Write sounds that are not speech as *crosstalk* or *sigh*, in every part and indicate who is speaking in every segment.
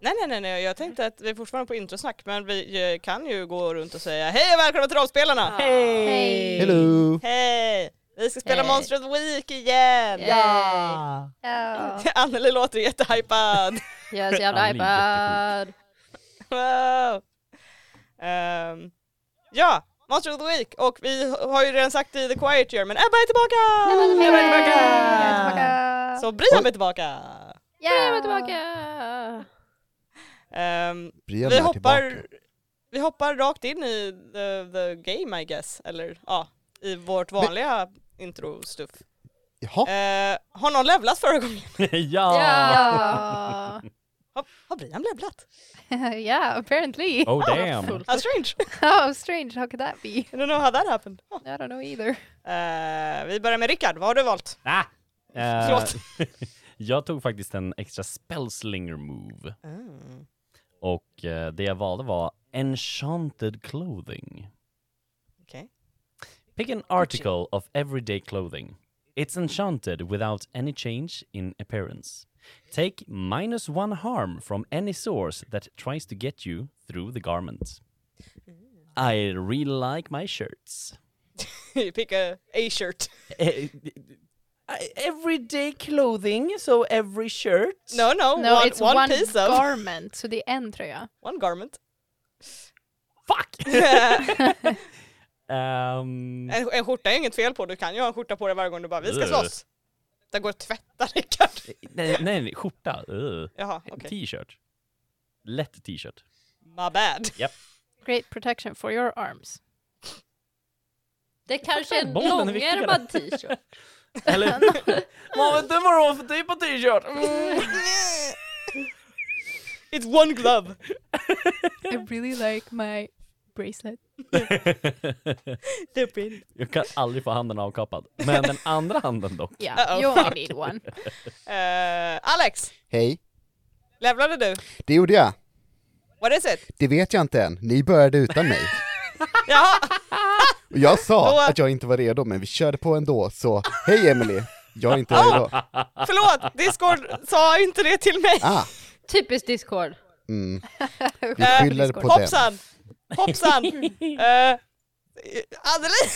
Speaker 1: Nej, nej, nej, nej, jag tänkte att vi är fortfarande på introsnack, men vi eh, kan ju gå runt och säga hej och välkomna till rollspelarna!
Speaker 2: Hej!
Speaker 3: Hej!
Speaker 4: Hello!
Speaker 1: Hej! Vi ska spela
Speaker 3: Hej.
Speaker 1: Monster of the Week igen!
Speaker 3: Ja.
Speaker 2: Ja!
Speaker 3: *laughs* Ja,
Speaker 1: *laughs* Anneli låter jättehypad! *laughs*
Speaker 3: jag är så
Speaker 4: Ja,
Speaker 3: jävla
Speaker 4: det är
Speaker 3: iPad.
Speaker 1: wow. Ehm, ja, Monster of the Week! Och vi har ju redan sagt i The Quiet Year, men Ebba är tillbaka!
Speaker 3: Jag är
Speaker 2: tillbaka!
Speaker 3: tillbaka!
Speaker 1: Så Brian är tillbaka!
Speaker 3: Jag är tillbaka!
Speaker 1: Ehm,
Speaker 4: Brian
Speaker 1: vi,
Speaker 4: är
Speaker 1: hoppar,
Speaker 4: tillbaka.
Speaker 1: vi hoppar rakt in i the, the game I guess, eller ja, i vårt vanliga intro-stuff.
Speaker 4: Jaha,
Speaker 1: Eh, har någon levlat förra gången? Oh.
Speaker 2: Ja!
Speaker 3: Ja!
Speaker 1: Har, har Brian levlat?
Speaker 3: *laughs* yeah, apparently. *laughs*
Speaker 2: Oh damn!
Speaker 3: Fullt.
Speaker 1: How strange!
Speaker 3: How strange, how could that
Speaker 1: *laughs*
Speaker 3: be?
Speaker 1: I don't know how that happened. Ja.
Speaker 3: I don't know
Speaker 1: *laughs*
Speaker 3: either.
Speaker 1: Eh, vi börjar med Rickard, vad har du valt?
Speaker 2: Ah. Eh,
Speaker 1: Förlåt.
Speaker 2: *laughs* jag tog faktiskt en extra spellslinger move och eh, det jag valde var enchanted clothing.
Speaker 1: Okej.
Speaker 2: Pick an article of everyday clothing. It's enchanted without any change in appearance. Take minus one harm from any source that tries to get you through the garment. I really like my shirts.
Speaker 1: *laughs* Pick a A-shirt.
Speaker 2: Eh, I- Everyday clothing, so every shirt.
Speaker 1: No no,
Speaker 3: No,
Speaker 1: one,
Speaker 3: it's
Speaker 1: one,
Speaker 3: one,
Speaker 1: piece of.
Speaker 3: garment, så det är en tröja.
Speaker 1: one garment. *laughs*
Speaker 2: Fuck!
Speaker 1: Ehm, en,
Speaker 2: um,
Speaker 1: en skjorta är inget fel på, du kan ju ha en skjorta på dig varje gång du bara vi ska
Speaker 2: Ugh.
Speaker 1: slåss. Det går att tvätta *laughs* Rickard.
Speaker 2: nej, nej, nej, skjorta. Ugh.
Speaker 1: Jaha, okej.
Speaker 2: T-shirt.
Speaker 1: *laughs*
Speaker 2: Lätt t-shirt.
Speaker 1: My
Speaker 3: *laughs*
Speaker 1: bad.
Speaker 3: Great protection for your arms.
Speaker 5: Det kanske är en
Speaker 2: Bollen är viktigare.
Speaker 5: långärmad t-shirt.
Speaker 2: Eller? Vad vet du vad du har för typ av t-shirt?
Speaker 1: Mm. It's one glove.
Speaker 3: I really like my bracelet.
Speaker 1: Dip in.
Speaker 2: *laughs* Jag kan aldrig få handen avkapad. Men den andra
Speaker 1: *laughs*
Speaker 2: handen dock.
Speaker 3: Yeah,
Speaker 1: Uh-oh.
Speaker 3: you only
Speaker 1: *laughs*
Speaker 3: need one.
Speaker 1: Eh, Alex,
Speaker 4: hej.
Speaker 1: levlade du?
Speaker 4: Det gjorde jag.
Speaker 1: What is it?
Speaker 4: Det vet jag inte än. Ni började utan mig.
Speaker 1: *laughs* Jaha!
Speaker 4: Och jag sa
Speaker 1: Då-
Speaker 4: att jag inte var redo, men vi körde på ändå, så hej Emily. Jag är inte
Speaker 1: Ah!
Speaker 4: redo.
Speaker 1: Förlåt, Discord sa inte det till mig.
Speaker 4: Ah,
Speaker 5: Typiskt Discord.
Speaker 4: mm. Vi
Speaker 1: Eh,
Speaker 4: skyller på den.
Speaker 1: Hoppsan! *laughs* Hoppsan! uh, Anneli,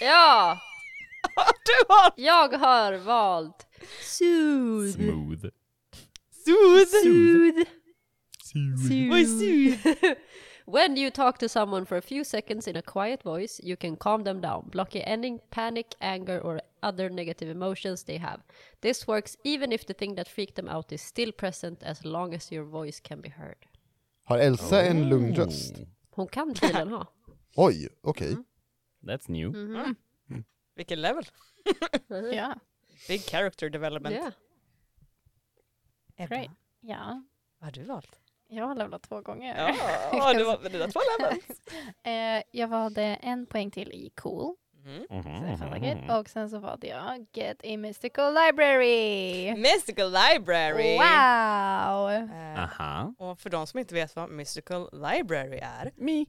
Speaker 5: Ja,
Speaker 1: *laughs* har du valt
Speaker 5: jag har valt
Speaker 1: Mm-hmm.
Speaker 5: Sood.
Speaker 2: Smooth.
Speaker 1: Sood?
Speaker 5: Sood.
Speaker 1: Vad är Sood?
Speaker 5: *laughs* When you talk to someone for a few seconds in a quiet voice, you can calm them down, blocking any panic, anger, or other negative emotions they have. This works even if the thing that freaked them out is still present as long as your voice can be heard.
Speaker 4: Har Elsa en lugn röst?
Speaker 5: Hon kan tydligen ha.
Speaker 4: Oj, okej.
Speaker 2: That's new.
Speaker 1: Mm-hmm. Vilken level?
Speaker 3: Yeah,
Speaker 1: Big character development.
Speaker 5: Ja.
Speaker 1: Ebba,
Speaker 3: great. Ja,
Speaker 1: vad har du *laughs* valt?
Speaker 3: jag har levlat två gånger.
Speaker 1: Ja, åh, det var med dina två levels.
Speaker 3: Eh, jag valde en poäng till i cool.
Speaker 1: Mm-hmm.
Speaker 3: Så det är fan vackert. Och sen så valde jag Get a Mystical Library.
Speaker 1: Mystical Library.
Speaker 3: Wow!
Speaker 1: Eh, *laughs*
Speaker 2: Aha.
Speaker 1: och för de som inte vet vad Mystical Library är,
Speaker 2: Me.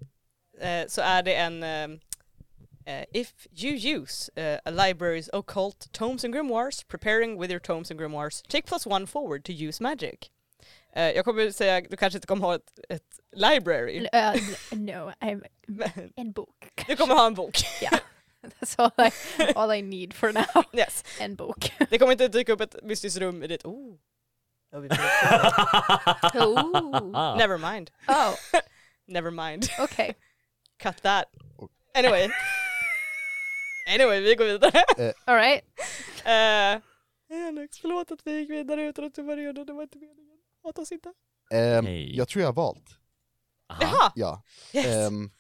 Speaker 1: eh, så är det en ehm, eh, If you use eh, a library's occult tomes and grimoires, preparing with your tomes and grimoires, take plus one forward to use magic. Eh, jag kommer ju säga, du kanske inte kommer ha ett, ett library,
Speaker 3: L- eh, l- no, I'm
Speaker 1: *laughs* men
Speaker 3: en bok. *laughs*
Speaker 1: du kommer ha en bok. *laughs*
Speaker 3: That's all I, all I need for
Speaker 1: *laughs*
Speaker 3: now.
Speaker 1: Yes.
Speaker 3: En bok.
Speaker 1: Det kommer inte dyka upp ett mystiskt rum i ditt, oh, that would be pretty cool.
Speaker 5: Oh.
Speaker 1: never mind,
Speaker 3: Oh,
Speaker 1: never mind,
Speaker 3: okej.
Speaker 1: cut that. Anyway. Anyway, vi går vidare.
Speaker 3: All right.
Speaker 1: Eh, hej Alex, förlåt att vi gick vidare utan att du var redo, det var inte meningen. Hata oss inte.
Speaker 4: Ehm,
Speaker 2: Hej.
Speaker 4: jag tror jag har valt.
Speaker 1: Jaha!
Speaker 4: Ja.
Speaker 1: Yes!
Speaker 4: Ehm,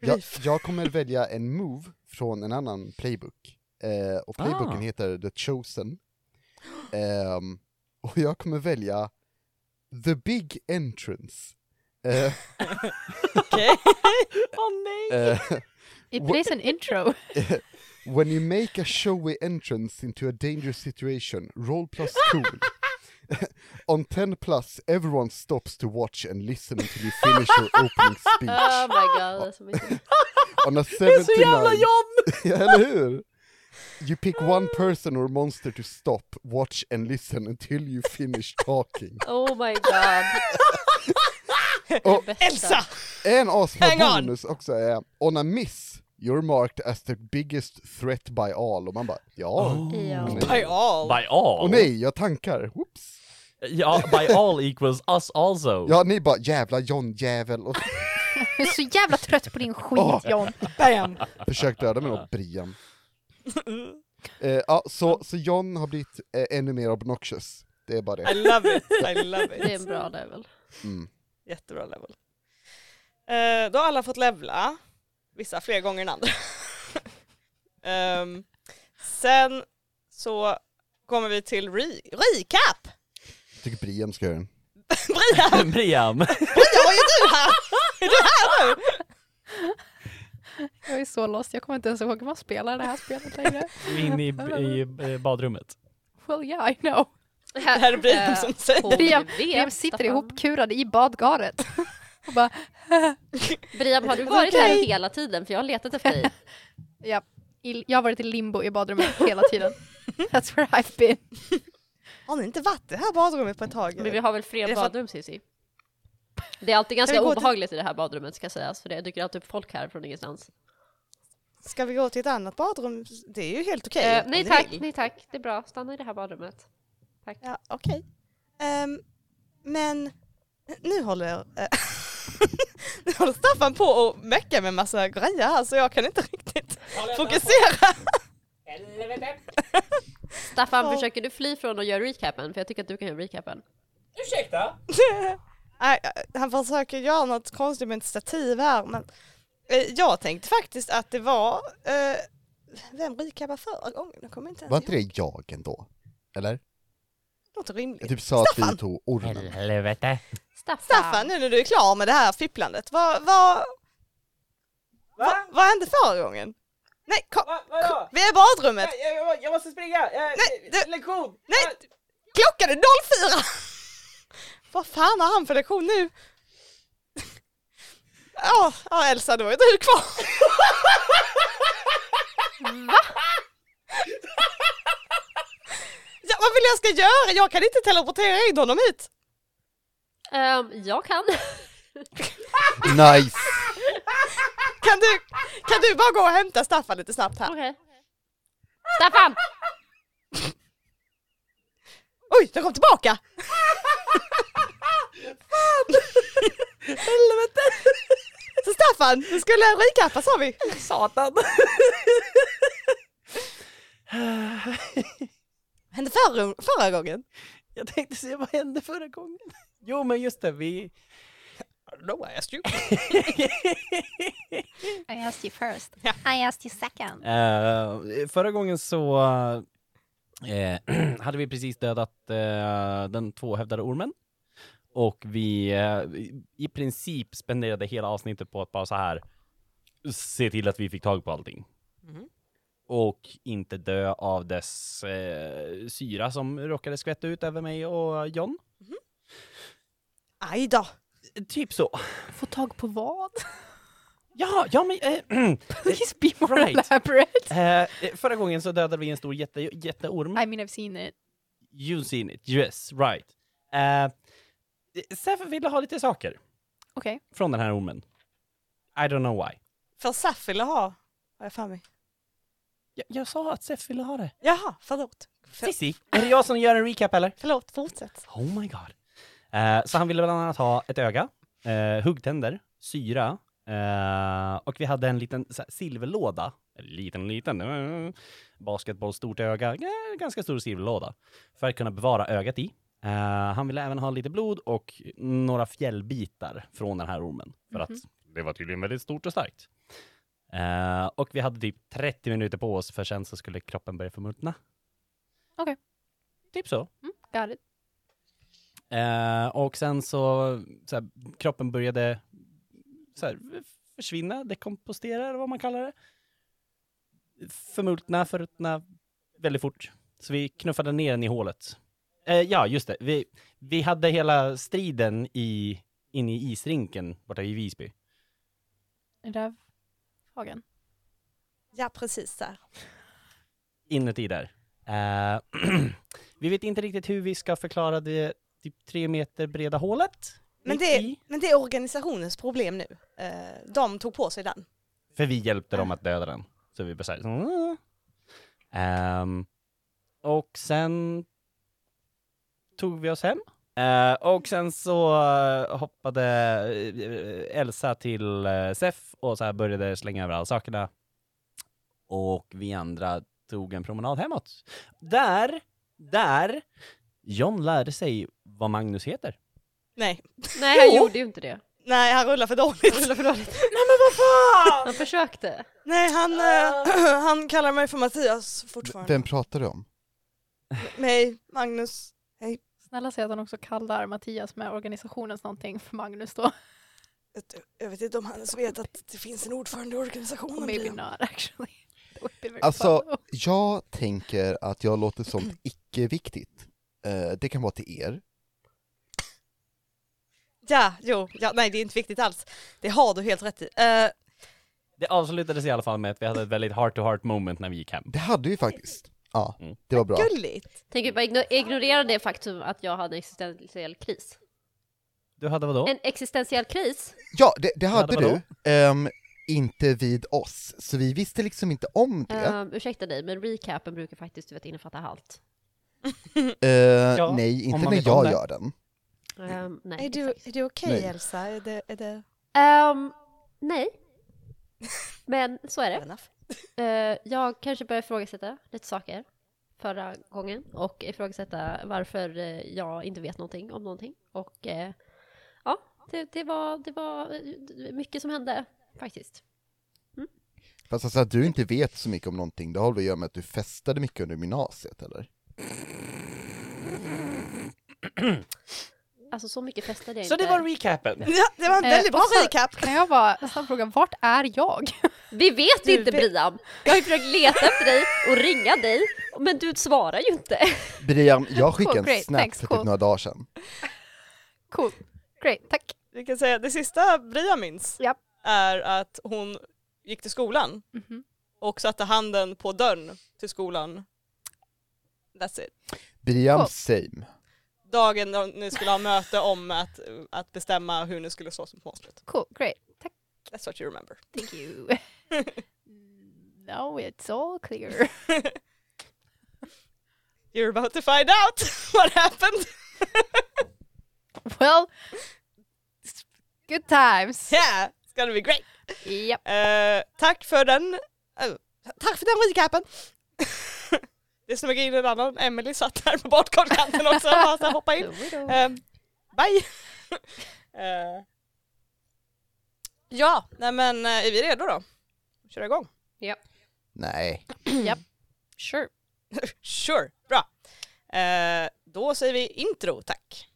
Speaker 4: jag, jag kommer välja en move från en annan playbook. Eh, och playbooken
Speaker 2: Ah.
Speaker 4: heter The Chosen. Ehm, och jag kommer välja The Big Entrance. Eh,
Speaker 1: Okej. *laughs*
Speaker 4: eh,
Speaker 3: It
Speaker 4: Wha-
Speaker 3: plays an intro.
Speaker 4: *laughs*
Speaker 3: *laughs*
Speaker 4: when you make a showy entrance into a dangerous situation, roll plus cool. On 10 plus, everyone stops to watch and listen until you finish your opening
Speaker 5: Oh
Speaker 4: speech.
Speaker 5: my god, Um, det är så mycket.
Speaker 4: On a 79,
Speaker 2: John!
Speaker 4: *laughs* Ja, eller hur? You pick one person or monster to stop, watch and listen until you finish
Speaker 1: *laughs*
Speaker 4: talking.
Speaker 5: Oh my god.
Speaker 4: Och
Speaker 5: Bästa.
Speaker 1: Elsa!
Speaker 4: en asbra
Speaker 1: Hang on.
Speaker 4: bonus också är, on a miss, you're marked as the biggest threat by all. Och man bara, ja.
Speaker 5: Ja.
Speaker 4: Åh,
Speaker 1: By all.
Speaker 2: By all.
Speaker 4: Och nej, jag tankar. Whoops.
Speaker 2: Ja, by all equals us also. *laughs*
Speaker 4: Ja, ni bara, jävla John-jävel. Och
Speaker 3: Jag är så jävla trött på din skit John.
Speaker 1: Bam!
Speaker 4: Försök döda mig då,
Speaker 1: *laughs*
Speaker 4: Brian. Eh, ja, så, så John har blivit eh, ännu mer obnoxious. Det är bara
Speaker 1: I
Speaker 4: det.
Speaker 1: love it, I love
Speaker 5: Det är en
Speaker 1: it.
Speaker 5: bra level.
Speaker 4: Mm.
Speaker 1: Jättebra level. Eh, då har alla fått levla. Vissa fler gånger än andra. *laughs* Ehm, sen så kommer vi till re- recap! *laughs*
Speaker 4: Jag tycker Brian ska göra den.
Speaker 1: Brian,
Speaker 2: Briam.
Speaker 1: Brian, vad är du här? Är du här nu?
Speaker 3: Jag är så lost, jag kommer inte ens ihåg hur man spelar det här spelet längre.
Speaker 2: In *laughs* i, i eh, badrummet.
Speaker 3: Well yeah, I know.
Speaker 1: Det här är
Speaker 5: Eh.
Speaker 1: Brian som säger.
Speaker 3: Brian-
Speaker 5: Briam
Speaker 3: Brian sitter ihopkurad i
Speaker 1: *laughs*
Speaker 3: badkaret. Och bara,
Speaker 5: Briam, har du
Speaker 3: It's
Speaker 5: varit här
Speaker 3: okay.
Speaker 5: hela tiden? För jag har letat efter *laughs* dig.
Speaker 3: ja, i, jag har varit i limbo i badrummet hela
Speaker 1: *laughs*
Speaker 3: tiden. That's where I've been.
Speaker 1: Har ni inte varit i det här badrummet på ett tag?
Speaker 5: Men vi har väl
Speaker 1: Är
Speaker 5: fler
Speaker 1: det för att-
Speaker 5: badrum Cissi? Det är alltid ganska
Speaker 1: Kan vi gå till-
Speaker 5: obehagligt i det här badrummet ska sägas, för det dyker alltid upp folk här från ingenstans.
Speaker 1: Ska vi gå till ett annat badrum? Det är ju helt okej.
Speaker 5: Eh,
Speaker 1: om
Speaker 5: nej
Speaker 1: ni
Speaker 5: tack,
Speaker 1: vill.
Speaker 5: nej tack, det är bra, stanna i det här badrummet. Tack.
Speaker 1: Ja, okej. Ehm, men nu håller, eh, *laughs* nu håller Staffan på och mecka med massa grejer här så jag kan inte riktigt fokusera. *laughs*
Speaker 5: Staffan,
Speaker 1: Ja.
Speaker 5: försöker du fly från att göra recapen? För jag tycker att du kan göra recapen.
Speaker 1: Nej, eh, Han försöker göra något konstigt med ett stativ här men eh, jag tänkte faktiskt att det var eh, vem recappade förra gången? Jag kommer inte ens
Speaker 4: Var inte
Speaker 1: ihåg.
Speaker 4: det jag ändå? Eller?
Speaker 1: Det låter
Speaker 4: Jag
Speaker 1: rimligt.
Speaker 4: typ sa att vi tog ormen.
Speaker 2: Helvete.
Speaker 5: Staffan!
Speaker 1: Staffan, nu när du är klar med det här fipplandet, vad, vad, vad, vad hände förra gången? Nej, kom,
Speaker 6: Va, vadå?
Speaker 1: vi är i badrummet!
Speaker 6: Jag, jag, jag måste springa! Jag,
Speaker 1: Nej, du-
Speaker 6: Lektion!
Speaker 1: Nej! Klockan är 04! *laughs* Vad fan har han för lektion nu? *laughs* Ja, ja Elsa, då är du kvar. *laughs* Ja, vad vill jag ska göra? Jag kan inte teleportera in honom hit.
Speaker 5: Ehm, jag kan.
Speaker 4: Nice!
Speaker 1: Kan du, kan du bara gå och hämta Staffan lite snabbt här?
Speaker 5: *laughs* Okej. Staffan!
Speaker 1: Oj, den kom tillbaka! Fan! Helvete! Så Staffan, du skulle recappa sa vi.
Speaker 6: Satan!
Speaker 1: Hände förra, förra gången?
Speaker 2: *laughs* Jag tänkte se vad hände förra gången. Jo men just det, vi...
Speaker 1: No, I asked you.
Speaker 3: I asked you first.
Speaker 1: Ja.
Speaker 3: I asked you second.
Speaker 2: Eh, förra gången så eh, *clears throat* hade vi precis dödat eh, den tvåhövdade ormen. Och vi eh, i princip spenderade hela avsnittet på att bara så här se till att vi fick tag på allting. Mhm. Och inte dö av dess eh, syra som råkade skvätta ut över mig och John.
Speaker 1: Aj då.
Speaker 2: Typ så.
Speaker 3: Få tag på vad?
Speaker 2: Ja, ja men... Eh, *clears throat*
Speaker 3: Please be more
Speaker 2: Right.
Speaker 3: elaborate.
Speaker 2: eh, förra gången så dödade vi en stor jätte, jätteorm.
Speaker 3: I mean I've seen it.
Speaker 2: You've seen it, yes, right. Uh, Seth ville ha lite saker
Speaker 3: Okej.
Speaker 2: från den här ormen. I don't know why.
Speaker 1: För Saf ville ha, har jag för mig.
Speaker 2: Jag, jag sa att Seth ville ha det.
Speaker 1: Jaha, förlåt. För,
Speaker 2: Cissi, är det jag som gör en recap eller?
Speaker 1: förlåt, fortsätt.
Speaker 2: Oh my god. Eh, så han ville bland annat ha ett öga, eh, huggtänder, syra eh, och vi hade en liten så här, silverlåda. Liten, liten. eh, basketboll, stort öga. eh, ganska stor silverlåda. För att kunna bevara ögat i. Eh, han ville även ha lite blod och några fjällbitar från den här ormen. För att det var tydligen väldigt stort och starkt. Eh, och vi hade typ 30 minuter på oss för sen så skulle kroppen börja förmultna.
Speaker 3: Okej.
Speaker 2: Typ så.
Speaker 3: Got it.
Speaker 2: Eh, och sen så, så här, kroppen började så här, försvinna, dekompostera eller vad man kallar det. Förmultna, förruttna väldigt fort. Så vi knuffade ner den i hålet. Eh, ja, just det. Vi, vi hade hela striden i, inne i isrinken borta i Visby.
Speaker 3: Är det där fagen?
Speaker 1: Ja, precis där.
Speaker 2: inuti där. Eh, *clears throat* vi vet inte riktigt hur vi ska förklara det typ tre meter breda hålet.
Speaker 1: Men
Speaker 2: mitt
Speaker 1: det,
Speaker 2: i.
Speaker 1: men det är organisationens problem nu. Eh, de tog på sig den.
Speaker 2: För vi hjälpte dem att döda den. Så vi bara såhär... "Mm." Ehm, och sen tog vi oss hem. Eh, och sen så eh, hoppade eh, Elsa till eh, Sef och så här började slänga över alla sakerna. Och vi andra tog en promenad hemåt. Där, där, John lärde sig vad Magnus heter.
Speaker 1: Nej,
Speaker 5: Nej, han gjorde ju inte det.
Speaker 1: nej han rullar för dåligt.
Speaker 5: Eller för dåligt.
Speaker 1: nej men vad fan!
Speaker 5: Han försökte.
Speaker 1: nej han,
Speaker 3: Ah.
Speaker 1: eh, *clears throat* han kallar mig för Mattias fortfarande.
Speaker 4: Vem pratar du om?
Speaker 1: Mig, Magnus.
Speaker 3: Snälla säg att han också kallar Mattias med organisationens någonting för Magnus då.
Speaker 1: Vet du, Jag vet inte om han ens vet att det finns en ordförande i organisationen.
Speaker 3: Maybe
Speaker 1: Liam.
Speaker 3: not actually. *laughs* That would be very
Speaker 4: Alltså-
Speaker 3: fun, though.
Speaker 4: Jag tänker att jag låter
Speaker 3: Mm.
Speaker 4: sånt icke-viktigt. Eh, det kan vara till er.
Speaker 1: Ja, jo, ja, nej det är inte viktigt alls. Det har du helt rätt i. Eh,
Speaker 2: Det avslutades i alla fall med att vi hade ett väldigt heart to heart moment när vi gick hem.
Speaker 4: Det hade vi faktiskt. Ja,
Speaker 2: Mm.
Speaker 4: det var bra.
Speaker 1: gulligt.
Speaker 5: Tänker bara igno- ignorera det faktum att jag hade en existentiell kris.
Speaker 2: Du hade vadå?
Speaker 5: En existentiell kris?
Speaker 4: Ja, det, det
Speaker 2: hade
Speaker 4: hade
Speaker 2: vadå?
Speaker 4: du. Ehm, inte vid oss, så vi visste liksom inte om det.
Speaker 5: Um, ursäkta dig, men recapen brukar faktiskt du vet, innefatta allt.
Speaker 4: Eh,
Speaker 2: Ja,
Speaker 4: nej,
Speaker 2: om
Speaker 4: inte
Speaker 2: man vet
Speaker 4: när
Speaker 2: om
Speaker 4: jag
Speaker 2: det.
Speaker 4: gör den.
Speaker 5: Ehm, nej,
Speaker 1: Är du,
Speaker 5: exakt.
Speaker 1: är du okej
Speaker 4: Nej.
Speaker 1: Elsa? Är det, är det
Speaker 5: Ehm, nej. Men så är det.
Speaker 1: fair *laughs* enough?
Speaker 5: Eh, jag kanske börjar ifrågasätta lite saker förra gången och ifrågasätta varför eh, jag inte vet någonting om någonting. Och eh, ja, det, det, var, det var eh, mycket som hände faktiskt.
Speaker 4: Fast alltså att du inte vet så mycket om någonting, det har väl att göra med att du festade mycket under gymnasiet, eller?
Speaker 5: Alltså så mycket festade jag
Speaker 2: Så det
Speaker 5: inte.
Speaker 2: var recapen!
Speaker 1: Ja, det var en
Speaker 3: Eh,
Speaker 1: väldigt bra
Speaker 3: alltså-
Speaker 1: recap.
Speaker 3: *laughs* Kan jag bara snabbt fråga, vart är jag?
Speaker 5: Vi vet
Speaker 1: Du
Speaker 5: inte
Speaker 1: vet-
Speaker 5: Brian! Jag har ju försökt leta efter dig och ringa dig, men du svarar ju inte.
Speaker 4: Brian, jag skickade
Speaker 3: *laughs* Cool,
Speaker 4: en
Speaker 3: great,
Speaker 4: snap
Speaker 3: thanks,
Speaker 4: för typ
Speaker 3: cool.
Speaker 4: några dagar sedan.
Speaker 3: Cool. Great, tack.
Speaker 1: Vi kan säga att det sista Bria minns
Speaker 3: Japp.
Speaker 1: är att hon gick till skolan
Speaker 3: Mhm.
Speaker 1: och satte handen på dörren till skolan. That's it.
Speaker 4: Brian,
Speaker 3: Cool.
Speaker 4: same.
Speaker 1: Dagen då ni skulle ha möte om att, att bestämma hur ni skulle slåss mot monstret.
Speaker 3: Cool, great. Tack.
Speaker 1: That's what you remember.
Speaker 3: Thank *laughs* you. Now it's all clear. *laughs*
Speaker 1: You're about to find out *laughs* what happened.
Speaker 3: Well, it's good times.
Speaker 1: Yeah, it's gonna be great.
Speaker 3: Japp.
Speaker 1: Eh, tack för den. eh, tack för den recapen. *laughs* det smög in en annan. Emily satt där på badkartkanten också och bara så här hoppade in. Ehm, bye! *laughs* Eh, ja, nej men eh, är vi redo då? Kör igång.
Speaker 4: Nej.
Speaker 3: Sure.
Speaker 1: sure, bra. Eh, då säger vi intro, tack.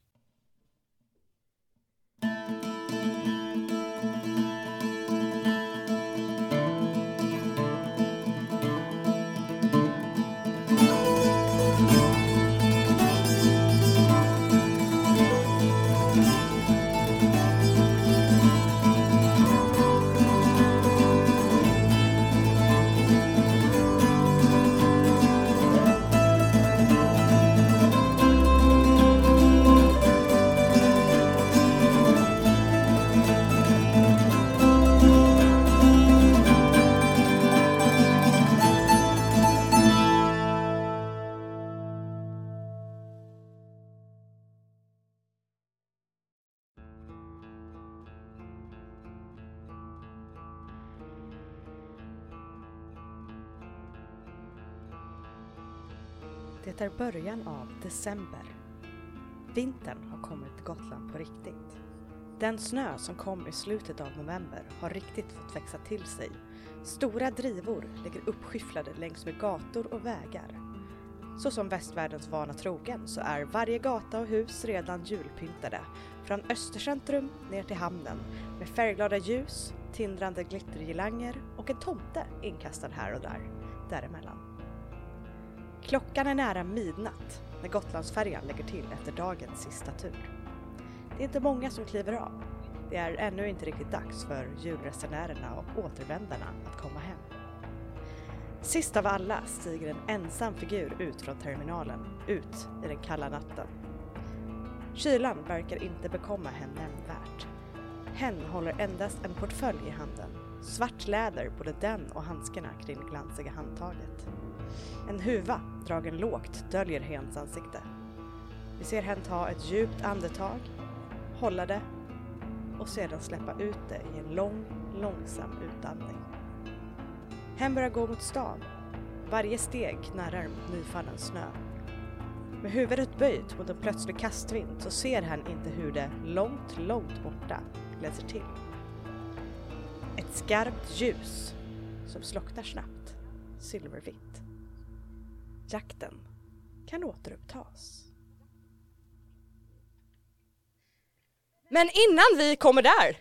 Speaker 1: Det är början av december. Vintern har kommit till Gotland på riktigt. Den snö som kom i slutet av november har riktigt fått växa till sig. Stora drivor ligger uppskyfflade längs med gator och vägar. Så som västvärldens vana trogen så är varje gata och hus redan julpyntade. Från Östercentrum ner till hamnen med färgglada ljus, tindrande glittergirlanger och en tomte inkastad här och där, däremellan. Klockan är nära midnatt när Gotlandsfärjan lägger till efter dagens sista tur. Det är inte många som kliver av. Det är ännu inte riktigt dags för julresenärerna och återvändarna att komma hem.
Speaker 7: Sist av alla stiger en ensam figur ut från terminalen, ut i den kalla natten. Kylan verkar inte bekomma henne nämnvärt. Hen håller endast en portfölj i handen. Svart läder, både den och handskarna kring det glansiga handtaget. En huva, dragen lågt, döljer hens ansikte. Vi ser hen ta ett djupt andetag, hålla det och sedan släppa ut det i en lång, långsam utandning. Hen börjar gå mot stan. Varje steg knarrar mot nyfallen snö. Med huvudet böjt mot en plötslig kastvind så ser hen inte hur det långt, långt borta läser till. Ett skarpt ljus som slocknar snabbt, silvervitt. Jakten kan återupptas.
Speaker 1: Men innan vi kommer där,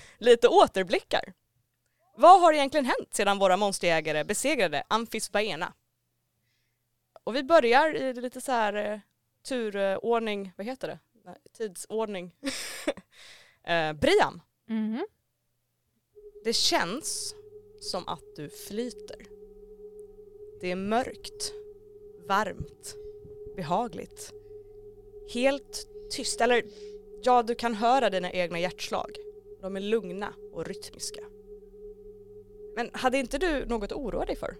Speaker 7: *laughs*
Speaker 1: lite återblickar. Vad har egentligen hänt sedan våra monsterjägare besegrade Amphis Baena? Och vi börjar i lite så här eh, turordning, vad heter det? Nej, Tidsordning. *laughs* eh, Brian,
Speaker 3: Mhm.
Speaker 1: det känns som att du flyter. Det är mörkt, varmt, behagligt. Helt tyst, eller ja, du kan höra dina egna hjärtslag. De är lugna och rytmiska. Men hade inte du något att oroa dig för?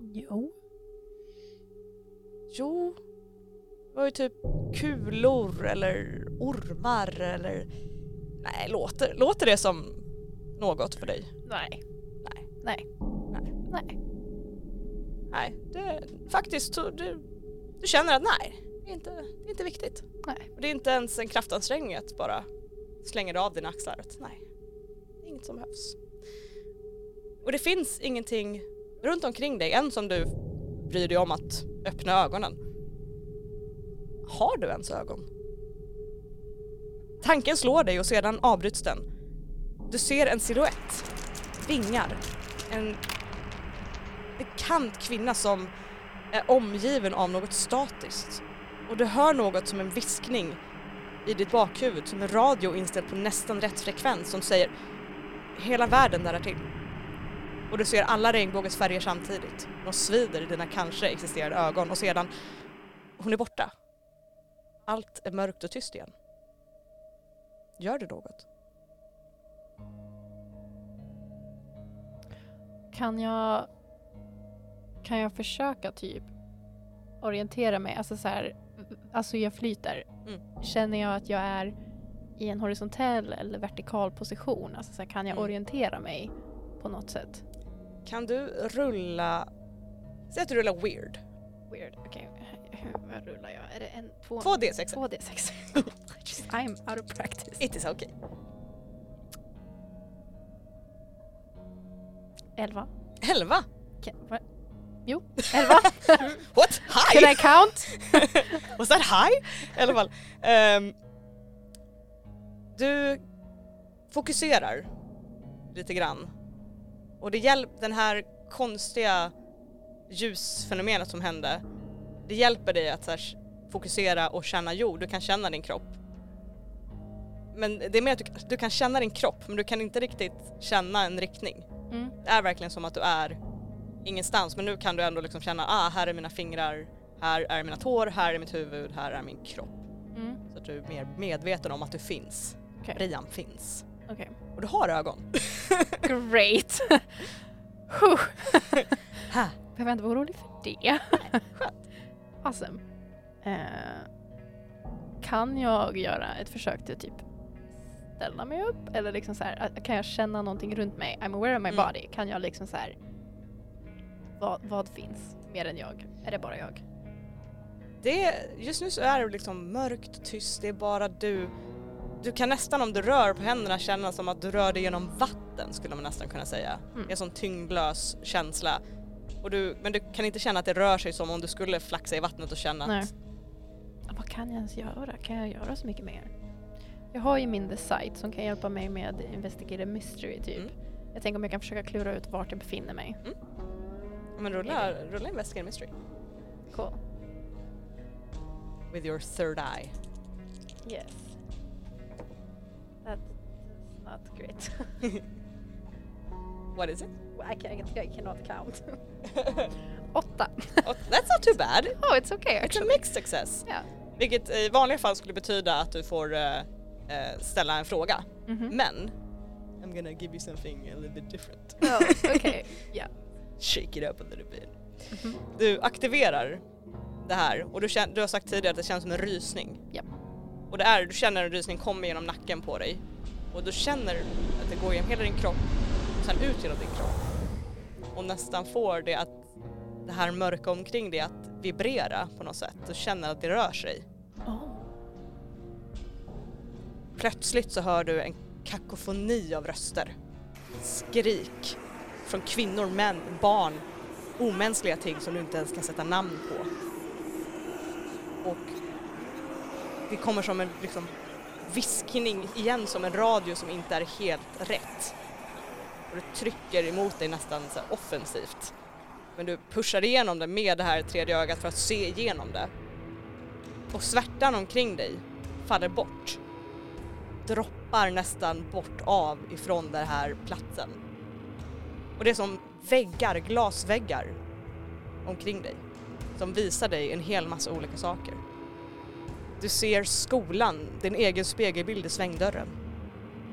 Speaker 3: Jo.
Speaker 1: Jo, det var ju typ kulor eller ormar eller... Nej, låter, låter det som något för dig?
Speaker 3: Nej.
Speaker 1: Nej.
Speaker 3: Nej.
Speaker 1: Nej.
Speaker 3: Nej.
Speaker 1: Nej, det, faktiskt så du, du känner att nej, det är, inte, det är inte viktigt.
Speaker 3: Nej.
Speaker 1: Och det är inte ens en kraftansträngning att bara slänga dig av dina axlar. Att nej, det är inget som behövs. Och det finns ingenting runt omkring dig än som du bryr dig om att öppna ögonen. Har du ens ögon? Tanken slår dig och sedan avbryts den. Du ser en silhuett, vingar, en bekant kvinna som är omgiven av något statiskt. Och du hör något som en viskning i ditt bakhuvud, som en radio inställd på nästan rätt frekvens som säger hela världen där är till. Och du ser alla regnbågens färger samtidigt. De svider i dina kanske existerande ögon och sedan, hon är borta. Allt är mörkt och tyst igen. Gör det något?
Speaker 3: Kan jag... Kan jag försöka typ orientera mig? Alltså så här, alltså jag flyter.
Speaker 1: Mm.
Speaker 3: Känner jag att jag är i en horisontell eller vertikal position? Alltså så här, kan jag
Speaker 1: Mm.
Speaker 3: orientera mig på något sätt?
Speaker 1: Kan du rulla... Säg att du rullar weird.
Speaker 3: Weird. Okej, vad rullar jag? Är det en, två?
Speaker 1: 2D6.
Speaker 3: 2D6.
Speaker 1: *laughs*
Speaker 3: Just, I'm out of practice.
Speaker 1: It is okay.
Speaker 3: 11.
Speaker 1: 11?
Speaker 3: Kan, va?
Speaker 1: *laughs*
Speaker 3: Jo, 11.
Speaker 1: Mm. What? High?
Speaker 3: Can I count?
Speaker 1: *laughs* Was that high? I alla fall. Ehm, du fokuserar lite grann. Och det hjälper den här konstiga ljusfenomenet som hände. Det hjälper dig att så här, fokusera och känna jord. Du kan känna din kropp. Men det är mer att du, du kan känna din kropp men du kan inte riktigt känna en riktning.
Speaker 3: Mm.
Speaker 1: Det är verkligen som att du är ingenstans men nu kan du ändå liksom känna ah här är mina fingrar, här är mina tår, här är mitt huvud, här är min kropp.
Speaker 3: Mm.
Speaker 1: Så att du är mer medveten om att du finns.
Speaker 3: Okej.
Speaker 1: Brian finns.
Speaker 3: Okej.
Speaker 1: Och du har
Speaker 3: *laughs*
Speaker 1: ögon.
Speaker 3: Great! *laughs* Huh. *laughs*
Speaker 1: Ha.
Speaker 3: Behöver inte vara orolig för det. *laughs* awesome. Eh, kan jag göra ett försök till typ ställa mig upp? Eller liksom så här, eh, kan jag känna någonting runt mig? I'm aware of my
Speaker 1: Mm.
Speaker 3: body. Kan jag liksom så här, vad, vad finns mer än jag? Är det bara jag?
Speaker 1: Det är, just nu så är det liksom mörkt, tyst, det är bara du. Du kan nästan om du rör på händerna känna som att du rör dig genom vatten skulle man nästan kunna säga.
Speaker 3: Mm.
Speaker 1: Det är en sån tyngdlös känsla. Och du, men du kan inte känna att det rör sig som om du skulle flaxa i vattnet och känna
Speaker 3: Nej.
Speaker 1: att
Speaker 3: Ja, Vad kan jag ens göra? Kan jag göra så mycket mer? Jag har ju min The Sight som kan hjälpa mig med Investigate a Mystery typ.
Speaker 1: Mm.
Speaker 3: Jag tänker om jag kan försöka klura ut vart jag befinner mig.
Speaker 1: men rulla, rulla Investigate Mystery
Speaker 3: Cool.
Speaker 1: with your third eye.
Speaker 3: Yes. *laughs* That's not great.
Speaker 1: What is it?
Speaker 5: I, can, I cannot
Speaker 1: *laughs*
Speaker 5: count.
Speaker 3: Åtta.
Speaker 1: Oh, that's not too bad.
Speaker 3: Oh, it's okay
Speaker 1: It's a
Speaker 3: actually.
Speaker 1: mixed success.
Speaker 3: Ja.
Speaker 1: Vilket i vanliga fall skulle betyda att du får eh, eh, ställa en fråga.
Speaker 3: Mhm.
Speaker 1: Men Mm. I'm gonna give you something a little bit different.
Speaker 3: Oh,
Speaker 1: *laughs*
Speaker 3: Okej, ja.
Speaker 1: Shake it up a little bit. Du aktiverar det här och du, kän- du har sagt tidigare att det känns som en rysning.
Speaker 3: Japp.
Speaker 1: Och det är, du känner en rysning komma genom nacken på dig. Och du känner att det går genom hela din kropp och sen ut genom din kropp. Och nästan får det att det här mörka omkring dig att vibrera på något sätt. Du känner att det rör sig. Plötsligt så hör du en kakofoni av röster. Skrik från kvinnor, män, barn. Omänskliga ting som du inte ens kan sätta namn på. Och det kommer som en liksom, viskning igen som en radio som inte är helt rätt. Och det trycker emot dig nästan så här offensivt. Men du pushar igenom det med det här tredje ögat för att se igenom det. Och svärtan omkring dig faller bort droppar nästan bort av ifrån den här platsen. Och det är som väggar, glasväggar omkring dig som visar dig en hel massa olika saker. Du ser skolan, din egen spegelbild i svängdörren.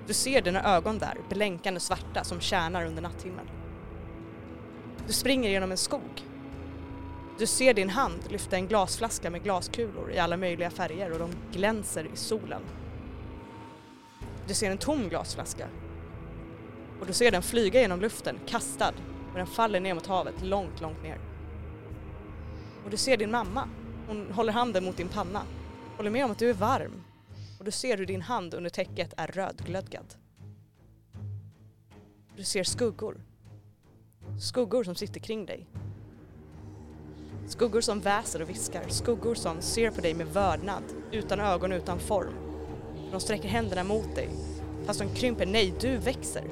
Speaker 1: Du ser dina ögon där, blänkande svarta som tjänar under natthimlen. Du springer genom en skog. Du ser din hand lyfta en glasflaska med glaskulor i alla möjliga färger och de glänser i solen. Du ser en tom glasflaska. Och du ser den flyga genom luften, kastad, och den faller ner mot havet, långt, långt ner. Och du ser din mamma. Hon håller handen mot din panna. Håller med om att du är varm. Och du ser hur din hand under täcket är rödglödgad. Du ser skuggor. Skuggor som sitter kring dig. Skuggor som väser och viskar. Skuggor som ser på dig med vördnad, utan ögon, utan form. De sträcker händerna mot dig. Fast de krymper. Nej, du växer.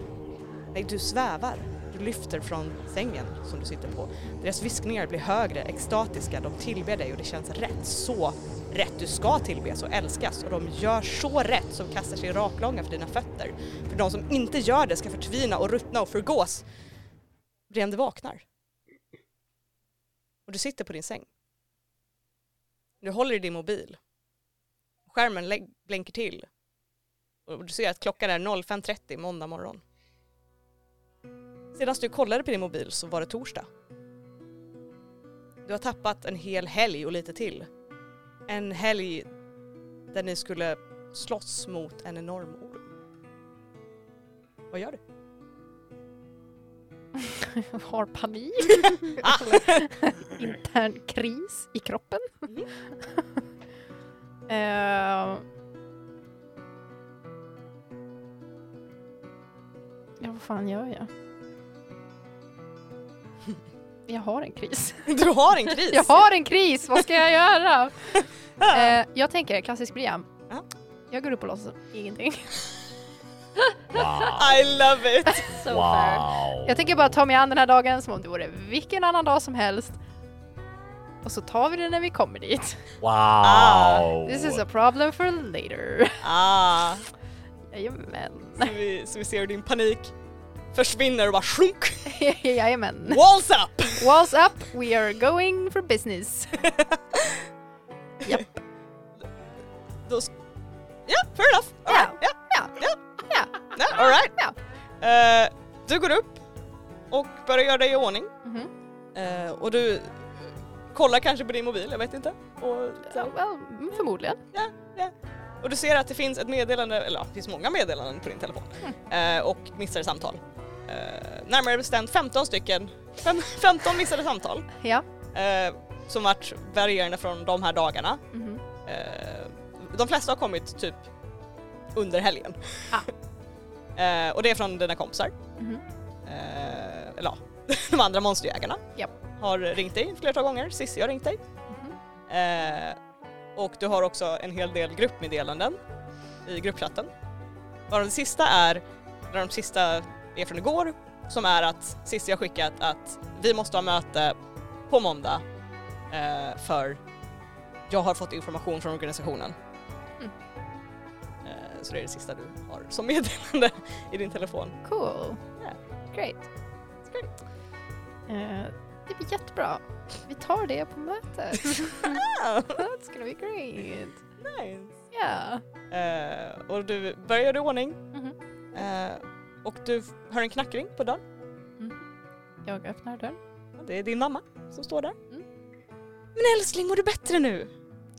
Speaker 1: Nej, du svävar. Du lyfter från sängen som du sitter på. Deras viskningar blir högre, extatiska. De tillber dig och det känns rätt. Så rätt. Du ska tillbes och älskas och de gör så rätt som kastar sig raklånga för dina fötter. För de som inte gör det ska förtvina och ruttna och förgås. Ren, du vaknar. Och du sitter på din säng. Du håller i din mobil. Skärmen lä- blänker till och du ser att klockan är 05.30 måndag morgon. Senast du kollade på din mobil så var det torsdag. Du har tappat en hel helg och lite till. En helg där ni skulle slåss mot en enorm orm. Vad gör du?
Speaker 3: *laughs* Har panik.
Speaker 1: *laughs* Ah!
Speaker 3: *laughs* Intern kris i kroppen.
Speaker 1: Mhm.
Speaker 3: *laughs* Eh, Ja, vad fan gör jag? Jag har en kris.
Speaker 1: *laughs* Du har en kris!
Speaker 3: Jag har en kris, vad ska jag göra? Eh, jag tänker klassisk Brian.
Speaker 1: Ja.
Speaker 3: Jag går upp och låtsas ingenting.
Speaker 2: Wow.
Speaker 1: I love it!
Speaker 5: So far.
Speaker 2: wow.
Speaker 3: Jag tänker bara ta mig an den här dagen som om det vore vilken annan dag som helst. Och så tar vi det när vi kommer dit.
Speaker 2: Wow.
Speaker 3: This is a problem for *laughs* later.
Speaker 1: Ah,
Speaker 3: Jajamän.
Speaker 1: så, vi, så vi ser hur din panik försvinner och bara sjunk!
Speaker 3: Jajamän.
Speaker 1: Walls up!
Speaker 3: *laughs* Walls up, we are going for business. *laughs*
Speaker 1: Då s- Ja, fair enough! All
Speaker 3: Ja.
Speaker 1: right. Ja.
Speaker 3: Ja, ja,
Speaker 1: Nej, all right.
Speaker 3: Ja.
Speaker 1: Eh, du går upp och börjar göra dig i ordning.
Speaker 3: Mhm.
Speaker 1: Eh, och du kollar kanske på din mobil, jag vet inte. Och, så,
Speaker 3: Ja, well, mm, förmodligen.
Speaker 1: och du ser att det finns ett meddelande, eller ja, det finns många meddelanden på din telefon.
Speaker 3: Mm.
Speaker 1: Eh, och missade samtal. Eh, närmare bestämt 15 stycken, Fem, *laughs* 15 missade samtal.
Speaker 3: Ja.
Speaker 1: Eh, som varit varierande från de här dagarna.
Speaker 3: Mhm.
Speaker 1: Eh, de flesta har kommit typ under helgen.
Speaker 3: Ah.
Speaker 1: *laughs* Eh, och det är från dina kompisar.
Speaker 3: Mhm.
Speaker 1: Eh, eller ja, *laughs* de andra monsterjägarna.
Speaker 3: Japp.
Speaker 1: Har ringt dig flera gånger, Cissi har ringt dig.
Speaker 3: Mhm.
Speaker 1: Eh, och du har också en hel del gruppmeddelanden i gruppchatten. Bara det sista är, eller de sista är från igår, som är att Cissi har skickat att vi måste ha möte på måndag eh, för jag har fått information från organisationen.
Speaker 3: Mm.
Speaker 1: Eh, så det är det sista du har som meddelande i din telefon.
Speaker 3: Cool.
Speaker 1: Yeah.
Speaker 3: Great. Eh, det blir jättebra. Vi tar det på *laughs* mötet.
Speaker 1: Ah,
Speaker 3: That's gonna be great.
Speaker 1: nice.
Speaker 3: Yeah.
Speaker 1: Eh, och du börjar i ordning
Speaker 3: Mhm.
Speaker 1: eh, och du f- hör en knackring på dörren.
Speaker 3: Mm-hmm. Jag öppnar dörren.
Speaker 1: Det är din mamma som står där.
Speaker 3: Mm.
Speaker 1: Men älskling, mår du bättre nu?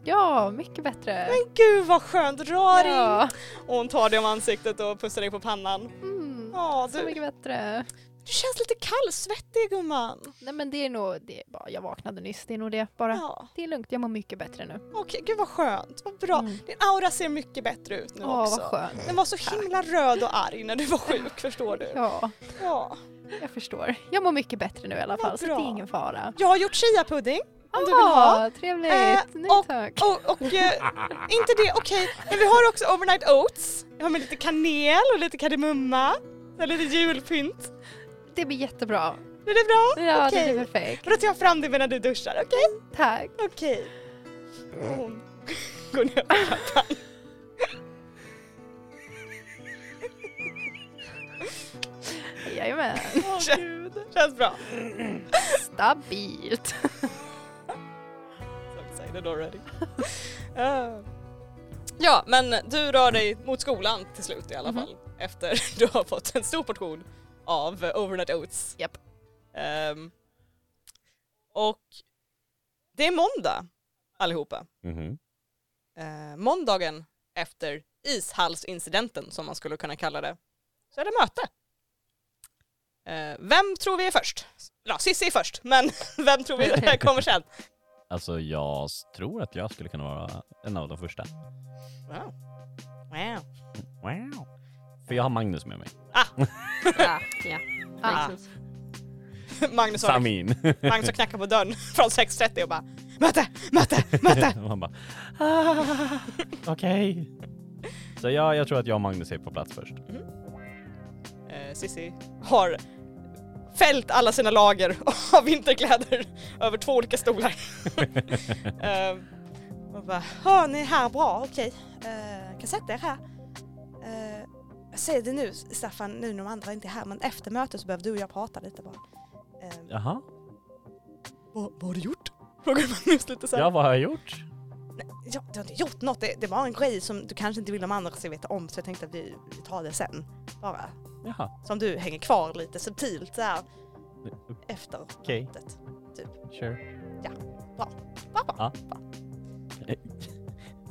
Speaker 3: Ja, mycket bättre.
Speaker 1: Men gud vad skönt, rör in!
Speaker 3: Ja.
Speaker 1: Och hon tar dig om ansiktet och pussar dig på pannan.
Speaker 3: Mm.
Speaker 1: Ja,
Speaker 3: Så
Speaker 1: du,
Speaker 3: mycket bättre.
Speaker 1: du känns lite kallsvettig gumman.
Speaker 3: Nej men det är nog, det är bara, jag vaknade nyss, det är nog det bara.
Speaker 1: Ja,
Speaker 3: Det är lugnt, jag mår mycket bättre nu.
Speaker 1: okej, gud vad skönt, vad bra.
Speaker 3: Mm.
Speaker 1: Din aura ser mycket bättre ut nu
Speaker 3: Åh
Speaker 1: också.
Speaker 3: vad skönt.
Speaker 1: Den var så himla röd och arg när du var sjuk, förstår du.
Speaker 3: Ja,
Speaker 1: Ja.
Speaker 3: jag förstår. Jag mår mycket bättre nu i alla
Speaker 1: Vad
Speaker 3: fall så det
Speaker 1: bra.
Speaker 3: är ingen fara.
Speaker 1: Jag har gjort chiapudding. Om du vill
Speaker 3: Ah,
Speaker 1: ha.
Speaker 3: Trevligt,
Speaker 1: Eh,
Speaker 3: nej
Speaker 1: och-
Speaker 3: tack.
Speaker 1: Och,
Speaker 3: *laughs*
Speaker 1: och eh, inte det, okej. Men vi har också overnight oats. Jag har med lite kanel och lite kardemumma. Och lite julpynt.
Speaker 3: Det blir jättebra.
Speaker 1: Är det bra?
Speaker 3: Ja,
Speaker 1: Okej.
Speaker 3: det blir perfekt.
Speaker 1: Och då tar jag fram det medan du duschar, okej?
Speaker 3: Tack.
Speaker 1: Okej. Och Hon *laughs* går ner på trappan.
Speaker 3: Jajamän.
Speaker 1: Kän- Känns bra. *laughs*
Speaker 3: Stabilt.
Speaker 1: So excited already. Eh, Ja, men du rör dig mot skolan till slut i alla
Speaker 3: Mhm.
Speaker 1: fall. Efter *laughs* du har fått en stor portion av eh, overnight oats.
Speaker 3: Japp.
Speaker 1: Ehm, och det är måndag allihopa.
Speaker 2: Mhm.
Speaker 1: Eh, måndagen efter ishallsincidenten som man skulle kunna kalla det, så är det möte. Eh, vem tror vi är först? Ja, Cissi är först, men *laughs* vem tror vi kommer sen?
Speaker 2: Alltså jag s- tror att jag skulle kunna vara en av de första.
Speaker 1: Wow. Wow.
Speaker 2: Wow. För jag har Magnus med mig.
Speaker 5: Ah, ja.
Speaker 1: Ah.
Speaker 5: Makes sense.
Speaker 1: *laughs* Magnus har,
Speaker 2: Samin. *laughs*
Speaker 1: Magnus har knackat på dörren *laughs* från 6.30 och bara möte, möte, möte!
Speaker 2: *laughs* Och Han bara ah, okej. Så ja, jag tror att jag och Magnus är på plats först.
Speaker 1: Eh, Cissi har fällt alla sina lager *laughs* av vinterkläder över två olika stolar. eh, och bara,
Speaker 7: Hör ni här bra? Okej. Eh, kan sätta er här. Eh, jag säger det nu Staffan, nu när de andra inte är här, men efter mötet så behöver du och jag prata lite bara. Eh,
Speaker 2: Jaha,
Speaker 1: vad, vad har du gjort? *laughs* Frågar Magnus lite så här.
Speaker 2: ja vad har jag gjort?
Speaker 7: ja, du har inte gjort något, det, det var en grej som du kanske inte vill de andra ska veta om så jag tänkte att vi vi tar det sen. Bara.
Speaker 2: Jaha,
Speaker 7: Som du hänger kvar lite subtilt så här efter
Speaker 2: okej,
Speaker 7: mötet.
Speaker 2: sure.
Speaker 7: Ja, bra.
Speaker 2: Bra, bra.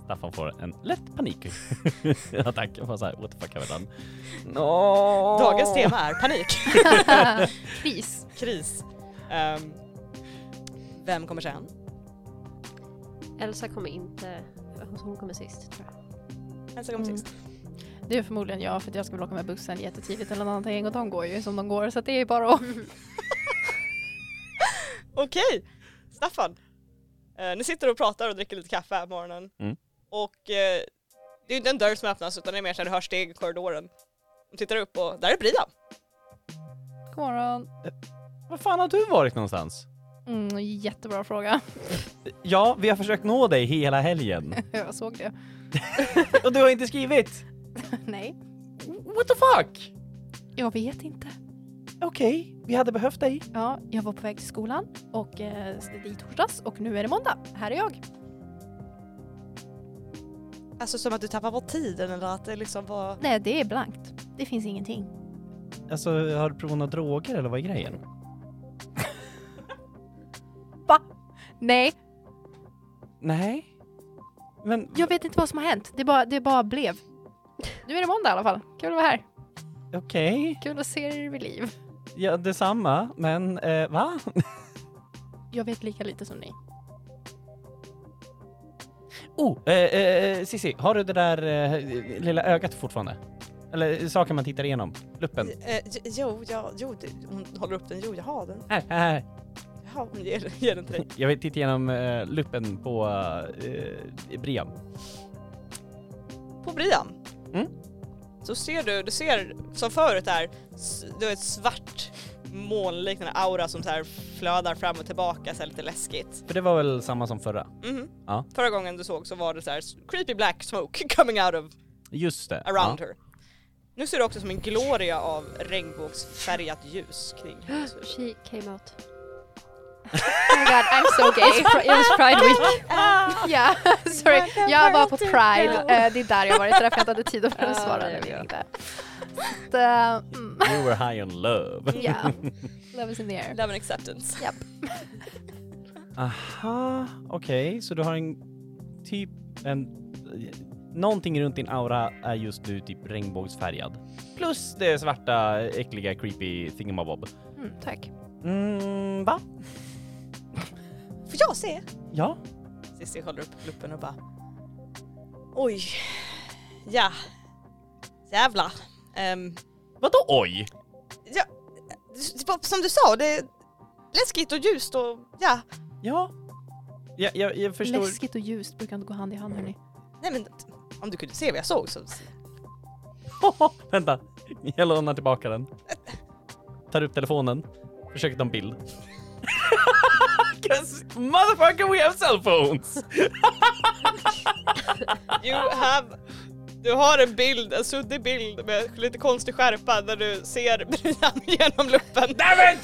Speaker 2: Staffan får en lätt *laughs* panik. Attack. Jag bara såhär, what the fuck have I done? No.
Speaker 1: Dagens tema är panik, *laughs*
Speaker 3: Kris.
Speaker 1: kris. Ehm, vem kommer sen?
Speaker 5: Elsa kommer inte... Hon kommer sist tror jag.
Speaker 1: Elsa kommer
Speaker 3: Mm.
Speaker 1: sist.
Speaker 3: Det är förmodligen jag för att jag ska väl åka med bussen jättetidigt eller någonting och de går ju som de går så att det är bara att...
Speaker 1: Mm. Okej, Staffan. Eh, ni sitter och pratar och dricker lite kaffe här på morgonen.
Speaker 2: Mm.
Speaker 1: Och eh, det är ju inte en dörr som öppnas utan det är mer så här du hör steg i korridoren. Du tittar upp och där är Brian.
Speaker 3: God morgon.
Speaker 2: Var fan har du varit någonstans?
Speaker 3: Mm, jättebra fråga. *laughs*
Speaker 2: Ja, vi har försökt nå dig hela helgen.
Speaker 3: Jag såg det.
Speaker 2: Och du har inte skrivit!
Speaker 3: Nej.
Speaker 2: What the fuck?
Speaker 3: Jag vet inte.
Speaker 2: Okej, vi hade behövt dig.
Speaker 3: Ja, jag var på väg till skolan och eh, det i torsdags och nu är det måndag. Här är jag.
Speaker 7: Alltså som att du tappar bort tiden eller att det liksom var...
Speaker 3: Nej, det är blankt. Det finns ingenting.
Speaker 2: Alltså, har du provat några droger eller vad är grejen?
Speaker 3: Nej,
Speaker 2: Nej. Men
Speaker 3: jag vet inte vad som har hänt. Det bara, det bara blev. Nu är det måndag i alla fall. Kul att vara här.
Speaker 2: okej,
Speaker 3: Kul att se er vid liv.
Speaker 2: ja, detsamma, men eh, va?
Speaker 3: Jag vet lika lite som ni.
Speaker 2: Oh, eh, eh, Cissi, har du det där eh, lilla ögat fortfarande? Eller saken man tittar igenom? Luppen?
Speaker 7: Eh, j- jo, jag, jo, det- hon håller upp den. Jo, jag har den.
Speaker 2: Här, här.
Speaker 7: Ja, hon ger, ger den till dig.
Speaker 2: Jag vill titta igenom eh, luppen på eh, Brian.
Speaker 1: På Brian.
Speaker 2: Mm.
Speaker 1: Så ser du, du ser som förut där, s- du har ett svart molnliknande aura som så här flödar fram och tillbaka så här lite läskigt.
Speaker 2: För det var väl samma som förra?
Speaker 1: Mhm.
Speaker 2: Ja.
Speaker 1: Förra gången du såg så var det så här s- creepy black smoke *laughs* coming out of
Speaker 2: Just det.
Speaker 1: around
Speaker 2: ja.
Speaker 1: her. Nu ser det också som en gloria av regnbågsfärgat ljus
Speaker 2: *gasps*
Speaker 1: kring hennes huvud.
Speaker 5: She came *laughs* out.
Speaker 3: Oh my god, I'm so gay.
Speaker 5: It's pri- it was Pride Week.
Speaker 3: Ja, sorry. Jag var på Pride. Eh, det är där jag varit, det är därför jag inte hade tid att
Speaker 5: Ja,
Speaker 3: svara
Speaker 5: det
Speaker 3: när
Speaker 5: är
Speaker 3: vi
Speaker 5: bra.
Speaker 3: ringde. Så att, eh, mm,
Speaker 2: You were high on love.
Speaker 3: *laughs* ja. Love is in the air.
Speaker 1: Love and acceptance.
Speaker 3: Japp.
Speaker 2: Aha, okej. Så du har en typ en... Någonting runt din aura är just nu typ regnbågsfärgad. Plus det svarta, äckliga, creepy thingamabob.
Speaker 3: Mm, tack.
Speaker 2: Mm, va?
Speaker 1: Får jag se?
Speaker 2: Ja?
Speaker 1: Cissi håller upp luppen och bara Oj. Ja. Jävlar. Ehm,
Speaker 2: Vadå oj?
Speaker 1: ja. Det var Som du sa, det är läskigt och ljust och ja.
Speaker 2: Ja? Ja, jag, jag förstår.
Speaker 3: Läskigt och ljust brukar inte gå hand i hand hörni.
Speaker 1: Nej men om du kunde se vad jag såg så...
Speaker 2: *laughs* Vänta, jag lånar tillbaka den. Tar upp telefonen, försöker ta en bild. *laughs* 'Cause motherfucker we have cell phones!
Speaker 1: You have... Du har en bild, en suddig bild med lite konstig skärpa där du ser Brian genom luppen.
Speaker 2: Damn it!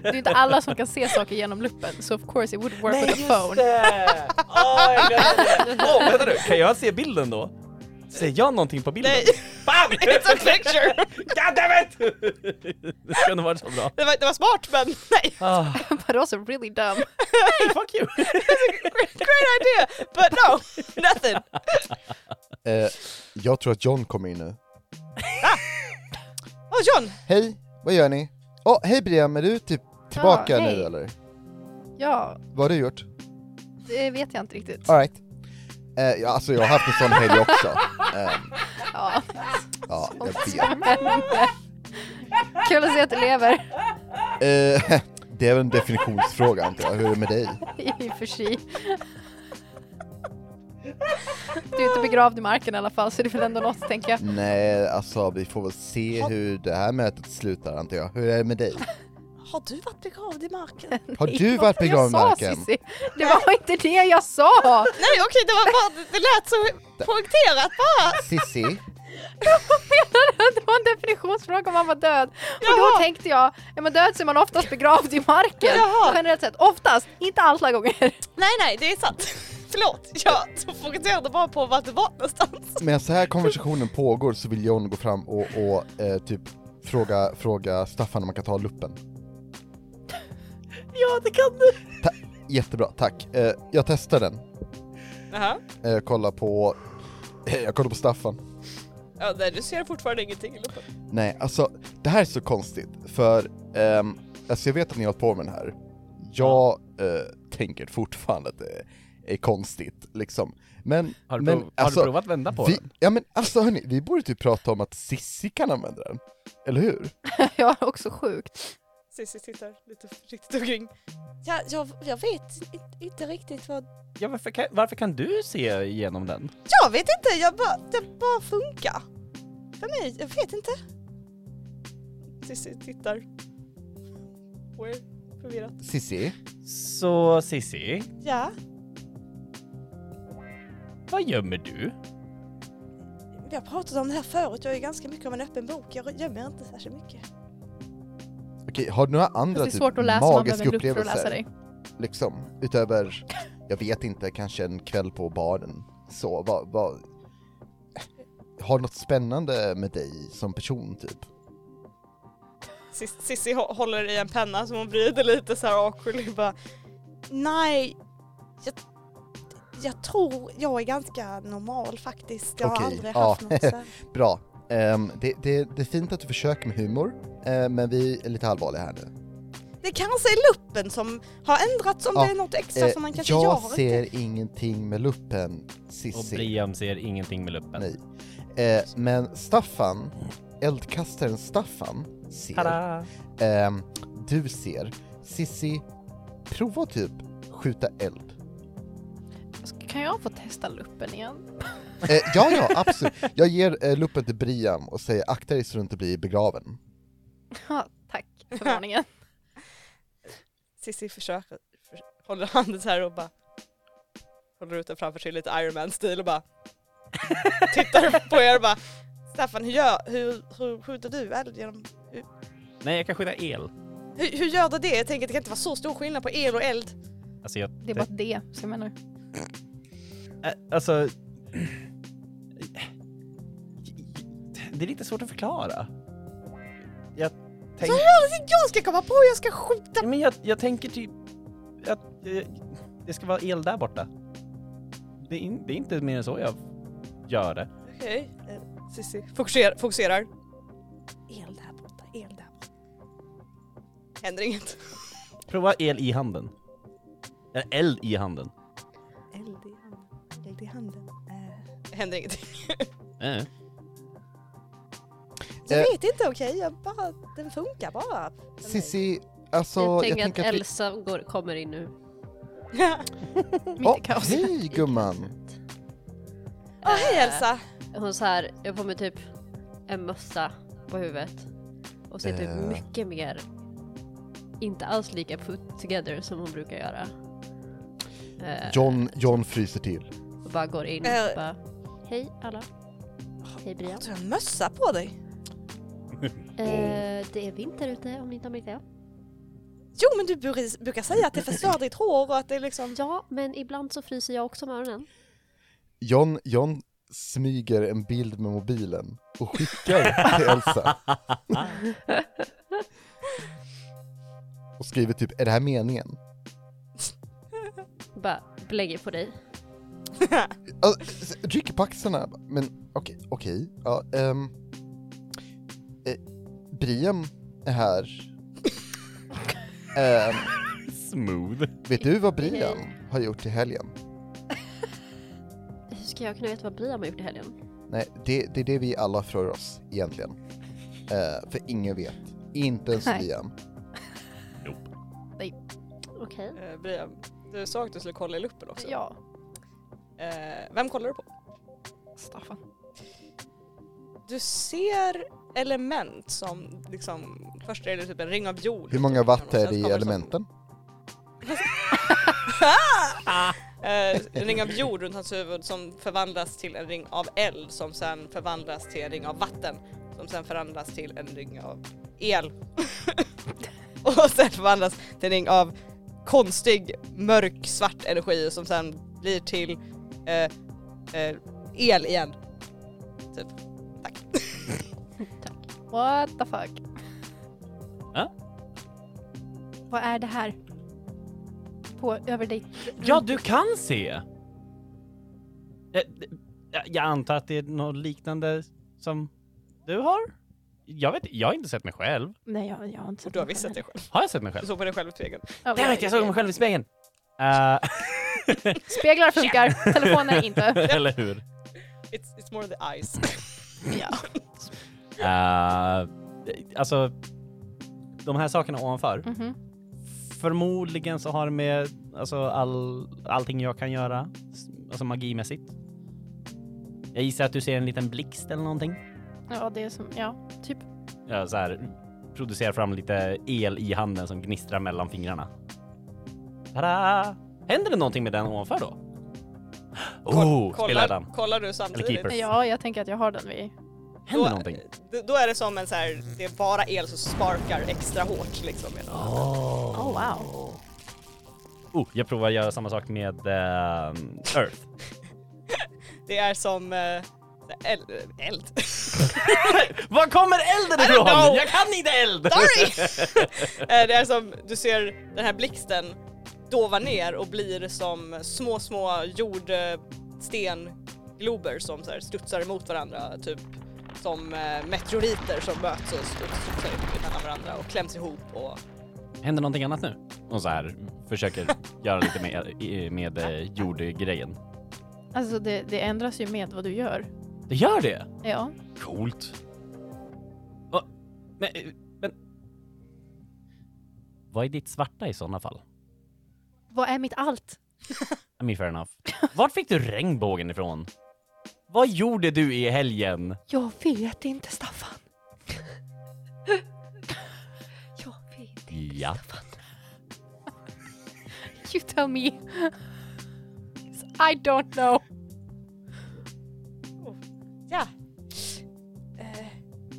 Speaker 2: *laughs*
Speaker 3: Det är inte alla som kan se saker genom luppen, så of course it would work with a phone.
Speaker 2: *laughs* det! Åh, jag glömde det. Åh, vänta nu, kan jag se bilden då? Ser jag någonting på bilden?
Speaker 1: Nej,
Speaker 2: *laughs* Fan!
Speaker 1: it's a picture!
Speaker 2: God damn it! *laughs* det ska nog varit så bra.
Speaker 1: Det var, det var smart men nej.
Speaker 2: Ah,
Speaker 3: *laughs* But also really dumb.
Speaker 2: hey, fuck you!
Speaker 1: Great, great idea! But no, nothing.
Speaker 4: Eh, jag tror att John kommer in nu.
Speaker 1: Åh John!
Speaker 4: Hej, vad gör ni? Åh, hej Brian, är du typ tillbaka
Speaker 3: Ja, hej.
Speaker 4: nu eller?
Speaker 3: Ja,
Speaker 4: Vad har du gjort?
Speaker 3: det vet jag inte riktigt.
Speaker 4: Alright. Eh, ja, alltså jag har haft en sån
Speaker 3: *laughs*
Speaker 4: helg också. Eh,
Speaker 3: Ja. *laughs*
Speaker 4: ja, jag vet.
Speaker 3: Spännande. Kul att se att du lever, *laughs*
Speaker 4: Eh, *laughs* det är väl en definitionsfråga antar jag, hur är det med dig?
Speaker 3: i och för sig. Du är inte begravd i marken i alla fall, så det är väl ändå något, tänker jag.
Speaker 4: Nej, alltså vi får väl se hur det här mötet slutar antar jag. Hur är det med
Speaker 3: *laughs*
Speaker 4: dig?
Speaker 1: Har du varit begravd i marken?
Speaker 4: Har
Speaker 3: Det
Speaker 4: du
Speaker 3: var
Speaker 4: varit
Speaker 3: inte det
Speaker 4: begravd i
Speaker 3: Jag
Speaker 4: marken?
Speaker 3: sa, Cissi. det var inte det jag sa!
Speaker 1: Nej okej, det var bara, det lät så poängterat bara.
Speaker 4: Sissi?
Speaker 3: Jag menade att det var en definitionsfråga om man var död. Och
Speaker 1: Jaha.
Speaker 3: då tänkte jag, är man död så är man oftast begravd i marken.
Speaker 1: Jaha.
Speaker 3: Generellt sett, oftast, inte alla gånger.
Speaker 1: Nej nej, det är sant. Förlåt, jag fokuserade bara på vart du var någonstans.
Speaker 4: Medan så här konversationen pågår så vill John gå fram och, och eh, typ fråga, fråga Staffan om man kan ta luppen.
Speaker 2: Ja, det kan du!
Speaker 4: Jättebra, tack. Eh, jag testar den.
Speaker 1: Jaha.
Speaker 4: Eh, kolla på... eh, jag kollar på Staffan.
Speaker 1: Ja, nej, du ser fortfarande ingenting i luppen.
Speaker 4: Nej, alltså det här är så konstigt för... ehm, alltså jag vet att ni har hållit på med den här. Jag eh, tänker fortfarande att det är konstigt liksom. Men...
Speaker 2: Har du,
Speaker 4: men, alltså,
Speaker 2: prov, har du provat vända på
Speaker 4: vi,
Speaker 2: den?
Speaker 4: Ja men alltså hörni, vi borde typ prata om att Sissi kan använda den. Eller hur?
Speaker 3: *laughs* Jag är också sjukt.
Speaker 1: Cissi tittar lite riktigt omkring. Ja, jag, jag vet inte, inte riktigt vad...
Speaker 2: Ja, varför, kan, varför kan du se igenom den?
Speaker 1: Jag vet inte, jag bara, det bara funkar. För mig, jag vet inte. Cissi tittar. Och är förvirrat.
Speaker 4: Sissi?
Speaker 2: Så Sissi,
Speaker 1: Ja,
Speaker 2: vad gömmer du?
Speaker 1: vi har pratat om det här förut, jag är ganska mycket av en öppen bok. Jag gömmer inte särskilt mycket.
Speaker 4: Okej, har du några
Speaker 3: Fast
Speaker 4: andra
Speaker 3: det är
Speaker 4: typ
Speaker 3: svårt att läsa om man behöver
Speaker 4: magiska
Speaker 3: en lupp för att läsa
Speaker 4: upplevelser?
Speaker 3: dig.
Speaker 4: Liksom, utöver, jag vet inte, kanske en kväll på baren. Så, vad, vad... Har du något spännande med dig som person typ?
Speaker 1: Cis- Cissi hå- håller i en penna som hon vrider lite så här awkwardly bara Nej, jag, jag tror jag är ganska normal faktiskt. Jag
Speaker 4: Okej,
Speaker 1: har aldrig
Speaker 4: ja.
Speaker 1: haft något så här.
Speaker 4: Bra. Ehm, det, det, det är fint att du försöker med humor, eh, men vi är lite allvarliga här nu.
Speaker 1: Det kanske är luppen som har ändrats om
Speaker 4: Ja,
Speaker 1: det är något extra
Speaker 4: Eh,
Speaker 1: som man kanske
Speaker 4: jag
Speaker 3: typ.
Speaker 1: gör.
Speaker 4: ser ingenting med luppen,
Speaker 2: Och
Speaker 4: Sissi.
Speaker 2: Briam ser ingenting med luppen.
Speaker 4: Nej. Eh, men Staffan, eldkastaren Staffan, ser.
Speaker 2: Tada!
Speaker 4: Ehm, du ser. Sissi, prova typ skjuta eld.
Speaker 3: Kan jag få testa luppen igen?
Speaker 4: Eh, ja, ja, absolut. Jag ger eh, luppen till Briam och säger akta dig så du inte blir begraven.
Speaker 3: Ja, Tack för *laughs* varningen.
Speaker 1: Cissi försöker, för, håller handen så här och bara håller ut den framför sig lite Iron Man-stil och bara tittar på er och bara Staffan, hur, gör, hur, hur skjuter du eld genom...
Speaker 2: Nej, jag kan skydda el.
Speaker 1: Hur, hur gör du det? Jag tänker att det kan inte vara så stor skillnad på el och eld.
Speaker 2: Alltså, jag,
Speaker 3: Det är bara det som jag menar.
Speaker 2: Ä- alltså... Det är lite svårt att förklara. Jag
Speaker 1: Så
Speaker 2: tänker...
Speaker 1: här, alltså, jag ska komma på hur jag ska skjuta!
Speaker 2: Men jag, jag tänker typ att eh, det ska vara el där borta. Det är, in, det är inte mer än så jag gör det.
Speaker 1: Okej. Eh, Cissi fokuserar, fokuserar. El där borta, el där borta. Händer inget.
Speaker 2: Prova el i handen. Eller eld i handen.
Speaker 7: Eld i handen. Eld i handen. Eh,
Speaker 1: Händer ingenting.
Speaker 2: Äh.
Speaker 7: Jag
Speaker 4: Eh.
Speaker 7: vet inte, okej? Jag bara, den funkar bara. för mig.
Speaker 4: Sissi, alltså jag
Speaker 5: jag tänker att,
Speaker 4: tänker att vi...
Speaker 5: Elsa går, kommer in nu.
Speaker 3: Mitt
Speaker 4: Åh,
Speaker 3: i kaos.
Speaker 4: hej gumman!
Speaker 1: Åh hej
Speaker 5: Eh,
Speaker 1: Elsa!
Speaker 5: Hon så här, jag får mig typ en mössa på huvudet. Och ser typ
Speaker 4: Eh.
Speaker 5: mycket mer, inte alls lika put together som hon brukar göra. Eh,
Speaker 4: John, John fryser till.
Speaker 5: Och bara går in
Speaker 1: Eh.
Speaker 5: och bara, hej alla. Hej Brian.
Speaker 1: Du har en mössa på dig.
Speaker 5: Eh, det är vinter ute om ni inte har märkt det.
Speaker 1: Jo men du bru- brukar säga att det förstör ditt hår och att det liksom...
Speaker 5: Ja, men ibland så fryser jag också om öronen.
Speaker 4: John, John smyger en bild med mobilen och skickar till Elsa. och skriver typ, är det här meningen?
Speaker 5: Bara blänger på dig.
Speaker 4: Alltså, s- rycker på axlarna, men okej, okej. Ja, ehm. eh, Brian är här. Ehm,
Speaker 2: Smooth.
Speaker 4: vet du vad Brian har gjort i helgen?
Speaker 5: Hur ska jag kunna veta vad Brian har gjort i helgen?
Speaker 4: Nej, det, det är det vi alla frågar oss egentligen. Eh, för ingen vet. Inte ens
Speaker 3: Nej.
Speaker 4: Brian.
Speaker 5: Okej.
Speaker 1: Brian, Eh, du sa att du skulle kolla i luppen också.
Speaker 3: Ja,
Speaker 1: Eh, vem kollar du på?
Speaker 3: Staffan.
Speaker 1: Du ser element som liksom... Först är det typ en ring av jord.
Speaker 4: Hur många watt är
Speaker 1: Sen
Speaker 4: det i
Speaker 1: kommer som-
Speaker 4: elementen?
Speaker 1: Eh, en ring av jord runt hans huvud som förvandlas till en ring av eld som sen förvandlas till en ring av vatten som sen förvandlas till en ring av el. *laughs* och sen förvandlas till en ring av konstig mörk svart energi som sen blir till eh, eh, el igen.
Speaker 3: What the
Speaker 1: Äh?
Speaker 3: fuck?
Speaker 2: Ja.
Speaker 3: Vad är det här? På över dig?
Speaker 2: Ja, du kan se! Eh, d- ja, Jag antar att det är något liknande som du har? Jag vet jag har inte sett mig själv.
Speaker 3: Nej, jag, jag har inte sett
Speaker 1: Du har
Speaker 3: den
Speaker 1: visst sett det
Speaker 3: heller.
Speaker 1: själv.
Speaker 2: Har jag sett mig själv?
Speaker 1: Du såg på dig själv i spegeln.
Speaker 3: Ja,
Speaker 2: Damn it, jag såg mig själv i spegeln! Eh, *laughs*
Speaker 3: Speglar *laughs* funkar, telefoner inte.
Speaker 2: eller hur?
Speaker 1: It's, it's more the eyes.
Speaker 3: Ja.
Speaker 2: Eh, alltså, de här sakerna ovanför,
Speaker 3: Mhm.
Speaker 2: förmodligen så har det med alltså, all, allting jag kan göra, s- alltså magimässigt. Jag gissar att du ser en liten blixt eller någonting.
Speaker 3: ja, det är som, ja, typ.
Speaker 2: Ja, Eh, så här, producerar fram lite el i handen som gnistrar mellan fingrarna. Tada! Händer det någonting med den ovanför då? *gasps* Oh, spelar den.
Speaker 1: kollar, kollar du
Speaker 2: Eller
Speaker 1: samtidigt?
Speaker 2: keeper.
Speaker 3: Ja, jag tänker att jag har den vid.
Speaker 2: Händer någonting?
Speaker 1: Då, då är det som en så här, det är bara el som sparkar extra hårt liksom.
Speaker 3: Oh wow.
Speaker 2: Oh, jag provar göra samma sak med ehm, Earth.
Speaker 1: Det är som eh, eld. eld. *laughs*
Speaker 2: Var kommer elden
Speaker 1: I don't
Speaker 2: ifrån?
Speaker 1: know.
Speaker 2: Jag kan inte eld!
Speaker 1: Sorry! *laughs* Eh, det är som, du ser den här blixten dova ner och blir som små, små jordstenglober som så här studsar emot varandra, typ som eh, meteoriter som möts och studs- studsar upp mellan varandra och kläms ihop och
Speaker 2: Händer någonting annat nu? Och så här försöker göra lite med, i- med eh, jordgrejen.
Speaker 3: Alltså det, det ändras ju med vad du gör.
Speaker 2: Det gör det!
Speaker 3: Ja.
Speaker 2: Coolt. Va? Men, eh, men... Vad är ditt svarta i sådana fall?
Speaker 3: Vad är mitt allt?
Speaker 2: I mean, fair enough. Vart fick du regnbågen ifrån? Vad gjorde du i helgen?
Speaker 3: Jag vet inte Staffan.
Speaker 5: Jag vet
Speaker 2: Ja.
Speaker 3: You tell me. I don't know.
Speaker 1: Ja. Eh,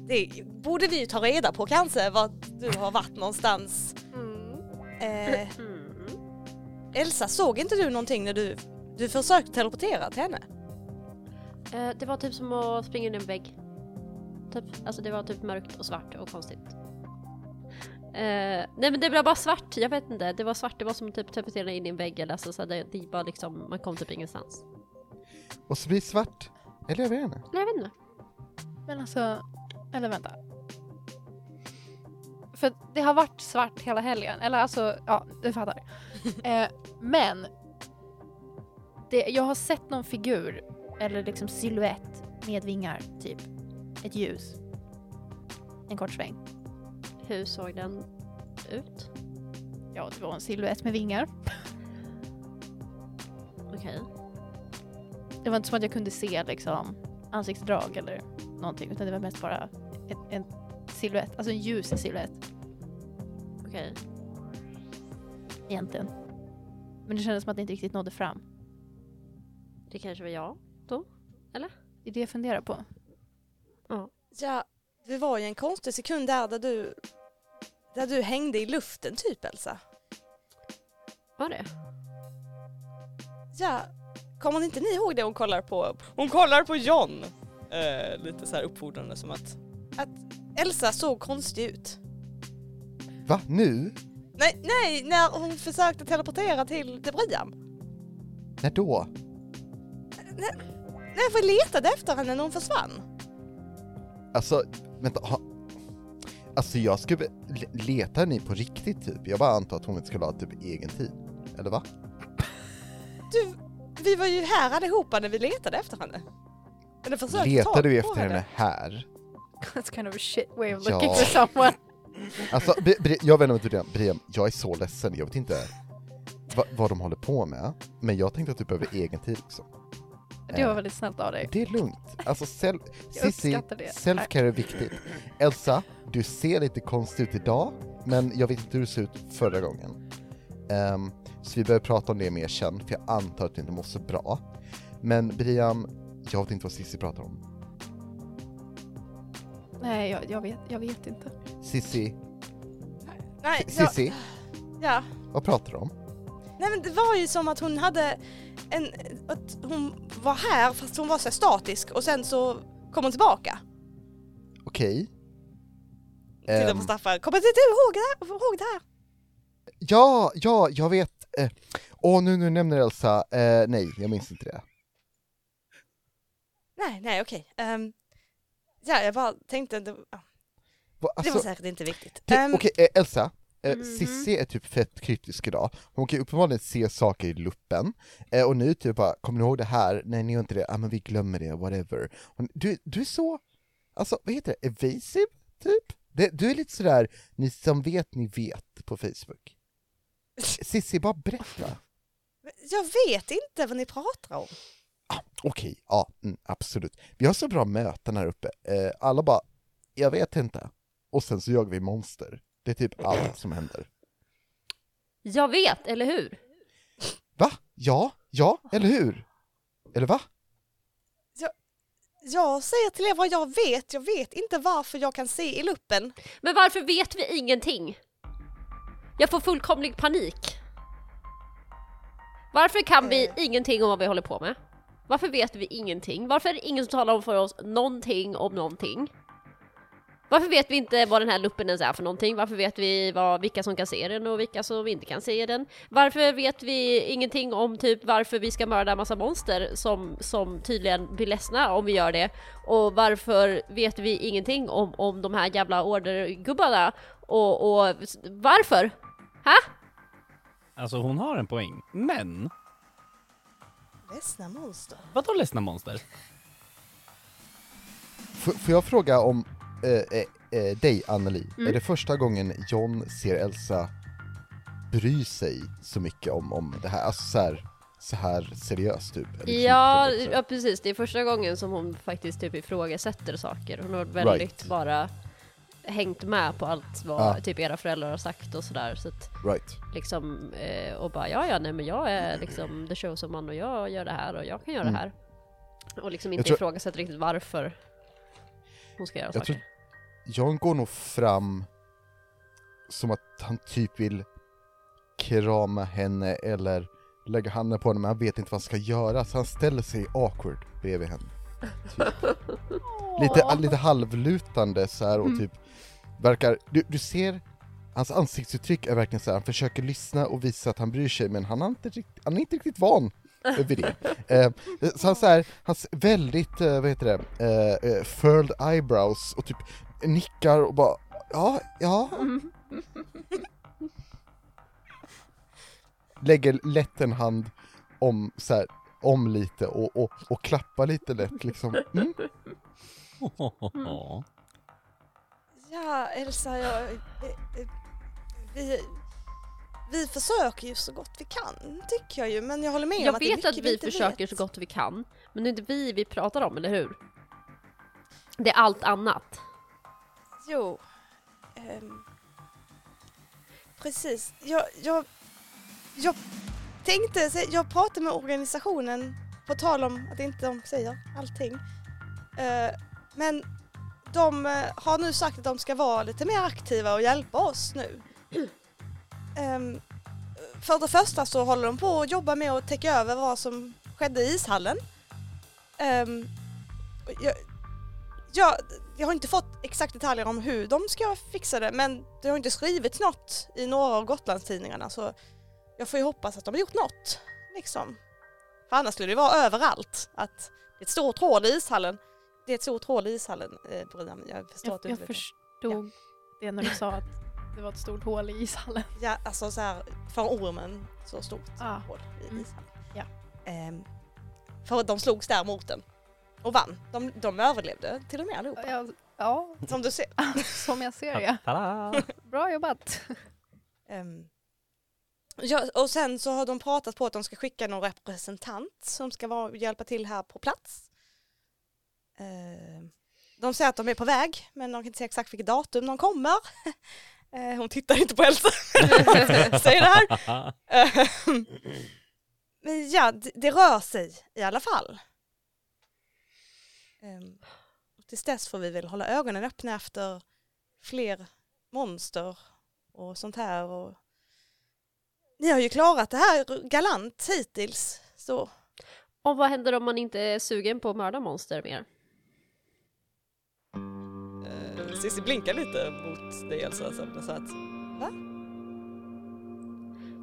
Speaker 1: Det borde vi ju ta reda på kanske, var du har varit någonstans.
Speaker 7: Mm.
Speaker 1: Eh, Elsa, såg inte du någonting när du, du försökte teleportera till henne?
Speaker 5: Eh, det var typ som att springa in i en vägg. Typ. Alltså det var typ mörkt och svart och konstigt. Eh, nej men det var bara svart, jag vet inte. Det var svart, det var som typ tapetsera in i en vägg eller alltså, så det, det var liksom, man kom typ ingenstans.
Speaker 4: Och så blir det svart. Eller jag vet inte.
Speaker 5: Nej jag vet inte.
Speaker 3: Men alltså, eller vänta. För det har varit svart hela helgen, eller alltså, ja, du fattar. eh, men, det, jag har sett någon figur, eller liksom silhuett med vingar, typ. Ett ljus. En kort sväng.
Speaker 5: Hur såg den ut?
Speaker 3: Ja, det var en silhuett med vingar.
Speaker 5: Okej.
Speaker 3: Det var inte som att jag kunde se liksom ansiktsdrag eller någonting, utan det var mest bara en, en silhuett, alltså en ljus silhuett.
Speaker 5: Okej.
Speaker 3: egentligen. Men det kändes som att det inte riktigt nådde fram.
Speaker 5: Det kanske var jag.
Speaker 3: Det är det jag funderar på. *laughs*
Speaker 1: Ja, det var ju en konstig sekund där, där du, där du hängde i luften typ Elsa.
Speaker 5: Var det?
Speaker 1: Ja, kommer inte ni ihåg det hon kollar på? Hon kollar på John! Eh, lite så här uppfordrande som att, att Elsa såg konstig ut.
Speaker 4: Va? Nu?
Speaker 1: Nej, nej, när hon försökte teleportera till Debriam.
Speaker 4: När då?
Speaker 1: Nej, för jag letade efter henne när hon försvann.
Speaker 4: Alltså, vänta. Ha... Alltså jag skulle... le- Letar ni på riktigt typ? Jag bara antar att hon inte skulle ha typ egen tid. Eller va?
Speaker 1: Du, vi var ju här allihopa när vi letade efter henne. Eller försökte ta
Speaker 4: Letade vi
Speaker 1: Alltså, på
Speaker 4: efter henne här?
Speaker 3: That's kind of a shit way of
Speaker 4: Ja.
Speaker 3: looking for
Speaker 4: *laughs*
Speaker 3: someone.
Speaker 4: Alltså, Bri- Bri- jag vet inte hur det är. jag är så ledsen. Jag vet inte vad, vad de håller på med. Men jag tänkte att du behöver egen tid också.
Speaker 3: Det var väldigt snällt av dig.
Speaker 4: Det är lugnt. Alltså, self,
Speaker 3: *laughs* Jag
Speaker 4: Sissi,
Speaker 3: uppskattar det.
Speaker 4: self-care är viktigt. Elsa, du ser lite konstig ut idag, men jag vet inte hur du ser ut förra gången. Ehm, så vi behöver prata om det mer sen, för jag antar att du inte mår så bra. Men Briam, jag vet inte vad Sissi pratar om.
Speaker 3: Nej, jag, jag, vet, jag vet inte.
Speaker 4: Sissi,
Speaker 1: Nej, ja,
Speaker 4: Sissi,
Speaker 1: ja.
Speaker 4: vad pratar du om?
Speaker 1: Nej men det var ju som att hon hade en, att hon var här fast hon var så här statisk och sen så kom hon tillbaka.
Speaker 4: Okej.
Speaker 1: Tittar
Speaker 4: Ehm,
Speaker 1: på Staffan, kommer inte du ihåg det här? Ihåg det här?
Speaker 4: Ja, ja, jag vet. Eh, Åh, nu, nu nämner Elsa. Eh, nej, jag minns inte det.
Speaker 1: Nej, nej okej. Ehm, ja, jag bara tänkte, att det, ja, det
Speaker 4: Va, alltså,
Speaker 1: var säkert inte viktigt.
Speaker 4: te-
Speaker 1: Ehm,
Speaker 4: Okej, eh, Elsa. Eh, Sissi är typ fett kryptisk idag. Hon kan ju uppenbarligen se saker i luppen. Eh, och nu typ bara, kommer ni ihåg det här? Nej, ni gör inte det. Ah, men vi glömmer det, whatever. Hon, du, du är så, alltså vad heter det, evasive, typ? Det, du är lite sådär, ni som vet, ni vet på Facebook. Sissi, bara berätta.
Speaker 1: Jag vet inte vad ni pratar om.
Speaker 4: Okej, ja, mm, absolut. Vi har så bra möten här uppe. Eh, alla bara, jag vet inte. Och sen så jagar vi monster. Det är typ allt som händer.
Speaker 5: Jag vet, eller hur?
Speaker 4: Va? Ja, ja, eller hur? Eller va?
Speaker 1: Jag säger till er vad jag vet, jag vet inte varför jag kan se i luppen.
Speaker 5: Men varför vet vi ingenting? Jag får fullkomlig panik. Varför kan vi ingenting om vad vi håller på med? Varför vet vi ingenting? Varför är det ingen som talar om för oss någonting om någonting? Varför vet vi inte vad den här luppen ens är för någonting? Varför vet vi vad, vilka som kan se den och vilka som inte kan se den? Varför vet vi ingenting om typ varför vi ska mörda en massa monster som, som tydligen blir ledsna om vi gör det? Och varför vet vi ingenting om, om de här jävla ordergubbarna? Och, och s- varför? Ha?
Speaker 2: Alltså hon har en poäng, men
Speaker 1: Ledsna monster.
Speaker 2: vadå ledsna monster?
Speaker 4: F- får jag fråga om eh, eh, eh, dig, Anneli? Är det första gången John ser Elsa bry sig så mycket om, om det här? Alltså så här, så här seriöst typ? eller
Speaker 5: Ja,
Speaker 4: krypigt också.
Speaker 5: ja, precis. Det är första gången som hon faktiskt typ ifrågasätter saker. Hon har väldigt
Speaker 4: Right.
Speaker 5: bara hängt med på allt vad
Speaker 4: Ah.
Speaker 5: typ era föräldrar har sagt och sådär. Så att
Speaker 4: Right.
Speaker 5: liksom, eh, och bara ja, ja, nej men jag är liksom the chosen one och jag gör det här och jag kan göra det här. Och liksom inte
Speaker 4: Mm. tror-
Speaker 5: ifrågasätter riktigt varför hon ska göra
Speaker 4: Jag
Speaker 5: saker.
Speaker 4: tror- Jan går nog fram som att han typ vill krama henne eller lägga handen på henne men han vet inte vad han ska göra så han ställer sig awkward bredvid henne. Lite, lite halvlutande så här och typ verkar, du, du ser hans ansiktsuttryck är verkligen så här, han försöker lyssna och visa att han bryr sig men han, har inte rikt, han är inte riktigt van vid det. Eh, så han så här, hans väldigt, eh, vad heter det, eh, eh, furled eyebrows och typ nickar och bara ja, ja. Lägger lätt en hand om så här, om lite och, och, och klappar lite lätt liksom. Mm.
Speaker 8: Ja, Elsa, jag... eh, eh, Vi, vi försöker ju så gott vi kan, tycker jag ju. Men jag håller med om
Speaker 5: Jag
Speaker 8: att det är
Speaker 5: vet
Speaker 8: mycket
Speaker 5: att vi
Speaker 8: inte
Speaker 5: försöker
Speaker 8: vet.
Speaker 5: så gott vi kan, men det är inte vi vi pratar om, eller hur? Det är allt annat.
Speaker 8: Jo. Ehm, precis. Jag, jag, jag tänkte, sä- jag pratade med organisationen på tal om att inte de säger allting. Eh, men de eh, har nu sagt att de ska vara lite mer aktiva och hjälpa oss nu. Ehm, för det första så håller de på att jobba med att täcka över vad som skedde i ishallen. Ehm, och jag, jag, jag har inte fått exakt detaljer om hur de ska fixa det men det har inte skrivits något i några av Gotlandstidningarna så jag får ju hoppas att de har gjort något. Liksom. För annars skulle det vara överallt att det är ett stort hål i ishallen. Det är ett stort hål i ishallen, eh, Brian. Jag förstår
Speaker 3: Jag,
Speaker 8: att
Speaker 3: jag
Speaker 8: du inte vet det.
Speaker 3: förstod det när du sa att det var ett stort hål i *laughs* ishallen.
Speaker 8: Ja, alltså så här, för ormen så stort
Speaker 3: Ah.
Speaker 8: hål i
Speaker 3: Mm.
Speaker 8: ishallen.
Speaker 3: Ja.
Speaker 8: Ehm, för att de slogs där mot den och vann. De, de överlevde till och med allihopa.
Speaker 3: Ja, ja, *laughs*
Speaker 8: Som du ser.
Speaker 3: som jag ser ja. Bra jobbat!
Speaker 8: Ehm, ja, och sen så har de pratat på att de ska skicka någon representant som ska vara, hjälpa till här på plats. Ehm, de säger att de är på väg, men de kan inte säga exakt vilket datum de kommer. *laughs* Eh, hon tittar inte på Elsa, *laughs* säger det här. Ehm, men ja, det, det rör sig i alla fall. Ehm, och tills dess får vi väl hålla ögonen öppna efter fler monster och sånt här. Och... Ni har ju klarat det här galant hittills. Så
Speaker 5: Och vad händer om man inte är sugen på att mörda monster mer?
Speaker 1: Eh, Cissi blinkar lite mot dig Elsa som så att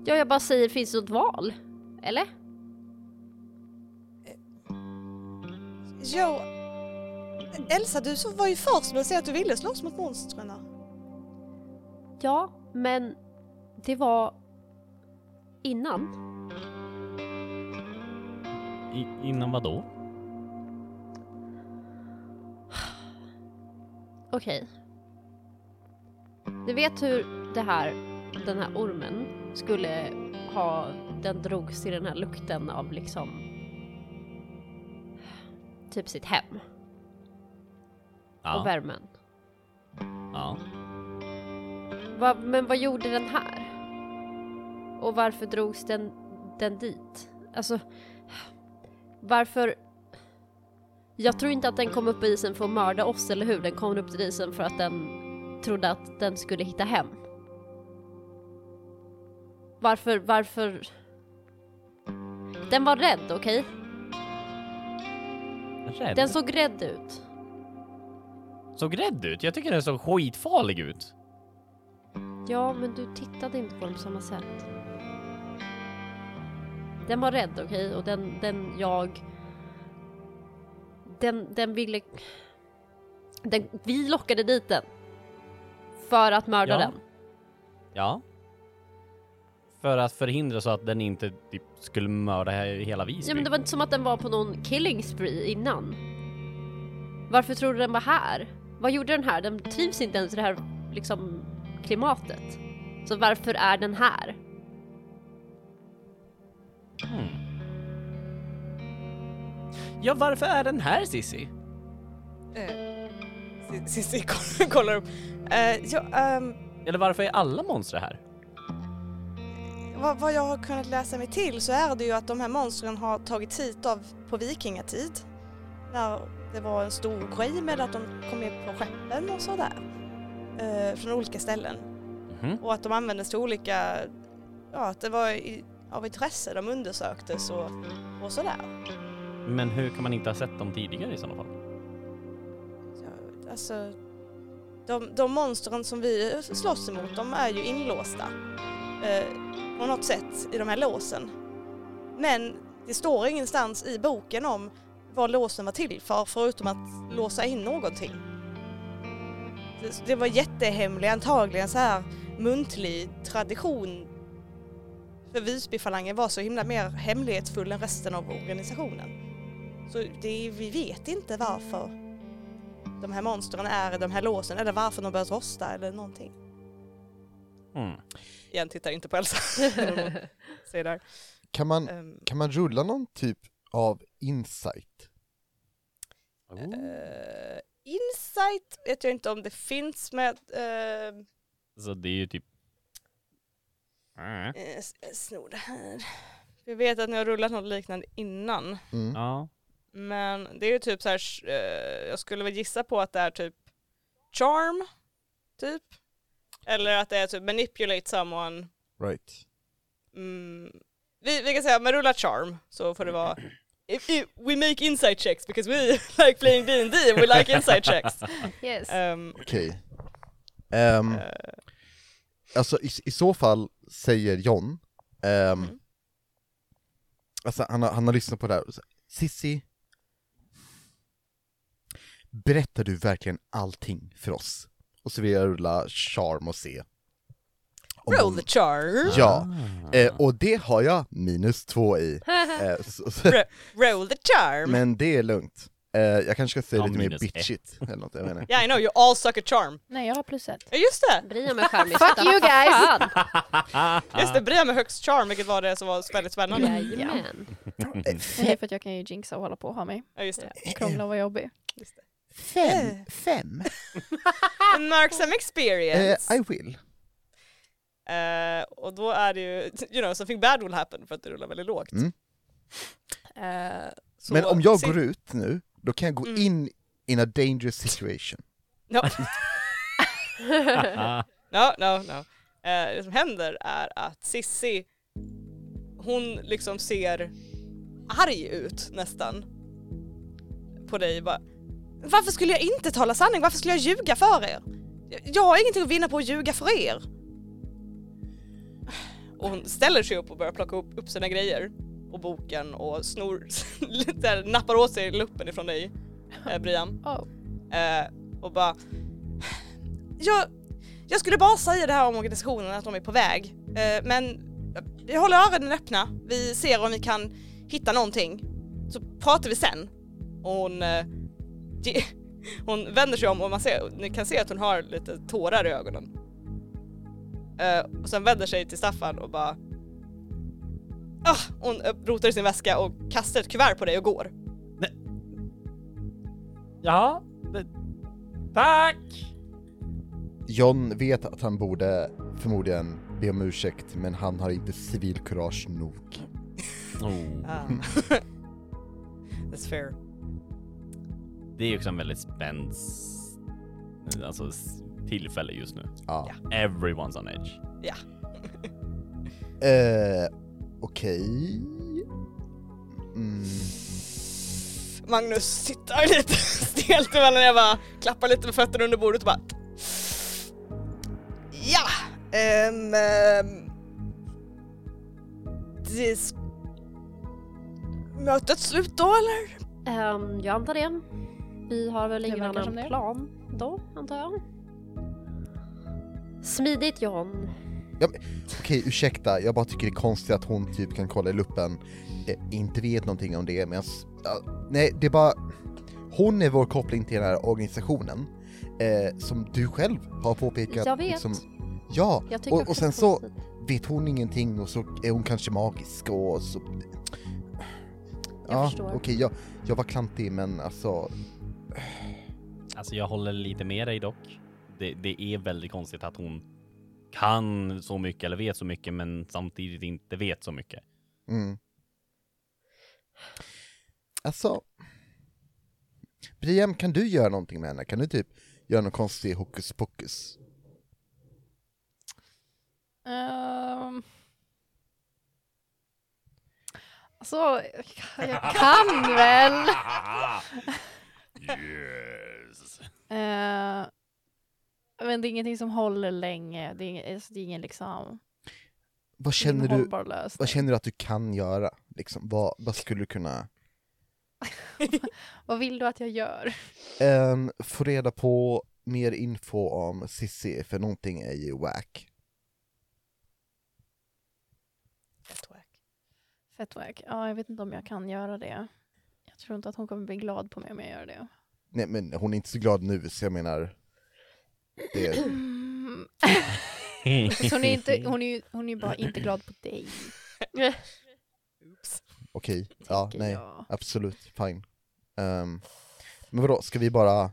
Speaker 5: Ja, jag bara säger, finns det något val? Eller?
Speaker 8: jo, Elsa du så var ju först med att säga att du ville slåss mot monstren.
Speaker 5: Ja, men det var innan.
Speaker 2: I, innan vad då?
Speaker 5: Okej. Du vet hur det här, den här ormen skulle ha, den drogs till den här lukten av liksom typ sitt hem
Speaker 2: Ja.
Speaker 5: och värmen.
Speaker 2: ja.
Speaker 5: Va, men vad gjorde den här? Och varför drogs den, den dit? Alltså, varför? Jag tror inte att den kom upp på isen för att mörda oss, eller hur? Den kom upp till isen för att den trodde att den skulle hitta hem. Varför, varför? Den var rädd, okej?
Speaker 2: Rädd.
Speaker 5: Den såg rädd ut.
Speaker 2: såg rädd ut. Jag tycker den såg skitfarlig ut.
Speaker 5: Ja, men du tittade inte på dem på samma sätt. Den var rädd, okej? Och den, den jag... Den, den ville... Den, vi lockade dit den. För att mörda
Speaker 2: Ja.
Speaker 5: den.
Speaker 2: Ja. För att förhindra så att den inte typ, skulle mörda he- hela Visby.
Speaker 5: Ja, men det var inte som att den var på någon killing spree innan. Varför tror du den var här? Vad gjorde den här? Den trivs inte ens i det här liksom klimatet. Så varför är den här?
Speaker 2: Mm. Ja, varför är den här Sissi?
Speaker 1: Cissi koll- kollar upp.
Speaker 8: Eh, ja, ehm,
Speaker 2: Eller varför är alla monster här?
Speaker 8: vad, vad jag har kunnat läsa mig till så är det ju att de här monstren har tagits hit av på vikingatid. när det var en stor grej med att de kom in på skeppen och sådär. Eh, från olika ställen.
Speaker 2: Mhm.
Speaker 8: Och att de användes till olika, ja att det var i, av intresse de undersöktes och, och sådär.
Speaker 2: Men hur kan man inte ha sett dem tidigare i sådana fall?
Speaker 8: Så, alltså, de, de monstren som vi slåss emot de är ju inlåsta eh, på något sätt i de här låsen. Men det står ingenstans i boken om vad låsen var till för, förutom att låsa in någonting. Det, det var jättehemlig, antagligen så här muntlig tradition. För Visbyfalangen var så himla mer hemlighetsfull än resten av organisationen. Så det, vi vet inte varför de här monstren är i de här låsen eller varför de börjat rosta eller någonting.
Speaker 2: Mm.
Speaker 1: Igen, tittar inte på
Speaker 8: *laughs*
Speaker 1: Elsa. Säger där.
Speaker 4: Kan man,
Speaker 1: Ehm,
Speaker 4: kan man rulla någon typ av insight?
Speaker 2: Oh.
Speaker 5: Oh.
Speaker 1: eh, insight vet jag inte om det finns med... Uh,
Speaker 2: Så det är ju typ...
Speaker 5: Mm.
Speaker 2: Äh.
Speaker 1: eh, snor det här. Jag vet att ni har rullat något liknande innan.
Speaker 4: Mm.
Speaker 2: Ja.
Speaker 1: Men det är ju typ så här, eh, jag skulle väl gissa på att det är typ charm, typ. Eller att det är typ manipulate someone.
Speaker 4: Right.
Speaker 1: Mm. Vi, vi kan säga, men rulla charm så får det vara If you- We make inside checks because we *laughs* like playing D&D and we like inside checks.
Speaker 3: Yes.
Speaker 1: Ehm,
Speaker 4: Okej. Ehm,
Speaker 1: eh,
Speaker 4: Alltså i, i så fall säger John, ehm,
Speaker 1: Mm.
Speaker 4: alltså han har, han har lyssnat på det här, och så- Sissi, berättar du verkligen allting för oss? Och så vill jag rulla charm och se. om
Speaker 1: roll
Speaker 4: hon-
Speaker 1: the charm.
Speaker 4: Ja,
Speaker 1: Ah.
Speaker 4: eh, och det har jag minus
Speaker 1: *laughs*
Speaker 4: två i. Eh, så, så,
Speaker 1: Bra. Roll the charm.
Speaker 4: men det är lugnt. Eh, jag kanske ska säga
Speaker 2: Ja,
Speaker 4: lite mer
Speaker 2: minus ett.
Speaker 4: bitchigt eller något, jag vet
Speaker 1: *laughs*
Speaker 4: inte.
Speaker 1: Yeah I know, you all suck at charm.
Speaker 3: Nej, jag har plus *laughs* ett.
Speaker 1: Ja just det!
Speaker 5: Bryr mig charmigt.
Speaker 3: *laughs* Fuck you guys!
Speaker 5: Fan. Ah.
Speaker 1: Just det, Bria med högst charm vilket var det som var väldigt spännande.
Speaker 5: Jajamän.
Speaker 4: Mm.
Speaker 3: Det är för att jag kan ju jinxa och hålla på och ha mig.
Speaker 1: Ja just det.
Speaker 3: Krångla och vara jobbig.
Speaker 4: Fem, fem.
Speaker 1: Mark some
Speaker 4: Eh,
Speaker 1: experience.
Speaker 4: I will.
Speaker 1: Eh, och då är det ju, you know, something bad will happen för att det rullar väldigt lågt.
Speaker 4: Mm.
Speaker 1: Eh, så-
Speaker 4: Men om jag
Speaker 1: så-
Speaker 4: går ut nu, då kan jag gå
Speaker 1: Mm.
Speaker 4: in in a dangerous situation.
Speaker 1: Ja.
Speaker 2: Ah.
Speaker 5: *laughs*
Speaker 1: No, no, no. Eh, det som händer är att Sissi, hon liksom ser arg ut nästan. På dig bara.
Speaker 8: Varför skulle jag inte tala sanning? Varför skulle jag ljuga för er? Jag- Jag har ingenting att vinna på att ljuga för er.
Speaker 1: Och hon ställer sig upp och börjar plocka upp, upp sina grejer. Och boken och snor, *laughs* lite där, nappar åt sig luppen ifrån dig, eh, Brian.
Speaker 3: Oh.
Speaker 1: Eh, och bara
Speaker 8: Jag, jag skulle bara säga det här om organisationen, att de är på väg. Eh, men vi håller öronen öppna. Vi ser om vi kan hitta någonting. Så pratar vi sen.
Speaker 1: Och hon, eh, ge, *laughs* hon vänder sig om och man ser, ni kan se att hon har lite tårar i ögonen. Eh, och sen vänder sig till Staffan och bara... Ah, hon eh, rotar i sin väska och kastar ett kuvert på dig och går.
Speaker 2: *laughs* ja. Tack!
Speaker 4: John vet att han borde förmodligen be om ursäkt, men han har inte civilkurage nog.
Speaker 5: Oh.
Speaker 1: Ah. *laughs* That's fair.
Speaker 2: Det är ju också en väldigt spänd s- alltså, s- tillfälle just nu.
Speaker 4: Ja.
Speaker 2: Everyone's on edge.
Speaker 4: Eh, Okej... Mm.
Speaker 1: Magnus sitter lite *laughs* stelt emellan jag bara klappar lite med fötterna under bordet och bara... Ja! ehm, ehm, det s- Mötet slut då eller?
Speaker 5: Ehm, jag antar det. Vi har väl
Speaker 3: Det
Speaker 5: ingen
Speaker 3: verkar som det.
Speaker 5: annan plan då, antar jag. Smidigt John.
Speaker 4: Okej, ursäkta, jag bara tycker det är konstigt att hon typ kan kolla i luppen, eh, inte vet någonting om det, men jag... s- ja, nej, det är bara... Hon är vår koppling till den här organisationen, eh, som du själv har påpekat.
Speaker 5: Jag vet.
Speaker 4: liksom- ja,
Speaker 5: Jag tycker
Speaker 4: och,
Speaker 5: också
Speaker 4: och sen
Speaker 5: att det
Speaker 4: så...
Speaker 5: är smidigt.
Speaker 4: vet hon ingenting och så är hon kanske magisk och så...
Speaker 5: Jag
Speaker 4: ja,
Speaker 5: förstår.
Speaker 4: okej, jag, jag var klantig men alltså...
Speaker 2: Alltså jag håller lite med dig dock. Det, det är väldigt konstigt att hon kan så mycket eller vet så mycket men samtidigt inte vet så mycket.
Speaker 4: Mm. Alltså, Briam, kan du göra någonting med henne? Kan du typ göra någon konstig hokus pokus?
Speaker 3: Um, alltså,
Speaker 4: *laughs*
Speaker 3: jag kan väl.
Speaker 2: yes.
Speaker 3: Eh, men det är ingenting som håller länge. Det är, ing- alltså, det är ingen liksom
Speaker 4: Vad
Speaker 3: ingen
Speaker 4: känner, du,
Speaker 3: hållbar lösning.
Speaker 4: vad känner du att du kan göra? Liksom, vad, vad skulle du kunna
Speaker 3: Vad vill du att jag gör?
Speaker 4: Ehm, få reda på mer info om Sissi, för någonting är ju wack.
Speaker 3: Fettwack. Ja, jag vet inte om jag kan göra det. Jag tror inte att hon kommer bli glad på mig om jag gör det.
Speaker 4: Nej men hon är inte så glad nu, så jag menar... Det,
Speaker 3: Mm. Så hon är, inte, hon, är ju, hon är ju bara inte glad på dig.
Speaker 4: Okej, ja,
Speaker 3: tänker
Speaker 4: nej,
Speaker 3: jag.
Speaker 4: absolut, fine. Ehm, men vadå, ska vi bara...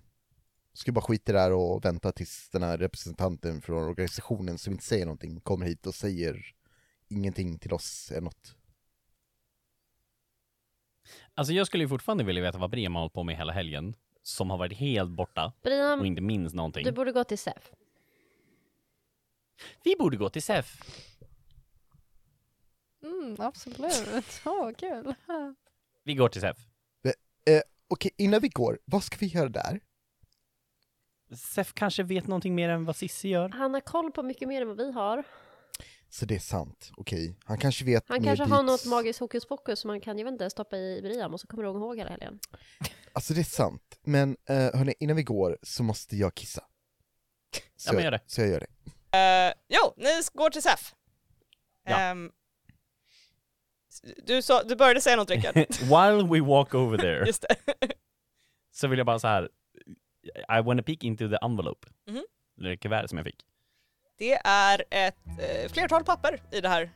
Speaker 4: Ska vi bara skita i det här och vänta tills den här representanten från organisationen som inte säger någonting kommer hit och säger ingenting till oss eller något?
Speaker 2: Alltså jag skulle ju fortfarande vilja veta vad Brema har hållit på med hela helgen. Som har varit helt borta och
Speaker 5: Brian,
Speaker 2: inte minns någonting.
Speaker 5: du borde gå till SEF.
Speaker 2: Vi borde gå till SEF.
Speaker 3: Mm, absolut. Åh, kul.
Speaker 2: Vi går till SEF.
Speaker 4: Okej, innan vi går, vad ska vi göra där?
Speaker 2: SEF kanske vet någonting mer än vad Sissi gör.
Speaker 5: Han har koll på mycket mer än vad vi har.
Speaker 4: Så det är sant, okej. Han kanske vet
Speaker 5: Han
Speaker 4: mer
Speaker 5: kanske har
Speaker 4: dit.
Speaker 5: något magiskt hokus pokus som man kan ju inte stoppa i Brian och så kommer hon ihåg hela helgen.
Speaker 4: Alltså det är sant, men uh, hörni, innan vi går så måste jag kissa. Så,
Speaker 2: men gör det. *laughs*
Speaker 4: Jag, så jag gör det.
Speaker 1: Eh, jo, ni s- går till SEF.
Speaker 2: Ja.
Speaker 1: Ehm, s- du, sa, du började säga något Rickard.
Speaker 2: *laughs* While we walk over there.
Speaker 1: Just det.
Speaker 2: så vill jag bara så här. I wanna peek into the envelope.
Speaker 1: Mhm.
Speaker 2: Det är kuvert som jag fick.
Speaker 1: Det är ett eh, flertal papper i det här.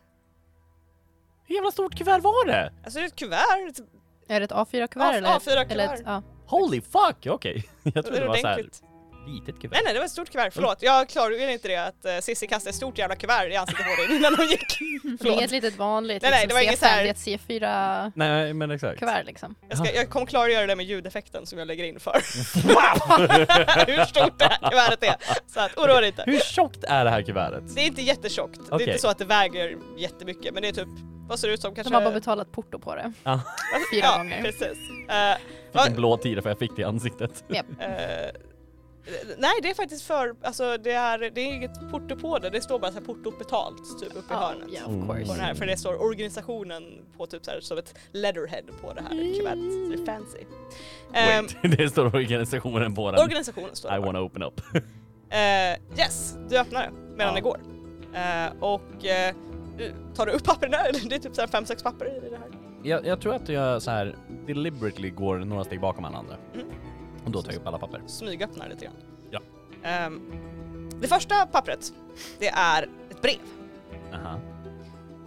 Speaker 2: Hur jävla stort kuvert var det?
Speaker 1: Alltså det är ett kuvert. Ett,
Speaker 3: Är det ett A4-kuvert? eller ett-
Speaker 1: A4-kuvert.
Speaker 3: Eller ett, ja.
Speaker 2: Holy fuck! Okej. *laughs* Jag
Speaker 1: det
Speaker 2: trodde det
Speaker 1: är
Speaker 2: var så här
Speaker 1: ordentligt.
Speaker 2: litet kuvert.
Speaker 1: Nej nej, det var ett stort
Speaker 2: Mm.
Speaker 1: kuvert. Förlåt, jag klargjorde inte det att uh, Cissi kastade ett stort jävla kuvert i ansiktet på dig *laughs* innan hon gick.
Speaker 3: Det är
Speaker 1: Förlåt.
Speaker 3: inget litet vanligt
Speaker 1: Nej, nej, det var inget
Speaker 3: C5,
Speaker 1: så här-
Speaker 3: det är ett C4-kuvert
Speaker 2: Nej, men exakt. *laughs*
Speaker 3: liksom.
Speaker 1: Jag, ska, jag kommer klargöra det med ljudeffekten som jag lägger in för. *laughs* Hur stort det här kuvertet är. Så att, oroa dig inte.
Speaker 2: Hur tjockt är det här kuvertet?
Speaker 1: Det är inte jättetjockt. Det är
Speaker 2: Okej.
Speaker 1: inte så att det väger jättemycket men det är typ, vad ser det ut som kanske?
Speaker 3: De har bara betalat porto på det.
Speaker 2: Ja.
Speaker 1: *laughs*
Speaker 3: Fyra
Speaker 1: ja,
Speaker 3: gånger.
Speaker 1: precis. Eh,
Speaker 2: Fick en blå tira för jag fick det i ansiktet.
Speaker 1: eh, nej det är faktiskt för, alltså det är, det är inget porto på det, det står bara så här porto betalt typ uppe i
Speaker 3: Ja,
Speaker 1: hörnet.
Speaker 3: ja,
Speaker 2: Mm.
Speaker 3: of
Speaker 1: På den
Speaker 3: course.
Speaker 1: här, för det står organisationen på typ så här, som ett letterhead på det här kuvertet. Så det är fancy. Ehm,
Speaker 2: Wait, Mm. *laughs* det står organisationen på den.
Speaker 1: organisationen står
Speaker 2: I
Speaker 1: det bara.
Speaker 2: wanna open up. *laughs*
Speaker 1: Eh, Yes, du öppnar det medan
Speaker 2: Ja.
Speaker 1: det går. Eh, och eh, du tar du upp pappren där? *laughs* Eller Det är typ så här fem, sex papper i det här.
Speaker 2: Jag, jag tror att jag så här deliberately går några steg bakom alla andra.
Speaker 1: Mm.
Speaker 2: Och då tar jag upp alla papper.
Speaker 1: smygöppnar lite grann.
Speaker 2: Ja.
Speaker 1: Ehm, det första pappret, det är ett brev
Speaker 2: Aha.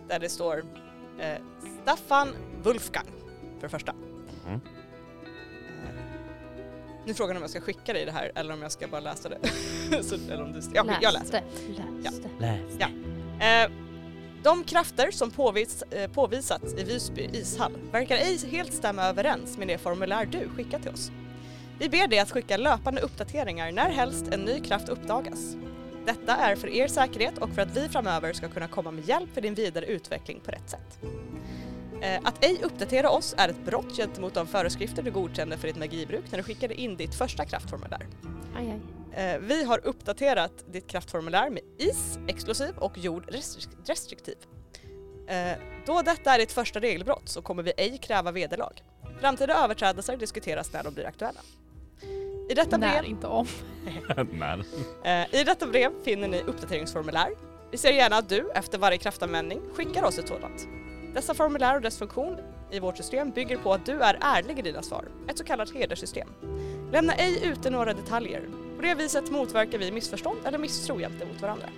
Speaker 1: där det står eh, Staffan Wolfgang för det första.
Speaker 2: Mm.
Speaker 1: Eh, nu frågar ni om jag ska skicka dig det här eller om jag ska bara läsa det. *laughs* Så, eller om du, jag, jag läser.
Speaker 5: Läste. Läste.
Speaker 2: Läs.
Speaker 1: Eh, de krafter som påvis, eh, påvisats i Visby ishall verkar ej helt stämma överens med det formulär du skickat till oss. Vi ber dig att skicka löpande uppdateringar när helst en ny kraft uppdagas. Detta är för er säkerhet och för att vi framöver ska kunna komma med hjälp för din vidare utveckling på rätt sätt. Eh, Att ej uppdatera oss är ett brott gentemot de föreskrifter du godkände för ditt magibruk när du skickade in ditt första kraftformulär.
Speaker 5: Aj, aj.
Speaker 1: Eh, vi har uppdaterat ditt kraftformulär med is, explosiv och jord restrik- restriktiv. Eh, då detta är ditt första regelbrott så kommer vi ej kräva vederlag. Framtida överträdelser diskuteras när de blir aktuella. I detta brev
Speaker 3: När, inte om.
Speaker 2: *laughs*
Speaker 3: *laughs*
Speaker 2: Men.
Speaker 1: Eh, I detta brev finner ni uppdateringsformulär. Vi ser gärna att du efter varje kraftanvändning skickar oss ett sådant. Dessa formulär och dess funktion i vårt system bygger på att du är ärlig i dina svar, ett så kallat hederssystem. Lämna ej ute några detaljer. På det viset motverkar vi missförstånd eller misstro gentemot varandra.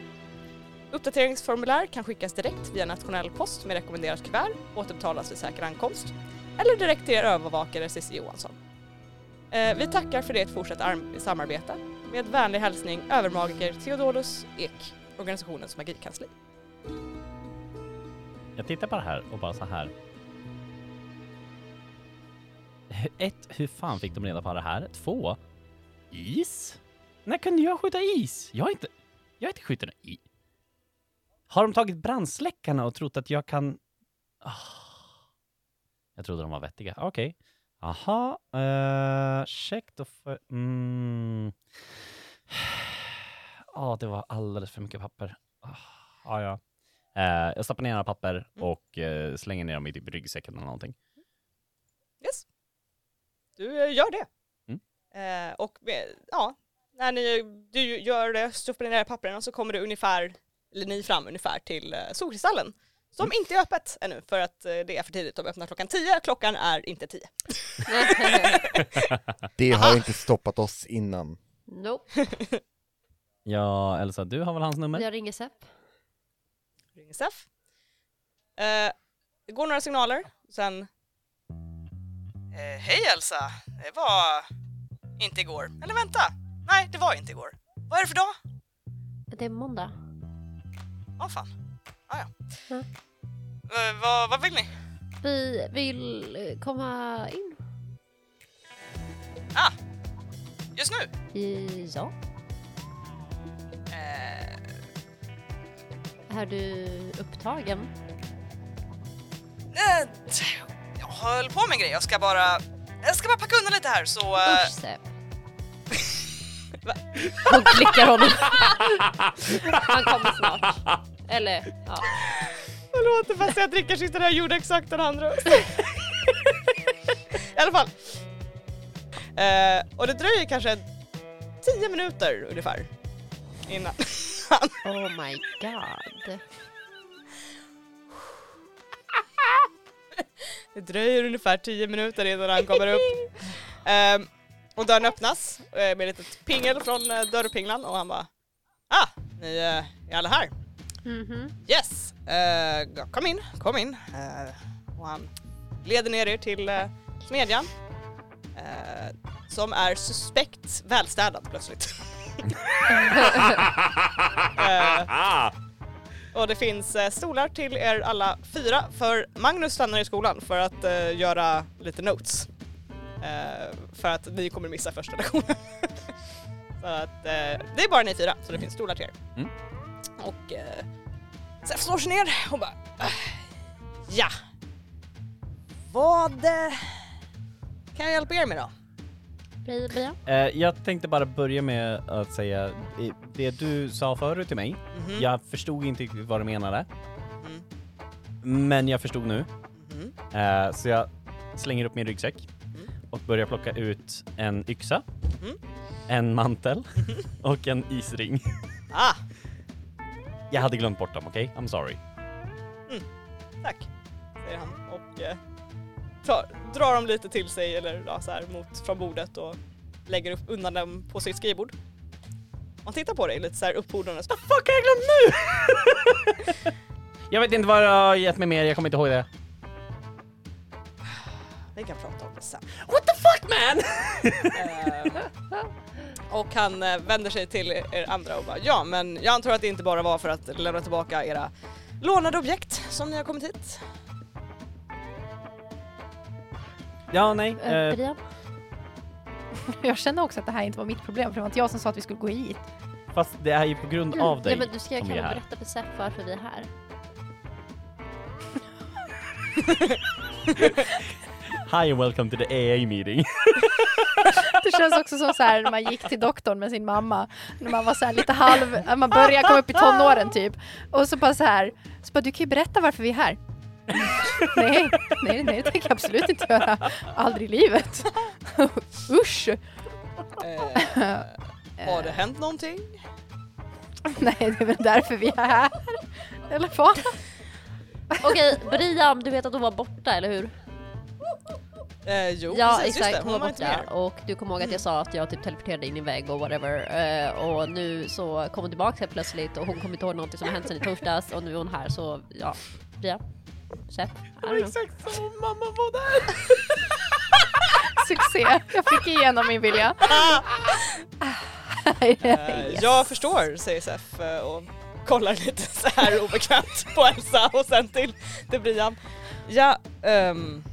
Speaker 1: Uppdateringsformulär kan skickas direkt via nationell post med rekommenderat kuvert, återbetalas vid säker ankomst, eller direkt till er övervakare Cissi Johansson. Eh, Vi tackar för ert fortsatta arm- samarbete. Med vänlig hälsning övermagiker Theodorus Ek, organisationens magikansli.
Speaker 2: Jag tittar på det här och bara så här. Eh, hu- ett, hur fan fick de reda på det här? Två, is? När kunde jag skjuta is? Jag har inte, jag har inte skjutit någon is. Har de tagit brandsläckarna och trott att jag kan... Ah. Jag trodde de var vettiga. Okej. Aha. eh, check då för... Mm. Ja, det var alldeles för mycket papper. Ah, ja, ja. Eh, jag stoppar ner några papper
Speaker 1: Mm.
Speaker 2: och eh, slänger ner dem i typ ryggsäcken eller någonting.
Speaker 1: Yes. Du eh, gör det.
Speaker 2: Mm.
Speaker 1: Eh, och med, ja, när ni, du gör det, stoppar ner papperna och så kommer du ungefär, eller ni fram ungefär till eh, Solkristallen. Som inte är öppet ännu för att eh, det är för tidigt. De öppnar klockan 10, klockan är inte 10.
Speaker 4: Det har inte stoppat oss innan.
Speaker 5: nope.
Speaker 2: Ja, Elsa, du har väl hans nummer?
Speaker 5: Jag ringer Sepp.
Speaker 1: Ringer Sef. Eh, det går några signaler, sen... Eh, Hej Elsa, det var inte igår. Eller vänta, nej det var inte igår. Vad är det för dag?
Speaker 5: Det är måndag.
Speaker 1: Ja, fan. Ah, ja.
Speaker 5: Mm.
Speaker 1: Eh, vad, vad vill ni?
Speaker 5: Vi vill eh, komma in.
Speaker 1: Just nu?
Speaker 5: I- Ja.
Speaker 1: Eh,
Speaker 5: Är du upptagen?
Speaker 1: eh, jag höll på med en grej, jag ska bara... Jag ska bara packa undan lite här så... eh,
Speaker 5: Usch Sepp.
Speaker 1: Va?
Speaker 5: *laughs* Hon klickar honom. Han kommer snart. Eller ja.
Speaker 1: Förlåt, fast jag dricker sista där jag gjorde exakt den andra. I alla fall. Eh, och det dröjer kanske 10 minuter ungefär innan han
Speaker 5: Oh my god.
Speaker 1: Det dröjer ungefär 10 minuter innan han kommer upp. Ehm, och dörren öppnas eh, med ett litet pingel från eh, dörrpinglan och han bara Ah, ni eh, är alla här? Yes! Eh, ja, kom in, kom in. Eh, och han leder ner er till eh, smedjan. eh, som är suspekt välstädad plötsligt. Eh, och det finns eh, stolar till er alla fyra för Magnus stannar i skolan för att eh, göra lite notes. Eh, för att ni kommer missa första lektionen. *laughs* så att eh, det är bara ni fyra så det finns stolar till er.
Speaker 2: Mm.
Speaker 1: Och eh, sen slår sig ner och bara "Ah, ja. Vad eh, kan jag hjälpa er med då?
Speaker 5: Bria, Bria.
Speaker 2: Eh, jag tänkte bara börja med att säga eh, det du sa förut till mig.
Speaker 1: Mhm,
Speaker 2: Jag förstod inte riktigt vad du menade,
Speaker 1: mhm,
Speaker 2: men jag förstod nu.
Speaker 1: mhm.
Speaker 2: Eh, så jag slänger upp min ryggsäck
Speaker 1: Mm.
Speaker 2: och börjar plocka ut en yxa,
Speaker 1: Mhm. *laughs*
Speaker 2: en mantel och en isring.
Speaker 1: Ah,
Speaker 2: Jag hade glömt bort dem, okej? I'm sorry.
Speaker 1: Tack, säger han och eh, tar, drar dem lite till sig eller ja, så här, mot, från bordet och lägger upp undan dem på sitt skrivbord. Han tittar på dig lite så här uppfordrande och så, Vad fuck har jag glömt nu?
Speaker 2: *laughs* Jag vet inte vad jag har gett mig mer, jag kommer inte ihåg det.
Speaker 1: Vi kan prata om det sen.
Speaker 2: What the fuck man!
Speaker 1: Eh, och han eh, vänder sig till er andra och bara ja men jag antar att det inte bara var för att lämna tillbaka era lånade objekt som ni har kommit hit.
Speaker 2: Ja, nej.
Speaker 5: Eh,
Speaker 2: Eh,
Speaker 5: Bria.
Speaker 3: Jag känner också att det här inte var mitt problem för det var inte jag som sa att vi skulle gå
Speaker 1: *laughs*
Speaker 3: hit.
Speaker 2: fast det är ju på grund av dig
Speaker 5: Ja, men du ska
Speaker 2: som
Speaker 5: kan
Speaker 2: vi är här.
Speaker 5: berätta för Sepp varför vi är här.
Speaker 2: Hi and welcome to the AA meeting. *laughs*
Speaker 3: Det känns också som så här när man gick till doktorn med sin mamma, när man var så här lite halv, när man började komma upp i tonåren typ. Och så bara så här, så bara du kan ju berätta varför vi är här. *laughs* nej, nej, nej, det tänker jag absolut inte göra. Aldrig i livet. *laughs* Usch!
Speaker 1: *laughs* Eh, har det hänt någonting?
Speaker 3: Nej, det är väl därför vi är här. Eller vad?
Speaker 5: Okej, Briam, du vet att hon var borta, eller hur?
Speaker 1: Eh, jo
Speaker 5: ja,
Speaker 1: precis,
Speaker 5: exakt.
Speaker 1: just det.
Speaker 5: Hon var
Speaker 1: inte med
Speaker 5: borta.
Speaker 1: er.
Speaker 5: Och du kommer ihåg att jag sa att jag typ teleporterade in i en vägg och whatever. Eh, och nu så kom hon tillbaka helt plötsligt och hon kommer inte ihåg någonting som har hänt sedan i torsdags och nu är hon här så ja, Bria. Sepp. I don't know.
Speaker 1: Exakt som mamma var där!
Speaker 3: *laughs* Succé! Jag fick igenom min vilja.
Speaker 1: Eh, Jag förstår, säger Sef eh, och kollar lite så här obekvämt på Elsa och sen till, till Brian. Ja, ehm,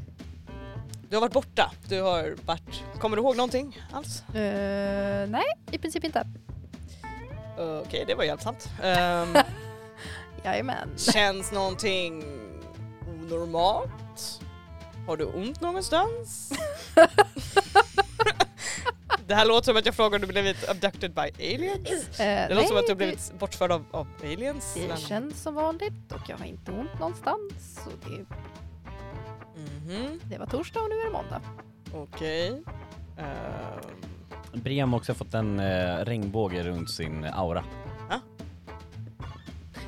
Speaker 1: Du har varit borta. Du har varit... Kommer du ihåg någonting alls?
Speaker 3: Eh, nej, i princip inte.
Speaker 1: Eh, Okej, det var hjälpsamt. Ehm,
Speaker 3: Jajamän.
Speaker 1: känns någonting onormalt? Har du ont någonstans? det här låter som att jag frågar om du blivit abducted by aliens.
Speaker 3: Eh,
Speaker 1: Det
Speaker 3: nej,
Speaker 1: låter som att du
Speaker 3: det-
Speaker 1: har blivit bortförd av, av aliens.
Speaker 3: Det
Speaker 1: men-
Speaker 3: känns som vanligt och jag har inte ont någonstans. Så det,
Speaker 1: Mhm,
Speaker 3: det var torsdag och nu är det måndag.
Speaker 1: Okej. Ehm,
Speaker 2: Briam har också fått en eh, regnbåge runt sin eh, aura.
Speaker 1: Va?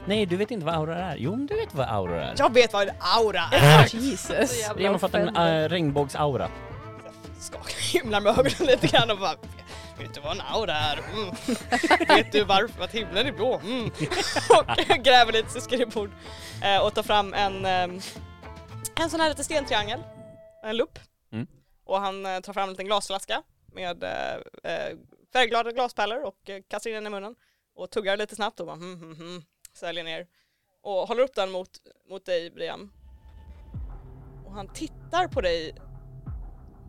Speaker 2: Nej, du vet inte vad aura är? Jo, men du vet vad aura är.
Speaker 1: jag vet vad en aura är!
Speaker 3: Jesus.
Speaker 2: Briam har fått en eh, regnbågsaura.
Speaker 1: skakar himlen med ögonen lite grann och bara Vet du vad en aura är? Mm. Vet du varför att himlen är blå? Mm. *laughs* och gräver lite i sitt skrivbord eh, och tar fram en, ehm, en sån här liten stentriangel, en lupp.
Speaker 2: Mm.
Speaker 1: Och han eh, tar fram en liten glasflaska med eh, eh, färgglada glaspärlor och eh, kastar in den i munnen och tuggar lite snabbt och bara mm, mm, mm, sväljer ner. Och håller upp den mot, mot dig Briam. Och han tittar på dig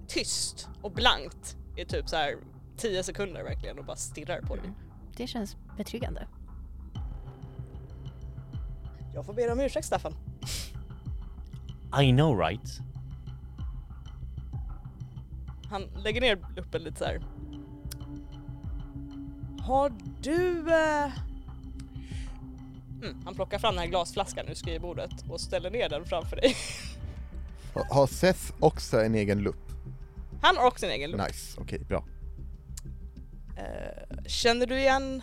Speaker 1: tyst och blankt i typ så här 10 sekunder verkligen och bara stirrar på dig.
Speaker 3: Det känns betryggande.
Speaker 1: Jag får be dig om ursäkt Staffan.
Speaker 2: I know right?
Speaker 1: Han lägger ner luppen lite så här. Har du... eh, Mm, han plockar fram den här glasflaskan ur skrivbordet och ställer ner den framför dig. *laughs*
Speaker 4: Ha- Har Seth också en egen lupp?
Speaker 1: Han har också sin egen lupp.
Speaker 4: Nice, okej, bra.
Speaker 1: Eh, känner du igen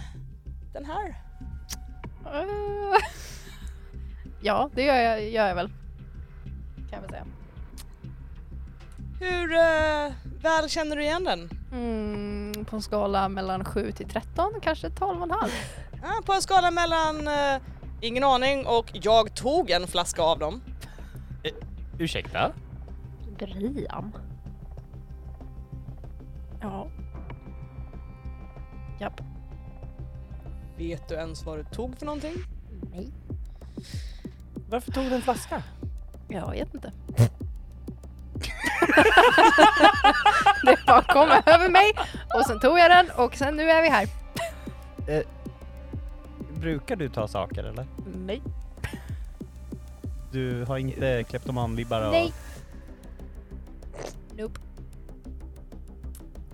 Speaker 1: den här?
Speaker 3: Eh, *laughs* ja, det gör jag, gör jag väl. Kan jag väl säga.
Speaker 1: Hur eh, väl känner du igen den?
Speaker 3: Mm, på en skala mellan 7 till 13, kanske 12 och en halv.
Speaker 1: Ah, på en skala mellan eh, ingen aning och jag tog en flaska av dem.
Speaker 2: Ursäkta?
Speaker 5: Brian.
Speaker 3: Ja. Japp.
Speaker 1: Vet du ens vad du tog för någonting?
Speaker 5: Nej.
Speaker 2: Varför tog du en flaska?
Speaker 3: Jag vet *laughs* inte. det bara kom över mig och sen tog jag den och sen nu är vi här.
Speaker 9: Brukar du ta saker eller?
Speaker 3: Nej.
Speaker 9: Du har
Speaker 2: eh,
Speaker 9: inte kleptomanvibbar och...
Speaker 3: Nej. Nope.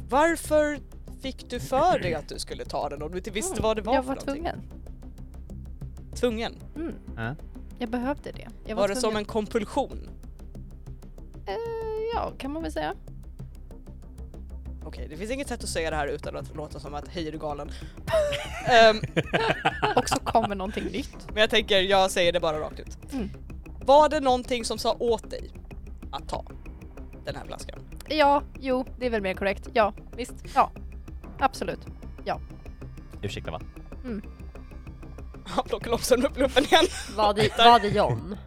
Speaker 1: Varför fick du för dig att du skulle ta den om du inte visste vad det var
Speaker 3: jag
Speaker 1: för
Speaker 3: var
Speaker 1: någonting?
Speaker 3: tvungen.
Speaker 1: tvungen.
Speaker 3: Mm.
Speaker 9: Ja.
Speaker 3: Jag behövde det. Jag
Speaker 1: Var, det som
Speaker 3: tvungen.
Speaker 1: en kompulsion?
Speaker 3: Eh, ja, kan man väl säga.
Speaker 1: Okej, det finns inget sätt att säga det här utan att låta som att hej är du
Speaker 3: *laughs*
Speaker 1: galen? Ehm,
Speaker 3: Och så kommer någonting nytt.
Speaker 1: men jag tänker, jag säger det bara rakt ut.
Speaker 3: Mm.
Speaker 1: Var det någonting som sa åt dig att ta den här flaskan?
Speaker 3: *laughs*
Speaker 1: *laughs*
Speaker 3: Ja, jo, det är väl mer korrekt. Ja, visst. Ja, absolut. *laughs*
Speaker 2: Ursäkta va?
Speaker 1: Han plockar långsamt upp luppen igen.
Speaker 5: Var det, var det John?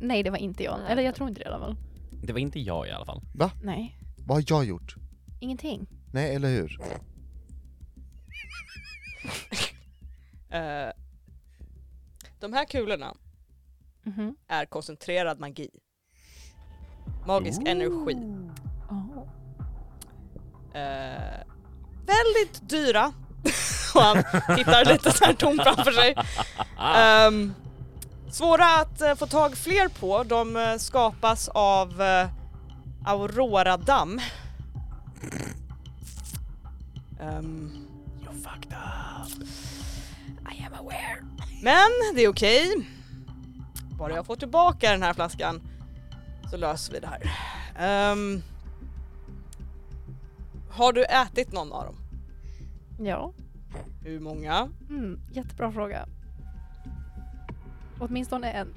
Speaker 3: Nej, det var inte jag. Eller jag tror inte det i alla fall.
Speaker 2: Det var inte jag i alla fall.
Speaker 3: Nej,
Speaker 4: Vad har jag gjort?
Speaker 3: ingenting.
Speaker 4: Nej, eller hur?
Speaker 1: Eh, de här kulorna
Speaker 3: Mhm.
Speaker 1: är koncentrerad magi. Magisk energi.
Speaker 3: Oh.
Speaker 1: Eh, väldigt dyra. *laughs* och han tittar lite så här tomt framför
Speaker 2: *laughs*
Speaker 1: sig. Ehm, svåra att eh, få tag fler på. De eh, skapas av eh, Aurora Damm. Ehm,
Speaker 2: You fucked up.
Speaker 3: I am aware.
Speaker 1: men det är okej. Bara jag får tillbaka den här flaskan så löser vi det här. Ehm, har du ätit någon av dem?
Speaker 3: Ja,
Speaker 1: Hur många?
Speaker 3: mm, jättebra fråga. Åtminstone en.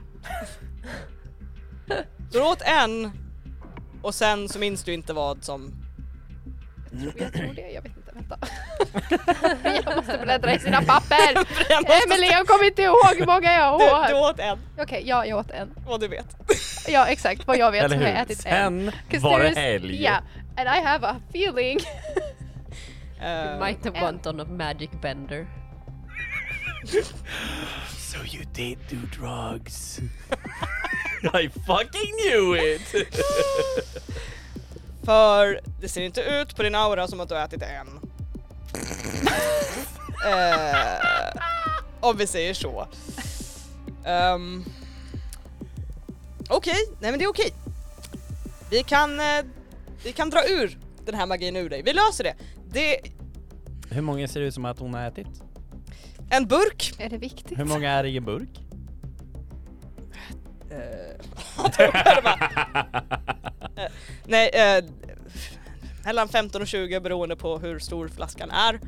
Speaker 1: Så du åt en och sen så minns du inte vad som... *laughs*
Speaker 3: Jag tror det, jag vet inte. Vänta. *laughs* jag måste bläddra i sina *laughs* papper.
Speaker 1: Jag måste-
Speaker 3: Emelie, jag kommer inte ihåg hur många jag
Speaker 1: Du,
Speaker 3: åt.
Speaker 1: du åt en,
Speaker 3: Okej, ja, jag åt en.
Speaker 1: vad du vet.
Speaker 3: Ja, exakt vad jag vet har jag ätit en.
Speaker 2: Sen
Speaker 3: 'Cause
Speaker 2: var det
Speaker 3: there's-
Speaker 2: helg.
Speaker 3: Yeah, and I have a feeling.
Speaker 1: Eh,
Speaker 5: Might have went on a magic bender.
Speaker 2: So you did do drugs. *laughs* I fucking knew it!
Speaker 3: *laughs*
Speaker 1: För det ser inte ut på din aura som att du har ätit en. Eh, om vi säger så. Ehm, okej, nej men det är okej. Vi kan, eh, vi kan dra ur den här magin ur dig. Vi löser det. Det är
Speaker 2: Hur många ser det ut som att hon har ätit?
Speaker 1: en burk.
Speaker 3: Är det viktigt?
Speaker 2: Hur många är i en burk? *laughs*
Speaker 1: Eh, nej, eh, mellan 15 och 20 beroende på hur stor flaskan är.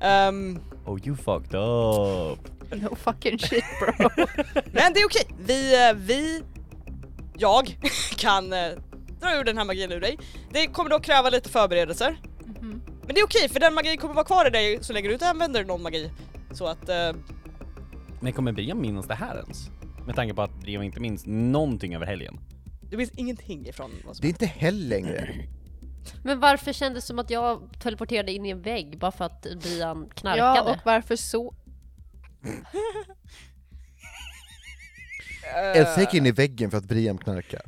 Speaker 1: Ehm,
Speaker 2: Oh you fucked up!
Speaker 3: *laughs* No fucking shit bro.
Speaker 1: Men det är okej, vi, eh, vi, jag *laughs* kan eh, dra ur den här magin ur dig. Det kommer dock kräva lite förberedelser.
Speaker 3: Mhm.
Speaker 1: Men det är okej för den magin kommer vara kvar i dig så länge du inte använder någon magi. Så att, eh,
Speaker 2: Men kommer Brian minnas det här ens? Med tanke på att Brian inte minns någonting över helgen.
Speaker 1: du minns ingenting ifrån vad som
Speaker 4: Det är inte hell längre.
Speaker 5: Men varför kändes det som att jag teleporterade in i en vägg bara för att Brian knarkade?
Speaker 3: Ja, och varför så?
Speaker 1: Äh.
Speaker 4: Elsa gick in i väggen för att Brian knarkade.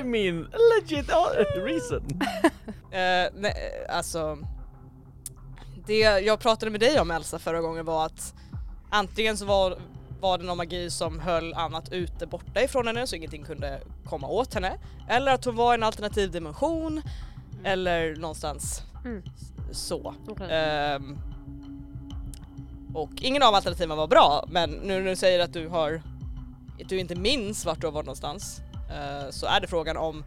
Speaker 2: I mean, legit reason!
Speaker 1: Eh, nej, alltså... Det jag pratade med dig om Elsa förra gången var att antingen så var, var det någon magi som höll annat ute borta ifrån henne så ingenting kunde komma åt henne. Eller att hon var i en alternativ dimension eller någonstans
Speaker 5: Mm.
Speaker 1: s- så.
Speaker 5: Okej.
Speaker 1: Ehm, och ingen av alternativen var bra men nu när du säger att du har att du inte minns vart du har varit någonstans eh, så är det frågan om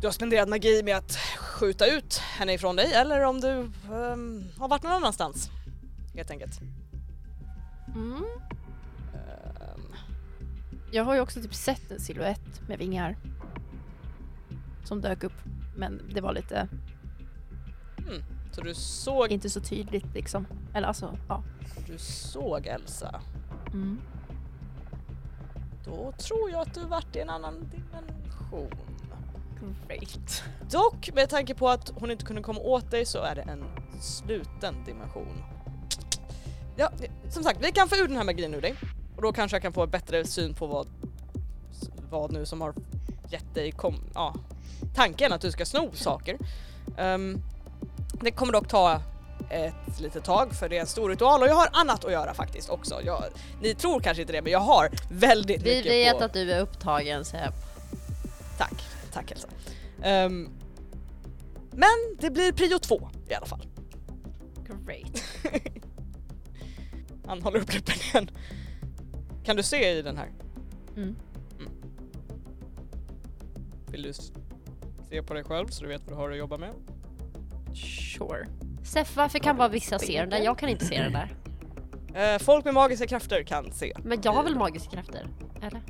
Speaker 1: du har spenderat magi med att skjuta ut henne ifrån dig eller om du ehm, har varit någon annanstans. Helt enkelt.
Speaker 3: Mm.
Speaker 1: Ehm,
Speaker 3: Jag har ju också typ sett en silhuett med vingar. Som dök upp. Men det var lite,
Speaker 1: så du såg,
Speaker 3: inte så tydligt liksom. Eller alltså, ja.
Speaker 1: du såg Elsa.
Speaker 3: Mm.
Speaker 1: Då tror jag att du varit i en annan dimension.
Speaker 3: Great.
Speaker 1: Dock med tanke på att hon inte kunde komma åt dig så är det en sluten dimension. Ja, som sagt, vi kan få ur den här magin ur dig och då kanske jag kan få en bättre syn på vad, vad nu som har gett dig kom, ja, tanken att du ska sno saker. Ehm, det kommer dock ta ett litet tag för det är en stor ritual och jag har annat att göra faktiskt också. Jag, ni tror kanske inte det men jag har väldigt
Speaker 5: Vi
Speaker 1: mycket
Speaker 5: vet
Speaker 1: på...
Speaker 5: att du är upptagen så jag...
Speaker 1: Tack, tack Elsa. Ehm, men det blir prio två i alla fall.
Speaker 3: Great.
Speaker 1: Han håller upp luppen igen. Kan du se i den här?
Speaker 3: *laughs* Mm.
Speaker 1: Vill du s- se på dig själv så du vet vad du har att jobba med?
Speaker 3: Sure.
Speaker 5: Seff, varför kan bara vissa se den där? Jag kan inte se den där.
Speaker 1: Eh, folk med magiska krafter kan se.
Speaker 5: Men jag har väl magiska krafter? Eller?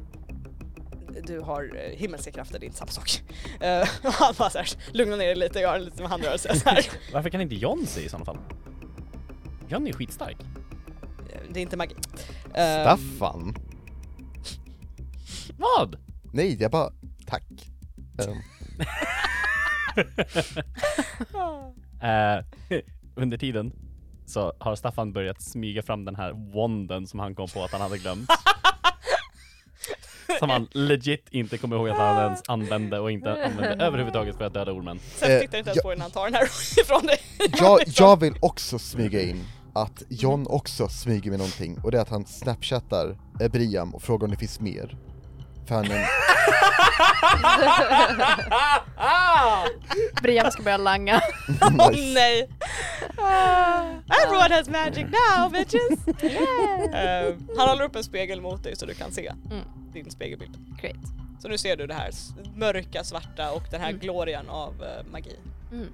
Speaker 1: Du har eh, himmelska krafter, det är inte samma sak. Eh, *laughs* och han bara såhär, lugna ner dig lite, gör lite med handrörelser såhär.
Speaker 2: Varför kan inte John se i sådana fall? John är ju skitstark.
Speaker 1: *laughs* det är inte magi. Ehm, *laughs*
Speaker 4: Staffan?
Speaker 2: *laughs* Vad?
Speaker 4: Nej, jag bara, tack.
Speaker 1: *laughs*
Speaker 4: Ehm,
Speaker 2: Eh, under tiden så har Staffan börjat smyga fram den här wanden som han kom på att han hade glömt. som han legit inte kommer ihåg att han ens använde och inte *laughs* använde överhuvudtaget för att döda ormen.
Speaker 1: Sen
Speaker 4: Eh,
Speaker 1: tittar inte ens
Speaker 4: jag-
Speaker 1: på den när han tar den här *laughs* ifrån dig.
Speaker 4: jag, jag vill också smyga in att John också smyger med någonting och det är att han snapchattar eh, Brian och frågar om det finns mer. För han är en
Speaker 3: Brian ska börja langa.
Speaker 1: Åh
Speaker 4: nice.
Speaker 1: nej!
Speaker 3: Ah.
Speaker 1: everyone has magic
Speaker 3: *laughs*
Speaker 1: now bitches! Eh, han håller upp en spegel mot dig så du kan se
Speaker 3: Mm.
Speaker 1: din spegelbild.
Speaker 3: Great.
Speaker 1: Så nu ser du det här s- mörka, svarta och den här
Speaker 3: Mm.
Speaker 1: glorian av eh, magi.
Speaker 3: Mm.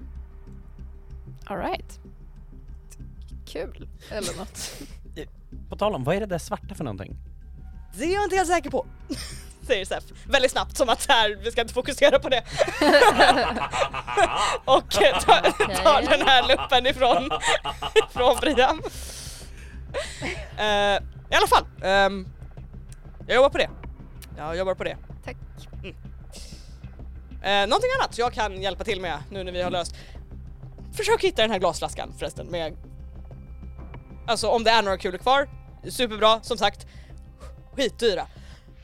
Speaker 3: Alright. Kul. Eller något.
Speaker 2: På tal om, vad är det där svarta för någonting?
Speaker 1: Det är jag inte helt säker på! *laughs* Säger Sef väldigt snabbt som att så här, vi ska inte fokusera på det. och eh, tar tar den här luppen ifrån, *laughs* ifrån Brian. Eh, I alla fall, ehm, jag jobbar på det. Jag jobbar på det. Mm.
Speaker 3: Tack.
Speaker 1: Eh, någonting annat jag kan hjälpa till med nu när vi har löst. Försök hitta den här glasflaskan förresten med... Alltså om det är några kulor kvar, superbra som sagt. skitdyra.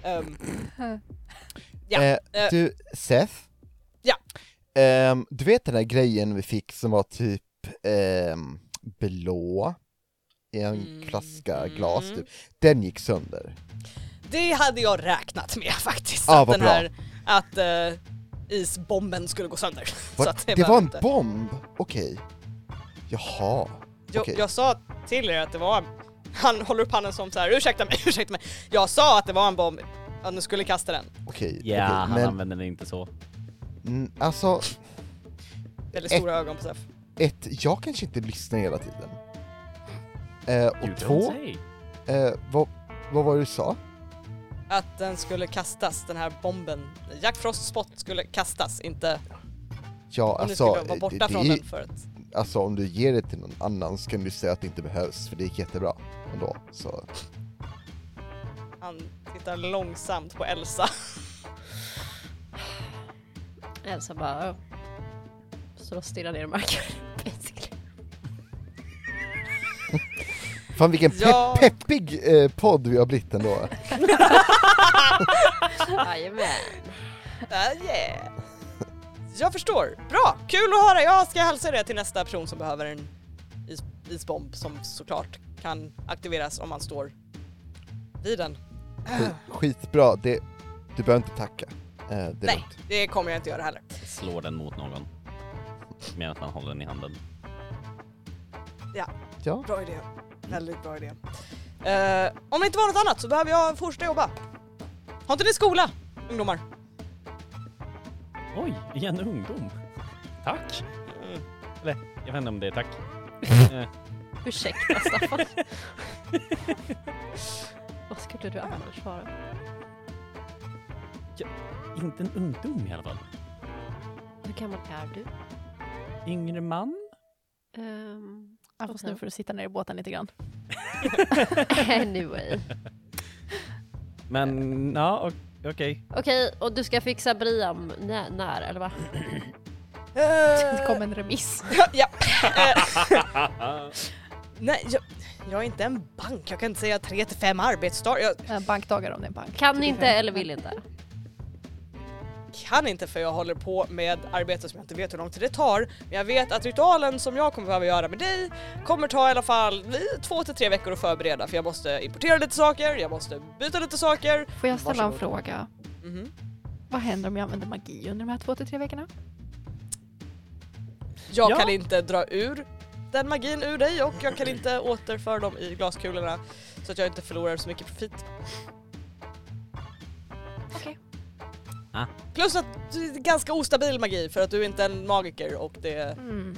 Speaker 1: Ehm, *laughs* Ja,
Speaker 4: Eh,
Speaker 1: eh.
Speaker 4: du, Seth?
Speaker 1: Ja.
Speaker 4: Ehm, du vet den där grejen vi fick som var typ ehm, blå i en
Speaker 1: Mm.
Speaker 4: flaska glas typ. Den gick sönder.
Speaker 1: det hade jag räknat med *laughs* faktiskt.
Speaker 4: Ah,
Speaker 1: att
Speaker 4: vad
Speaker 1: den
Speaker 4: bra.
Speaker 1: här, att eh, isbomben skulle gå sönder. *laughs*
Speaker 4: Var,
Speaker 1: Så att
Speaker 4: det
Speaker 1: behöver
Speaker 4: var en
Speaker 1: inte-
Speaker 4: bomb? Okej. Jaha.
Speaker 1: Jag,
Speaker 4: Okej.
Speaker 1: jag sa till er att det var... Han håller upp handen som så här, ursäkta mig, *laughs* ursäkta mig. Jag sa att det var en bomb, att ni skulle kasta den.
Speaker 4: Okej.
Speaker 2: Ja,
Speaker 4: okej,
Speaker 2: han
Speaker 4: men
Speaker 2: använder den inte så.
Speaker 4: mm, alltså,
Speaker 1: Väldigt stora ögon på Sef.
Speaker 4: ett, jag kanske inte lyssnar hela tiden. Eh,
Speaker 2: You
Speaker 4: och
Speaker 2: don't
Speaker 4: två,
Speaker 2: say.
Speaker 4: eh, vad, vad var det du sa?
Speaker 1: Att den skulle kastas, den här bomben. Jack Frost spot skulle kastas, inte
Speaker 4: Ja,
Speaker 1: om ni
Speaker 4: alltså,
Speaker 1: skulle vara
Speaker 4: eh,
Speaker 1: borta
Speaker 4: det,
Speaker 1: från
Speaker 4: det,
Speaker 1: den för att...
Speaker 4: alltså om du ger det till någon annan så kan du säga att det inte behövs, för det gick jättebra ändå. Så.
Speaker 1: Han tittar långsamt på Elsa.
Speaker 5: Elsa bara... "Åh." Så då stirrar ner i marken. *laughs* basically.
Speaker 4: Fan vilken
Speaker 1: Ja.
Speaker 4: pepp, peppig eh, podd vi har
Speaker 1: *laughs*
Speaker 4: blivit ändå.
Speaker 5: Jajamän.
Speaker 1: Ah, yeah. Jag förstår. Bra! Kul att höra! Jag ska hälsa det till nästa person som behöver en is isbomb som såklart kan aktiveras om man står vid den. Äh,
Speaker 4: Skit, skitbra, det, du behöver inte tacka. Eh, det är
Speaker 1: Nej,
Speaker 4: lugnt.
Speaker 1: det kommer jag inte göra heller.
Speaker 2: Slår den mot någon. Medan man håller den i handen.
Speaker 4: Ja.
Speaker 1: Bra idé. Väldigt bra idé. Eh, om det inte var något annat så behöver jag fortsätta jobba. Har inte ni skola, ungdomar?
Speaker 2: Oj, igen ungdom. Tack. Eh,
Speaker 1: Mm.
Speaker 2: Eller, jag vet inte om det är tack. Eh,
Speaker 5: Ursäkta Staffan. Vad skulle du annars vara?
Speaker 2: inte en ungdom i alla fall.
Speaker 5: Hur gammal är du?
Speaker 2: Yngre man?
Speaker 5: Um,
Speaker 3: Ja, fast nu får du sitta ner i båten lite grann.
Speaker 5: *laughs* anyway.
Speaker 2: Men ja, o- okej.
Speaker 5: Okej, och du ska fixa Briam när, när eller va? Äh.
Speaker 3: Det kom en remiss.
Speaker 1: ja. Eh, nej, jag, jag är inte en bank. Jag kan inte säga 3 till 5 arbetsdagar. Jag
Speaker 3: Eh, Bankdagar om det är en bank.
Speaker 5: Kan inte
Speaker 3: 35.
Speaker 5: eller vill inte.
Speaker 1: kan inte för jag håller på med arbete som jag inte vet hur lång tid det tar. Men jag vet att ritualen som jag kommer behöva göra med dig kommer ta i alla fall eh, två till tre veckor att förbereda för jag måste importera lite saker, jag måste byta lite saker.
Speaker 3: Får jag ställa en
Speaker 1: Varsågod.
Speaker 3: fråga?
Speaker 1: Mhm.
Speaker 3: Vad händer om jag använder magi under de här två till tre veckorna?
Speaker 1: Jag
Speaker 2: Ja.
Speaker 1: kan inte dra ur den magin ur dig och jag kan inte återföra dem i glaskulorna så att jag inte förlorar så mycket profit.
Speaker 3: Okej.
Speaker 2: Ah.
Speaker 1: Plus att det är ganska ostabil magi för att du inte är en magiker och det...
Speaker 3: Mm.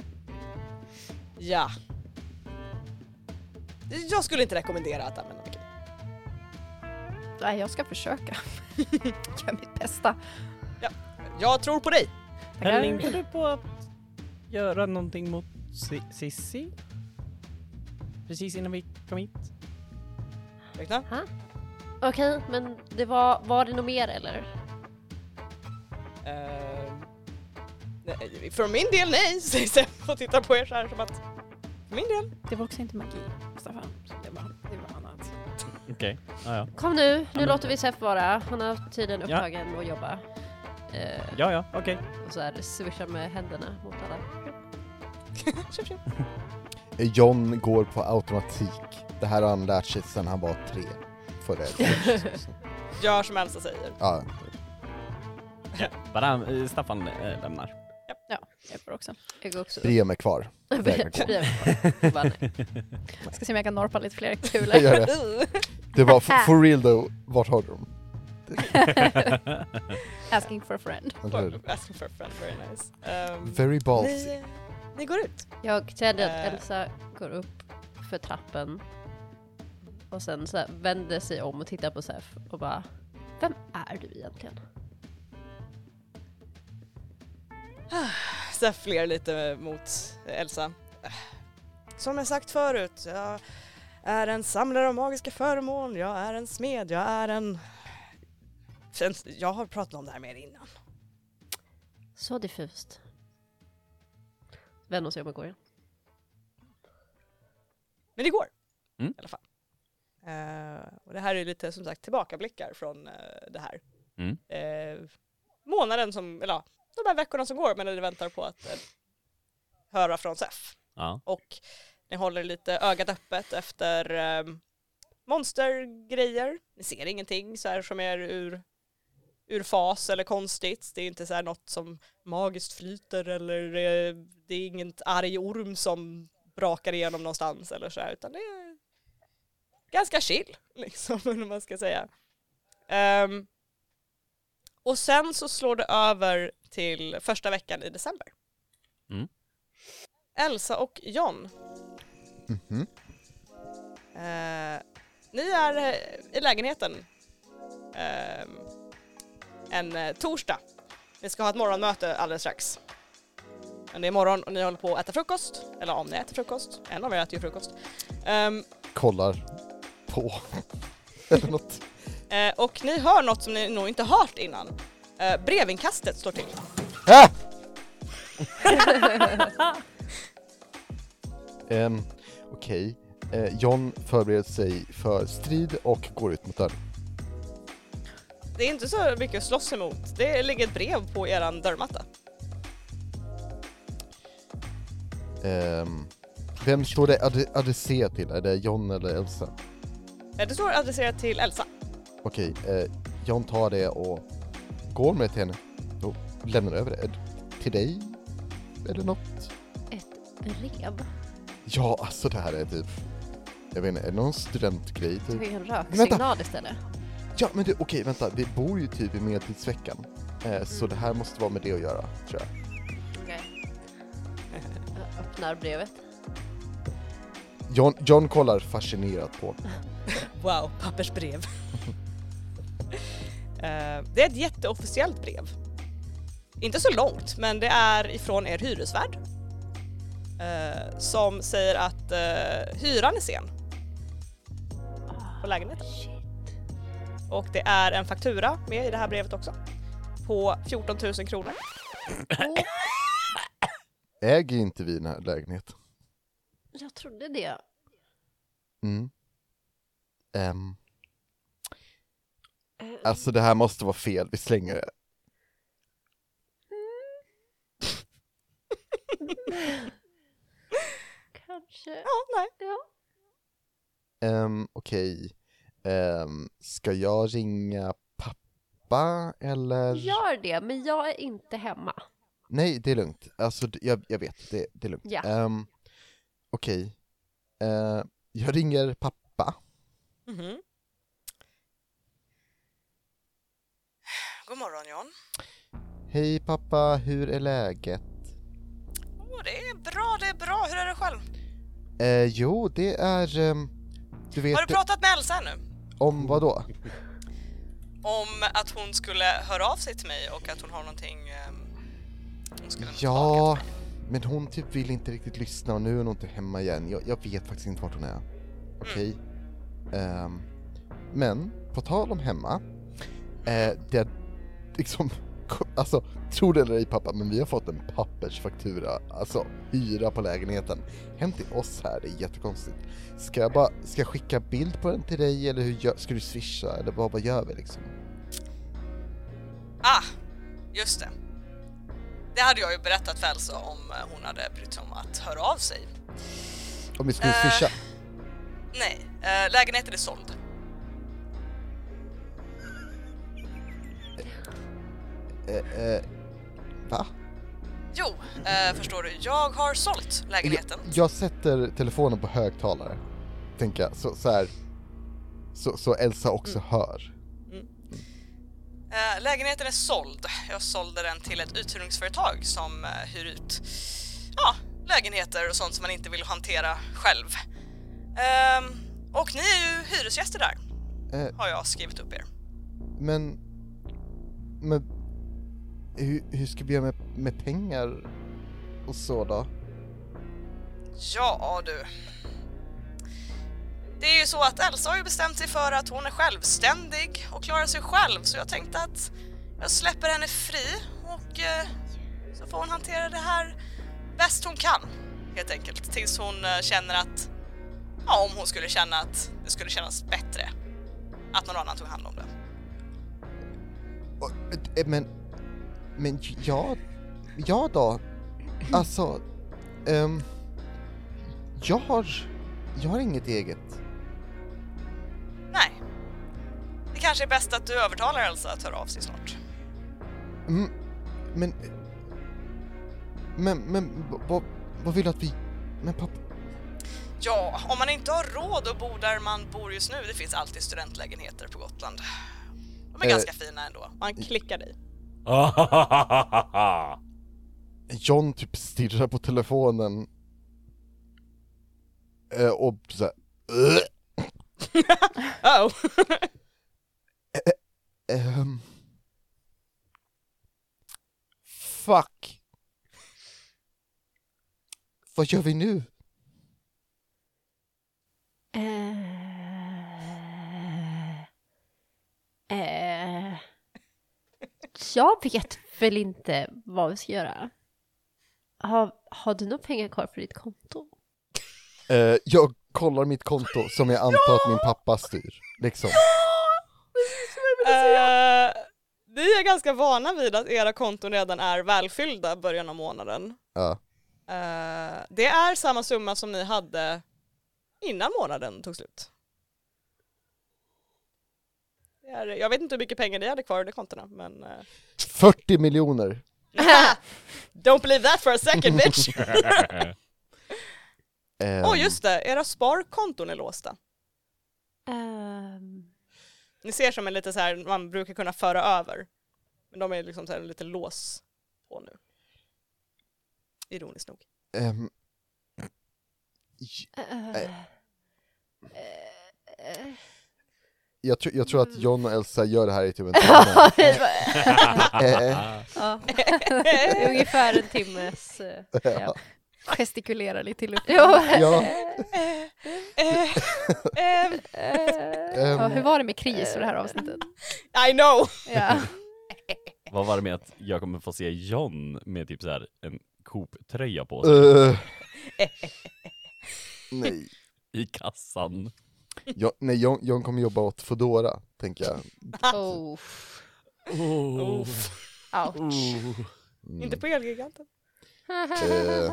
Speaker 1: Ja. Jag skulle inte rekommendera att använda magi.
Speaker 3: Nej, jag ska försöka. *laughs* Gör mitt bästa.
Speaker 1: Jag tror på dig!
Speaker 10: Höll inte du på att göra någonting mot Si- Sissi? Precis innan vi kom hit?
Speaker 1: Räkna.
Speaker 5: Okej, men det var, var det något mer eller?
Speaker 1: Ehm, nej, för min del nej, *laughs* säger Sef och tittar på er så här som att... För min del?
Speaker 3: Det var också inte magi, Staffan. Så det, var, det var annat.
Speaker 2: Okej, ja, ja.
Speaker 5: Kom nu, nu låter vi Sef vara. Han har tiden
Speaker 10: Ja.
Speaker 5: upptagen och jobba. Eh,
Speaker 10: Ja, ja, okej.
Speaker 5: och så här swishar med händerna mot alla.
Speaker 1: Tjup, tjup.
Speaker 4: Eh, John går på automatik. Det här har han lärt sig sedan han var tre. Förra året. Så-
Speaker 1: Gör som Elsa säger.
Speaker 4: ja.
Speaker 2: Bara eh, Staffan eh, lämnar.
Speaker 3: Jag får också.
Speaker 5: Jag går också upp.
Speaker 4: Briam är kvar. Vägrar gå.
Speaker 5: *laughs* Brian får bara, nej.
Speaker 3: Jag ska se om jag kan norpa lite fler kulor.
Speaker 4: Jag *laughs* gör det. Det var f- for real though, vart har du dem?
Speaker 3: *laughs* Asking for a friend.
Speaker 4: Eller hur?
Speaker 1: Asking for a friend, very nice. Ehm,
Speaker 4: Very ballsy.
Speaker 1: ni, ni går ut.
Speaker 5: Jag kände att
Speaker 1: Eh.
Speaker 5: Elsa går upp för trappen och sen så här vänder sig om och tittar på Sef och bara Vem är du egentligen?
Speaker 1: Sef ler lite mot Elsa. Som jag sagt förut, jag är en samlare av magiska föremål, jag är en smed, jag är en... Sen- Jag har pratat om det här med er innan.
Speaker 5: Så diffust. Vänder sig om och går igen.
Speaker 1: Men det går.
Speaker 2: Mm.
Speaker 1: I alla fall. Eh, och det här är lite som sagt tillbakablickar från eh, det här.
Speaker 2: Mm.
Speaker 1: Eh, månaden som, eller ja, de här veckorna som går medan ni väntar på att eh, höra från SEF.
Speaker 2: Ja.
Speaker 1: Och ni håller lite ögat öppet efter eh, monstergrejer. Ni ser ingenting så här som är ur, ur fas eller konstigt. Det är inte så här något som magiskt flyter eller eh, det är inget arg orm som brakar igenom någonstans eller så här, utan det är ganska chill *laughs* liksom, eller vad man ska säga. Ehm, och sen så slår det över till första veckan i december.
Speaker 2: Mm.
Speaker 1: Elsa och John,
Speaker 4: Mhm.
Speaker 1: Eh, ni är eh, i lägenheten eh, en eh, torsdag. Ni ska ha ett morgonmöte alldeles strax. Men det är morgon och ni håller på att äta frukost. Eller om ni äter frukost. En av er äter ju frukost. Ehm,
Speaker 4: Kollar på. Eller något.
Speaker 1: eh, och ni hör något som ni nog inte hört innan. Eh, brevinkastet står till.
Speaker 4: Ah! Ehm, Okej. Eh, John förbereder sig för strid och går ut mot dörren.
Speaker 1: Det är inte så mycket att slåss emot. Det ligger ett brev på eran dörrmatta.
Speaker 4: Ehm, vem står det adre- adresserat till? Är det John eller Elsa?
Speaker 1: Eh, det står adresserat till Elsa.
Speaker 4: Okej, eh, John tar det och går med till henne och lämnar över det. Är det Till dig? Eller något?
Speaker 5: Ett brev?
Speaker 4: Ja, alltså det här är typ... Jag vet inte, är det någon studentgrej?
Speaker 5: Tar
Speaker 4: Typ?
Speaker 5: vi en
Speaker 4: Vänta.
Speaker 5: röksignal istället?
Speaker 4: Ja, men du, okej, vänta. Vi bor ju typ i medeltidsveckan. Eh, så det här måste vara med det att göra, tror jag.
Speaker 5: Okej. Jag öppnar brevet.
Speaker 4: John, John kollar fascinerat på.
Speaker 1: Wow, pappersbrev. *laughs* Eh, det är ett jätteofficiellt brev. Inte så långt, men det är ifrån er hyresvärd. Eh, som säger att eh, hyran är sen. På lägenheten. Och det är en faktura med i det här brevet också. På 14 000 kronor.
Speaker 4: Äger inte vi den här lägenheten?
Speaker 5: Jag trodde det.
Speaker 4: Mm. Ehm, alltså det här måste vara fel, vi slänger det.
Speaker 5: Kanske.
Speaker 1: Ja, nej.
Speaker 4: Um, Okej, Ehm, ska jag ringa pappa eller?
Speaker 5: Gör det, men jag är inte hemma.
Speaker 4: Nej, det är lugnt. Alltså, d- jag, jag vet, det, det är lugnt.
Speaker 5: Ja.
Speaker 4: Ehm, Okej, Eh, jag ringer pappa.
Speaker 1: Mhm. God morgon John.
Speaker 4: Hej pappa, hur är läget?
Speaker 1: Åh, det är bra, det är bra. Hur är det själv?
Speaker 4: Eh, jo, det är... ehm, du vet
Speaker 1: Har du pratat med Elsa nu?
Speaker 4: om vad då?
Speaker 1: om att hon skulle höra av sig till mig och att hon har någonting ehm, hon skulle lämna
Speaker 4: Ja, men hon typ vill inte riktigt lyssna och nu är hon inte hemma igen. Jag, jag vet faktiskt inte vart hon är. Okej. Ehm, men, på tal om hemma. Eh, det liksom, *laughs* alltså, tro det eller ej pappa, men vi har fått en pappersfaktura, alltså hyra på lägenheten. Hem till oss här, det är jättekonstigt. Ska jag bara, ska jag skicka bild på den till dig eller hur gör, ska du swisha eller vad, vad gör vi liksom?
Speaker 1: Ah, just det. Det hade jag ju berättat för Elsa om eh, hon hade brytt sig om att höra av sig.
Speaker 4: Om vi skulle
Speaker 1: Eh,
Speaker 4: swisha?
Speaker 1: Nej, eh, lägenheten är såld.
Speaker 4: Eh, eh, va?
Speaker 1: Jo, eh, förstår du, jag har sålt lägenheten.
Speaker 4: Jag, jag sätter telefonen på högtalare, tänker jag. Så, så här. Så, så Elsa också hör.
Speaker 1: Eh, lägenheten är såld. Jag sålde den till ett uthyrningsföretag som eh, hyr ut ja, lägenheter och sånt som man inte vill hantera själv. Ehm, och ni är ju hyresgäster där,
Speaker 4: Eh,
Speaker 1: har jag skrivit upp er.
Speaker 4: men... Men... Hur, hur ska vi göra med, med pengar och så då?
Speaker 1: Ja du. Det är ju så att Elsa har ju bestämt sig för att hon är självständig och klarar sig själv så jag tänkte att jag släpper henne fri och eh, så får hon hantera det här bäst hon kan helt enkelt tills hon eh, känner att Ja, om hon skulle känna att det skulle kännas bättre att någon annan tog hand om det.
Speaker 4: Och, eh, Men, men ja, ja då. Alltså, ehm, jag har, jag har inget eget.
Speaker 1: Nej. Det kanske är bäst att du övertalar Elsa att höra av sig snart.
Speaker 4: Mm, men, men, men vad- vad, vad vill du att vi, men pappa,
Speaker 1: Ja, om man inte har råd att bo där man bor just nu, det finns alltid studentlägenheter på Gotland. De är
Speaker 4: Eh.
Speaker 1: ganska fina ändå. Man klickar i.
Speaker 4: John typ stirrar på telefonen. Eh, och såhär...
Speaker 1: Oh!
Speaker 4: Ehm. Fuck. Vad gör vi nu?
Speaker 5: Eh, jag vet väl inte vad vi ska göra. Har, har du några pengar kvar för ditt konto?
Speaker 4: Eh, jag kollar mitt konto som jag antar att min pappa styr. Liksom.
Speaker 1: *laughs* Eh, ni är ganska vana vid att era konton redan är välfyllda i början av månaden.
Speaker 4: Ja.
Speaker 1: Eh, det är samma summa som ni hade innan månaden tog slut. Det är, jag vet inte hur mycket pengar ni hade kvar under kontona, men... *laughs* eh,
Speaker 4: 40 miljoner.
Speaker 1: Don't believe that for a second bitch!
Speaker 4: Ehm,
Speaker 1: Åh just det, era sparkonton är låsta. Ni ser som en lite så här, man brukar kunna föra över. Men de är liksom så här lite lås på nu. Ironiskt nog.
Speaker 4: ehm. J-
Speaker 5: Eh,
Speaker 4: Jag, tror- jag tror att
Speaker 1: Mm.
Speaker 4: John och Elsa gör det här i
Speaker 1: *laughs*
Speaker 4: typ en timme. Eh,
Speaker 5: ja. Ungefär en timmes... eh,
Speaker 4: ja.
Speaker 3: Gestikulerar lite i luften.
Speaker 5: Ja.
Speaker 4: Ja.
Speaker 1: Eh, Ehm,
Speaker 4: ehm,
Speaker 3: Ja, hur var det med kris för det här
Speaker 5: Eh.
Speaker 3: avsnittet?
Speaker 1: I know!
Speaker 3: Ja.
Speaker 2: Vad var det med att jag kommer få se John med typ så här en Coop-tröja på sig
Speaker 4: Eh. *laughs* Nej.
Speaker 2: i kassan?
Speaker 4: Jag, nej, John, John kommer jobba åt Foodora, tänker jag.
Speaker 5: Oh.
Speaker 2: Oh.
Speaker 3: Ouch.
Speaker 4: Mm.
Speaker 1: Inte på Elgiganten.
Speaker 4: Eh,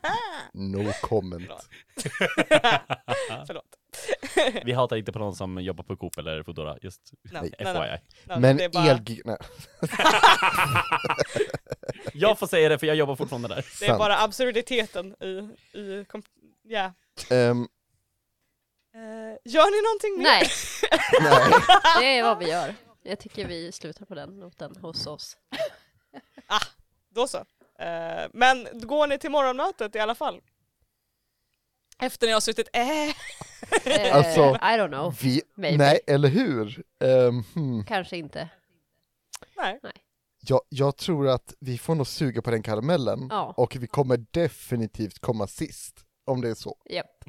Speaker 1: *laughs*
Speaker 4: no comment. Ah.
Speaker 1: Förlåt.
Speaker 2: Vi hatar inte på någon som jobbar på Coop eller Foodora, just
Speaker 1: No,
Speaker 4: Nej.
Speaker 1: no, no,
Speaker 2: FYI.
Speaker 1: no,
Speaker 4: Men
Speaker 1: det är bara-
Speaker 4: elgig... Nej.
Speaker 2: Jag får säga det för jag jobbar fortfarande där.
Speaker 1: Det är
Speaker 4: sant.
Speaker 1: bara absurditeten i... i kom, ja.
Speaker 4: Ehm,
Speaker 1: Eh, gör ni någonting mer?
Speaker 5: Nej,
Speaker 4: nej.
Speaker 5: det är vad vi gör. Jag tycker vi slutar på den noten hos oss.
Speaker 1: Då så. Eh, men går ni till morgonmötet i alla fall? Efter ni har suttit äh,
Speaker 5: Eh,
Speaker 4: Alltså-
Speaker 5: I don't know.
Speaker 4: Vi,
Speaker 5: Maybe.
Speaker 4: nej, eller hur? Ehm, hmm.
Speaker 5: Kanske inte.
Speaker 1: Nej.
Speaker 4: jag, jag tror att vi får nog suga på den karamellen
Speaker 5: Ja.
Speaker 4: och vi kommer definitivt komma sist, om det är så.
Speaker 5: Japp.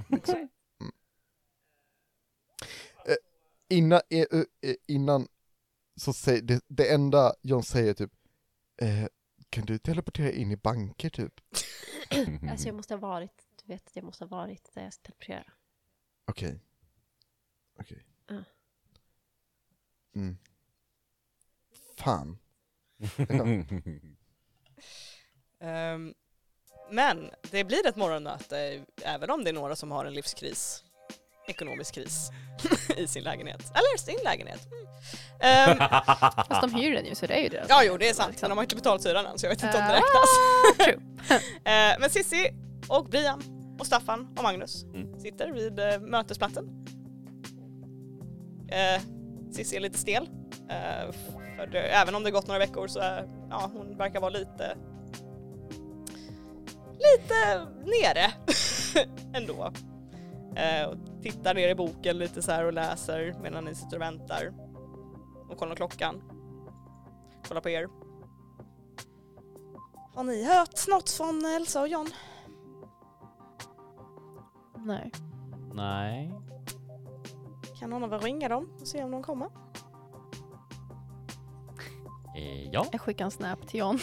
Speaker 4: Innan, eh, eh, eh, innan så säger det, det enda John säger typ eh, kan du teleportera in i banker typ?
Speaker 2: Mhm.
Speaker 5: Alltså jag måste ha varit, du vet, jag måste ha varit där jag ska teleportera.
Speaker 4: Okej. Okej.
Speaker 5: Ja.
Speaker 4: Mm. Fan.
Speaker 1: Ehm, men det blir ett morgonmöte även om det är några som har en livskris, ekonomisk kris *laughs* i sin lägenhet. Eller sin lägenhet. Mm. Ehm,
Speaker 3: Fast de hyr den ju så det är ju deras.
Speaker 1: ja, jo det är sant, men de har inte betalt hyran än så jag vet inte om det
Speaker 3: Ah,
Speaker 1: räknas.
Speaker 3: true.
Speaker 1: *laughs* Ehm, men Sissi och Brian och Staffan och Magnus
Speaker 2: Mm.
Speaker 1: sitter vid eh, mötesplatsen. Eh, Sissi är lite stel. Eh, för det, även om det gått några veckor så eh, ja, hon verkar vara lite lite nere *laughs* ändå. Eh, och tittar ner i boken lite så här och läser medan ni sitter och väntar. Och kollar klockan. Kollar på er.
Speaker 8: Har ni hört något från Elsa och John?
Speaker 3: Nej.
Speaker 2: Nej.
Speaker 8: Kan någon av er ringa dem och se om de kommer?
Speaker 2: Eh, ja.
Speaker 3: Jag skickar en snap till John.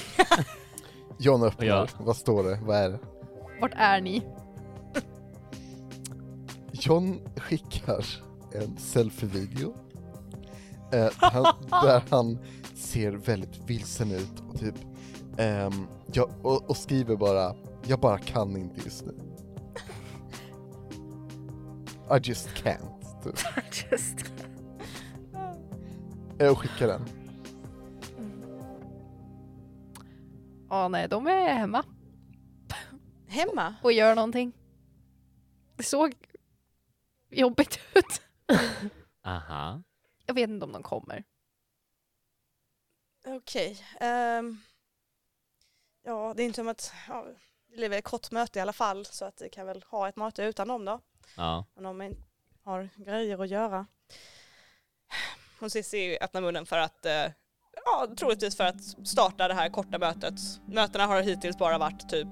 Speaker 4: John öppnar.
Speaker 2: Ja.
Speaker 5: *laughs*
Speaker 4: Vad står det? Vad är det?
Speaker 3: Vart är ni?
Speaker 4: John skickar en selfie-video. Eh, han,
Speaker 1: *laughs*
Speaker 4: där han ser väldigt vilsen ut och typ... ehm, jag, och, och skriver bara “Jag bara kan inte just
Speaker 1: *laughs*
Speaker 4: nu”. I just can't. Typ.
Speaker 11: Just.
Speaker 4: Eh, och skickar den.
Speaker 3: Ja, Mm. Ah, nej, de är hemma
Speaker 1: Hemma?
Speaker 3: och gör någonting. Det såg jobbigt *laughs* ut.
Speaker 2: Aha.
Speaker 3: Jag vet inte om de kommer.
Speaker 1: Okej. ehm, ja, det är inte som att... Ja, det blir väl ett kort möte i alla fall så att vi kan väl ha ett möte utan dem då.
Speaker 2: Ja.
Speaker 1: Om de inte har grejer att göra. Hon Cissi öppnar munnen för att, eh, ja troligtvis för att starta det här korta mötet. Mötena har hittills bara varit typ,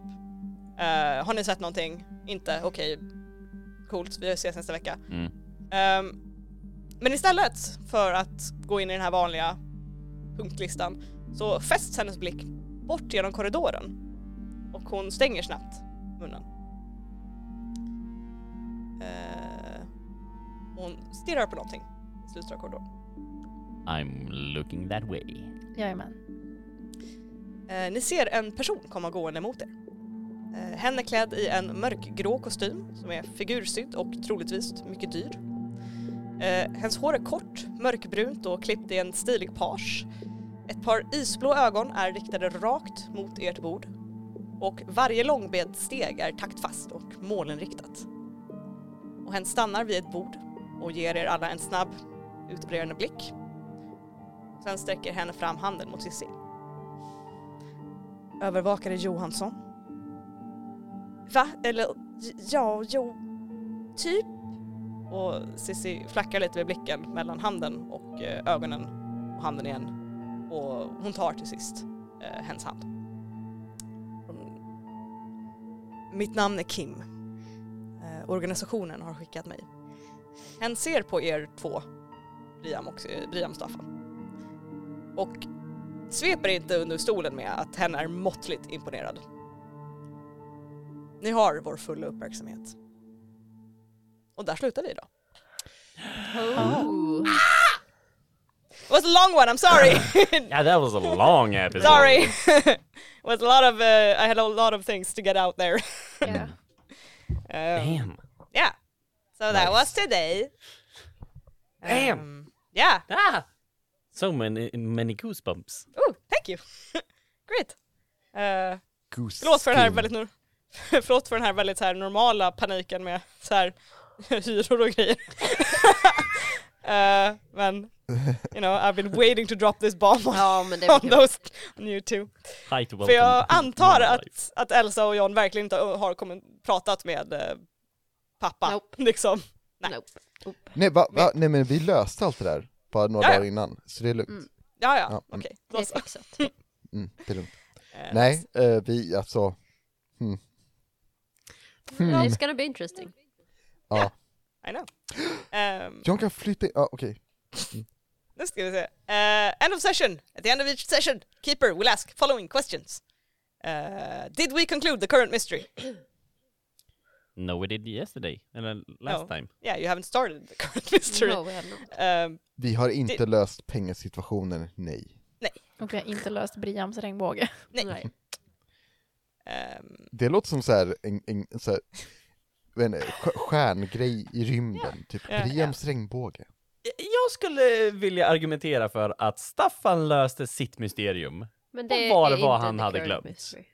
Speaker 1: eh, har ni sett någonting? Inte? Okej, coolt, vi ses nästa vecka.
Speaker 2: Mm.
Speaker 1: Ehm, men istället för att gå in i den här vanliga punktlistan så fästs hennes blick bort genom korridoren och hon stänger snabbt munnen. Eh, hon stirrar på någonting i slutet av korridoren.
Speaker 2: I'm looking that way.
Speaker 3: Jajamän.
Speaker 1: Eh, ni ser en person komma gående mot er. Eh, hen är klädd i en mörkgrå kostym som är figursydd och troligtvis mycket dyr. Eh, hennes hår är kort, mörkbrunt och klippt i en stilig page. Ett par isblå ögon är riktade rakt mot ert bord och varje långbent steg är taktfast och målinriktat. Och hen stannar vid ett bord och ger er alla en snabb, utbredande blick. Sen sträcker hen fram handen mot Cissi. Övervakare Johansson. Va? Eller j- ja, jo, typ. Och Cissi flackar lite med blicken mellan handen och eh, ögonen och handen igen. Och hon tar till sist eh, hens hand. Hon- Mitt namn är Kim. Eh, organisationen har skickat mig. Hen ser på er två, Briam och eh, Briam Staffan. Och sveper inte under stolen med att hen är måttligt imponerad. Ni har vår fulla uppmärksamhet. Och där slutar vi då. Ah!
Speaker 5: Oh.
Speaker 1: It was a long one, I'm
Speaker 2: *laughs*
Speaker 1: sorry!
Speaker 2: Yeah, that was a long episode.
Speaker 1: sorry! *laughs* It was a lot of, uh, I had a lot of things to get out there.
Speaker 3: Yeah.
Speaker 1: Um,
Speaker 2: Mm. Damn.
Speaker 1: Yeah. So that
Speaker 2: Nice.
Speaker 1: was today.
Speaker 2: Damn.
Speaker 1: Um, yeah.
Speaker 2: Ah! So many, many goosebumps.
Speaker 1: Oh, thank you. *laughs* Great. Uh,
Speaker 4: Goose
Speaker 1: förlåt för den här
Speaker 4: skin.
Speaker 1: väldigt, nor- *laughs* förlåt för den här väldigt så här normala paniken med så här *laughs* hyror och grejer. *laughs* uh, men, you know, I've been waiting to drop this bomb on,
Speaker 5: Ja, men
Speaker 1: *laughs*
Speaker 5: det
Speaker 1: on
Speaker 5: är väl
Speaker 1: those, on you two.
Speaker 2: Hi to welcome.
Speaker 1: För jag
Speaker 2: to
Speaker 1: antar
Speaker 2: my
Speaker 1: att, att Elsa och John verkligen inte har kommit, pratat med eh, pappa.
Speaker 5: Nope.
Speaker 1: Liksom. Nej.
Speaker 5: Nope. Nope.
Speaker 4: Nej, va, va? Nej men vi löste allt det där bara några
Speaker 1: Ja, ja.
Speaker 4: dagar innan, så det är lugnt.
Speaker 5: Mm.
Speaker 1: Ja, ja,
Speaker 4: Ja, mm.
Speaker 1: okej.
Speaker 5: Det
Speaker 1: Då
Speaker 5: är
Speaker 1: så.
Speaker 5: fixat.
Speaker 4: Mm, det är lugnt.
Speaker 1: Eh,
Speaker 4: Nej, eh, vi alltså...
Speaker 1: Mm.
Speaker 4: Hmm.
Speaker 2: Mm.
Speaker 4: Hmm.
Speaker 5: It's gonna be interesting.
Speaker 4: Ja.
Speaker 1: I know. *gasps* Ehm,
Speaker 4: John kan flytta in, ja okej.
Speaker 1: nu ska vi se. Eh, end of session. At the end of each session, keeper will ask following questions. Eh, did we conclude the current mystery?
Speaker 2: No, we did yesterday. And then last
Speaker 1: No.
Speaker 2: time.
Speaker 1: Yeah, you haven't started the *laughs* current mystery.
Speaker 5: No, we have not.
Speaker 1: Ehm,
Speaker 4: Vi har inte
Speaker 1: Det-
Speaker 4: löst pengasituationen, nej.
Speaker 3: Och vi har inte löst Briams regnbåge.
Speaker 1: Nej.
Speaker 5: Nej.
Speaker 1: ehm,
Speaker 4: Det låter som så här, en, en så här, jag vet inte, stj- stjärngrej i rymden, typ
Speaker 1: Ja,
Speaker 4: Briams regnbåge.
Speaker 2: Jag skulle vilja argumentera för att Staffan löste sitt mysterium.
Speaker 5: Men det
Speaker 2: var
Speaker 5: är
Speaker 2: det vad
Speaker 5: inte
Speaker 2: han
Speaker 5: the
Speaker 2: hade
Speaker 5: current
Speaker 2: glömt?
Speaker 5: mystery.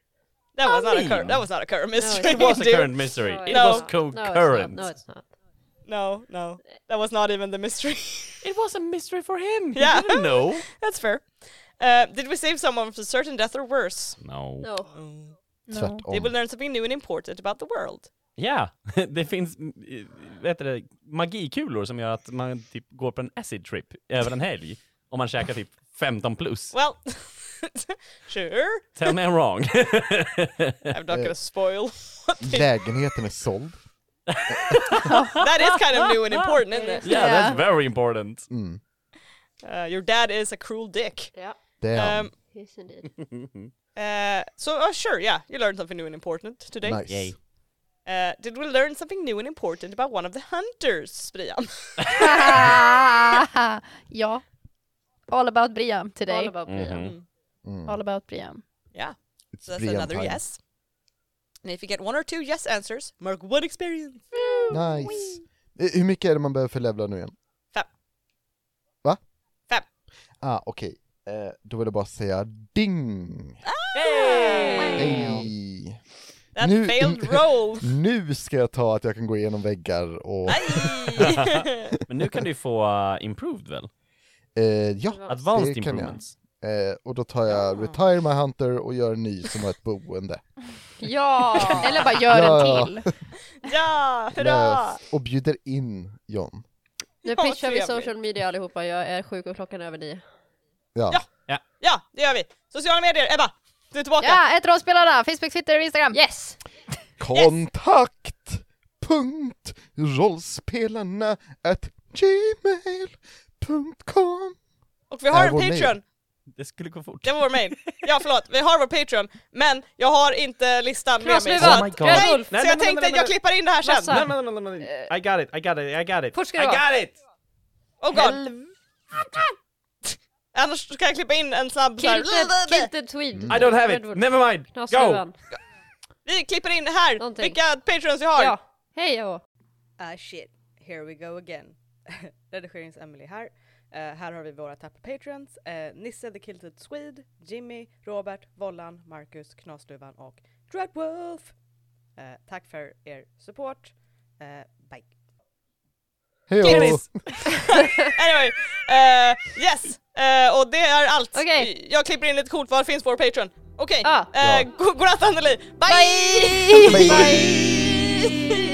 Speaker 1: that, was not a cur-
Speaker 2: mean.
Speaker 1: that was not a current mystery. *laughs*
Speaker 2: It was a
Speaker 1: dude.
Speaker 2: current mystery.
Speaker 5: No,
Speaker 2: It
Speaker 5: it's
Speaker 2: was
Speaker 5: not. No, it's not.
Speaker 2: concurrent.
Speaker 5: No, it's not.
Speaker 1: No, no. That was not even the mystery. *laughs*
Speaker 2: It was a mystery for him.
Speaker 1: Yeah.
Speaker 2: He didn't
Speaker 5: *laughs*
Speaker 2: know.
Speaker 1: That's fair. Uh, did we save someone from certain death or worse?
Speaker 2: No.
Speaker 5: No.
Speaker 3: No.
Speaker 4: Tvärtom.
Speaker 1: They
Speaker 2: Oh.
Speaker 1: will learn something new and important about the world.
Speaker 2: Ja, *laughs* det finns eh, vad heter det, magikulor som gör att man typ går på en acid trip över en helg om man käkar typ 15 plus.
Speaker 1: Well, *laughs* sure.
Speaker 2: Tell me I'm wrong. *laughs*
Speaker 1: I'm not gonna spoil. *laughs*
Speaker 4: Lägenheten är såld.
Speaker 1: That is kind of new and important, isn't it?
Speaker 2: yeah,
Speaker 3: Yeah.
Speaker 2: that's very important. *laughs*
Speaker 4: Mm.
Speaker 1: Uh, your dad is a cruel dick.
Speaker 5: Yeah.
Speaker 4: Damn.
Speaker 1: Um,
Speaker 5: Yes, indeed.
Speaker 1: uh, so, uh, sure, yeah, you learned something new and important today.
Speaker 4: nice.
Speaker 2: Yay.
Speaker 1: Uh, did we learn something new and important about one of the hunters, Brian?
Speaker 3: ja. All about Briam today.
Speaker 1: All about Brian.
Speaker 2: Mhm. Mm.
Speaker 3: All about Briam.
Speaker 1: *laughs* Yeah.
Speaker 4: It's
Speaker 1: so that's
Speaker 4: Brian
Speaker 1: another
Speaker 4: time.
Speaker 1: yes. And if you get one or two yes answers, mark one experience.
Speaker 4: Nice. Eh, Hur mycket är det man behöver för levla nu igen?
Speaker 1: Fem.
Speaker 4: Va?
Speaker 1: Fem.
Speaker 4: Ah, okej. Eh, då vill jag bara säga ding! Hej!
Speaker 1: Ah! That failed roll.
Speaker 4: nu ska jag ta att jag kan gå igenom väggar och...
Speaker 2: *laughs* Men nu kan du få eh,
Speaker 12: uh,
Speaker 2: improved väl?
Speaker 4: Eh, ja,
Speaker 2: Advanced
Speaker 4: det kan jag.
Speaker 2: improvements.
Speaker 4: Eh, och då tar jag Retire My Hunter och gör en ny som har ett boende.
Speaker 3: Ja! Eller bara gör
Speaker 4: Ja.
Speaker 3: en till.
Speaker 1: ja, hurra!
Speaker 4: Lös. Och bjuder in John.
Speaker 5: Nu
Speaker 1: Ja,
Speaker 5: pitchar vi
Speaker 1: trevligt.
Speaker 5: social media allihopa, jag är sjuk och klockan är över nio.
Speaker 4: Ja.
Speaker 1: Ja, det gör vi. Sociala medier, Ebba! Du är tillbaka!
Speaker 3: Ja, ett rollspelarna! Facebook, Twitter, Instagram.
Speaker 5: Yes!
Speaker 4: Kontakt! Punkt rollspelarna at gmail.com
Speaker 1: Och vi har
Speaker 4: Är
Speaker 1: en
Speaker 4: vår mail.
Speaker 1: Patreon!
Speaker 2: Det skulle gå fort.
Speaker 1: Det var vår mail. Ja förlåt, vi har vår Patreon, men jag har inte listan med mig.
Speaker 5: Knasluvan.
Speaker 1: Så,
Speaker 2: Oh
Speaker 1: att-
Speaker 2: my god.
Speaker 1: nej,
Speaker 5: Ulf.
Speaker 1: så
Speaker 12: Nej, men-
Speaker 1: jag tänkte
Speaker 12: men-
Speaker 1: att jag
Speaker 12: men-
Speaker 1: klipper in det här sen.
Speaker 5: Massa.
Speaker 12: No, no, no, no, no, no. I got it, I got it, I got it.
Speaker 5: Fort ska
Speaker 12: I
Speaker 5: det vara.
Speaker 12: got it!
Speaker 1: Oh god. Annars ska jag klippa in en snabb så här.
Speaker 5: Kilted, kilted tweed.
Speaker 12: I don't have it,
Speaker 5: Redwood.
Speaker 12: never mind! Go!
Speaker 5: Knasluvan.
Speaker 1: Vi klipper in här
Speaker 5: Någonting.
Speaker 1: vilka Patreons vi har.
Speaker 5: Ja, hej jag.
Speaker 13: Ah shit, here we go again. *laughs* redigerings Emily här. Eh, här har vi våra tappa patrons. Eh, Nisse the Kilted Swede, Jimmy, Robert, Vollan, Marcus, Knasluvan och Dreadwolf. Eh, tack för er support. Eh, bye.
Speaker 4: Hej då!
Speaker 1: Kiltis. anyway, eh, yes. Eh, och det är allt.
Speaker 5: Okej.
Speaker 1: Jag klipper in lite kort, var finns vår Patreon? Okej,
Speaker 5: Ah.
Speaker 3: *laughs*
Speaker 1: eh, go- godnatt Anneli! Bye!
Speaker 5: Bye!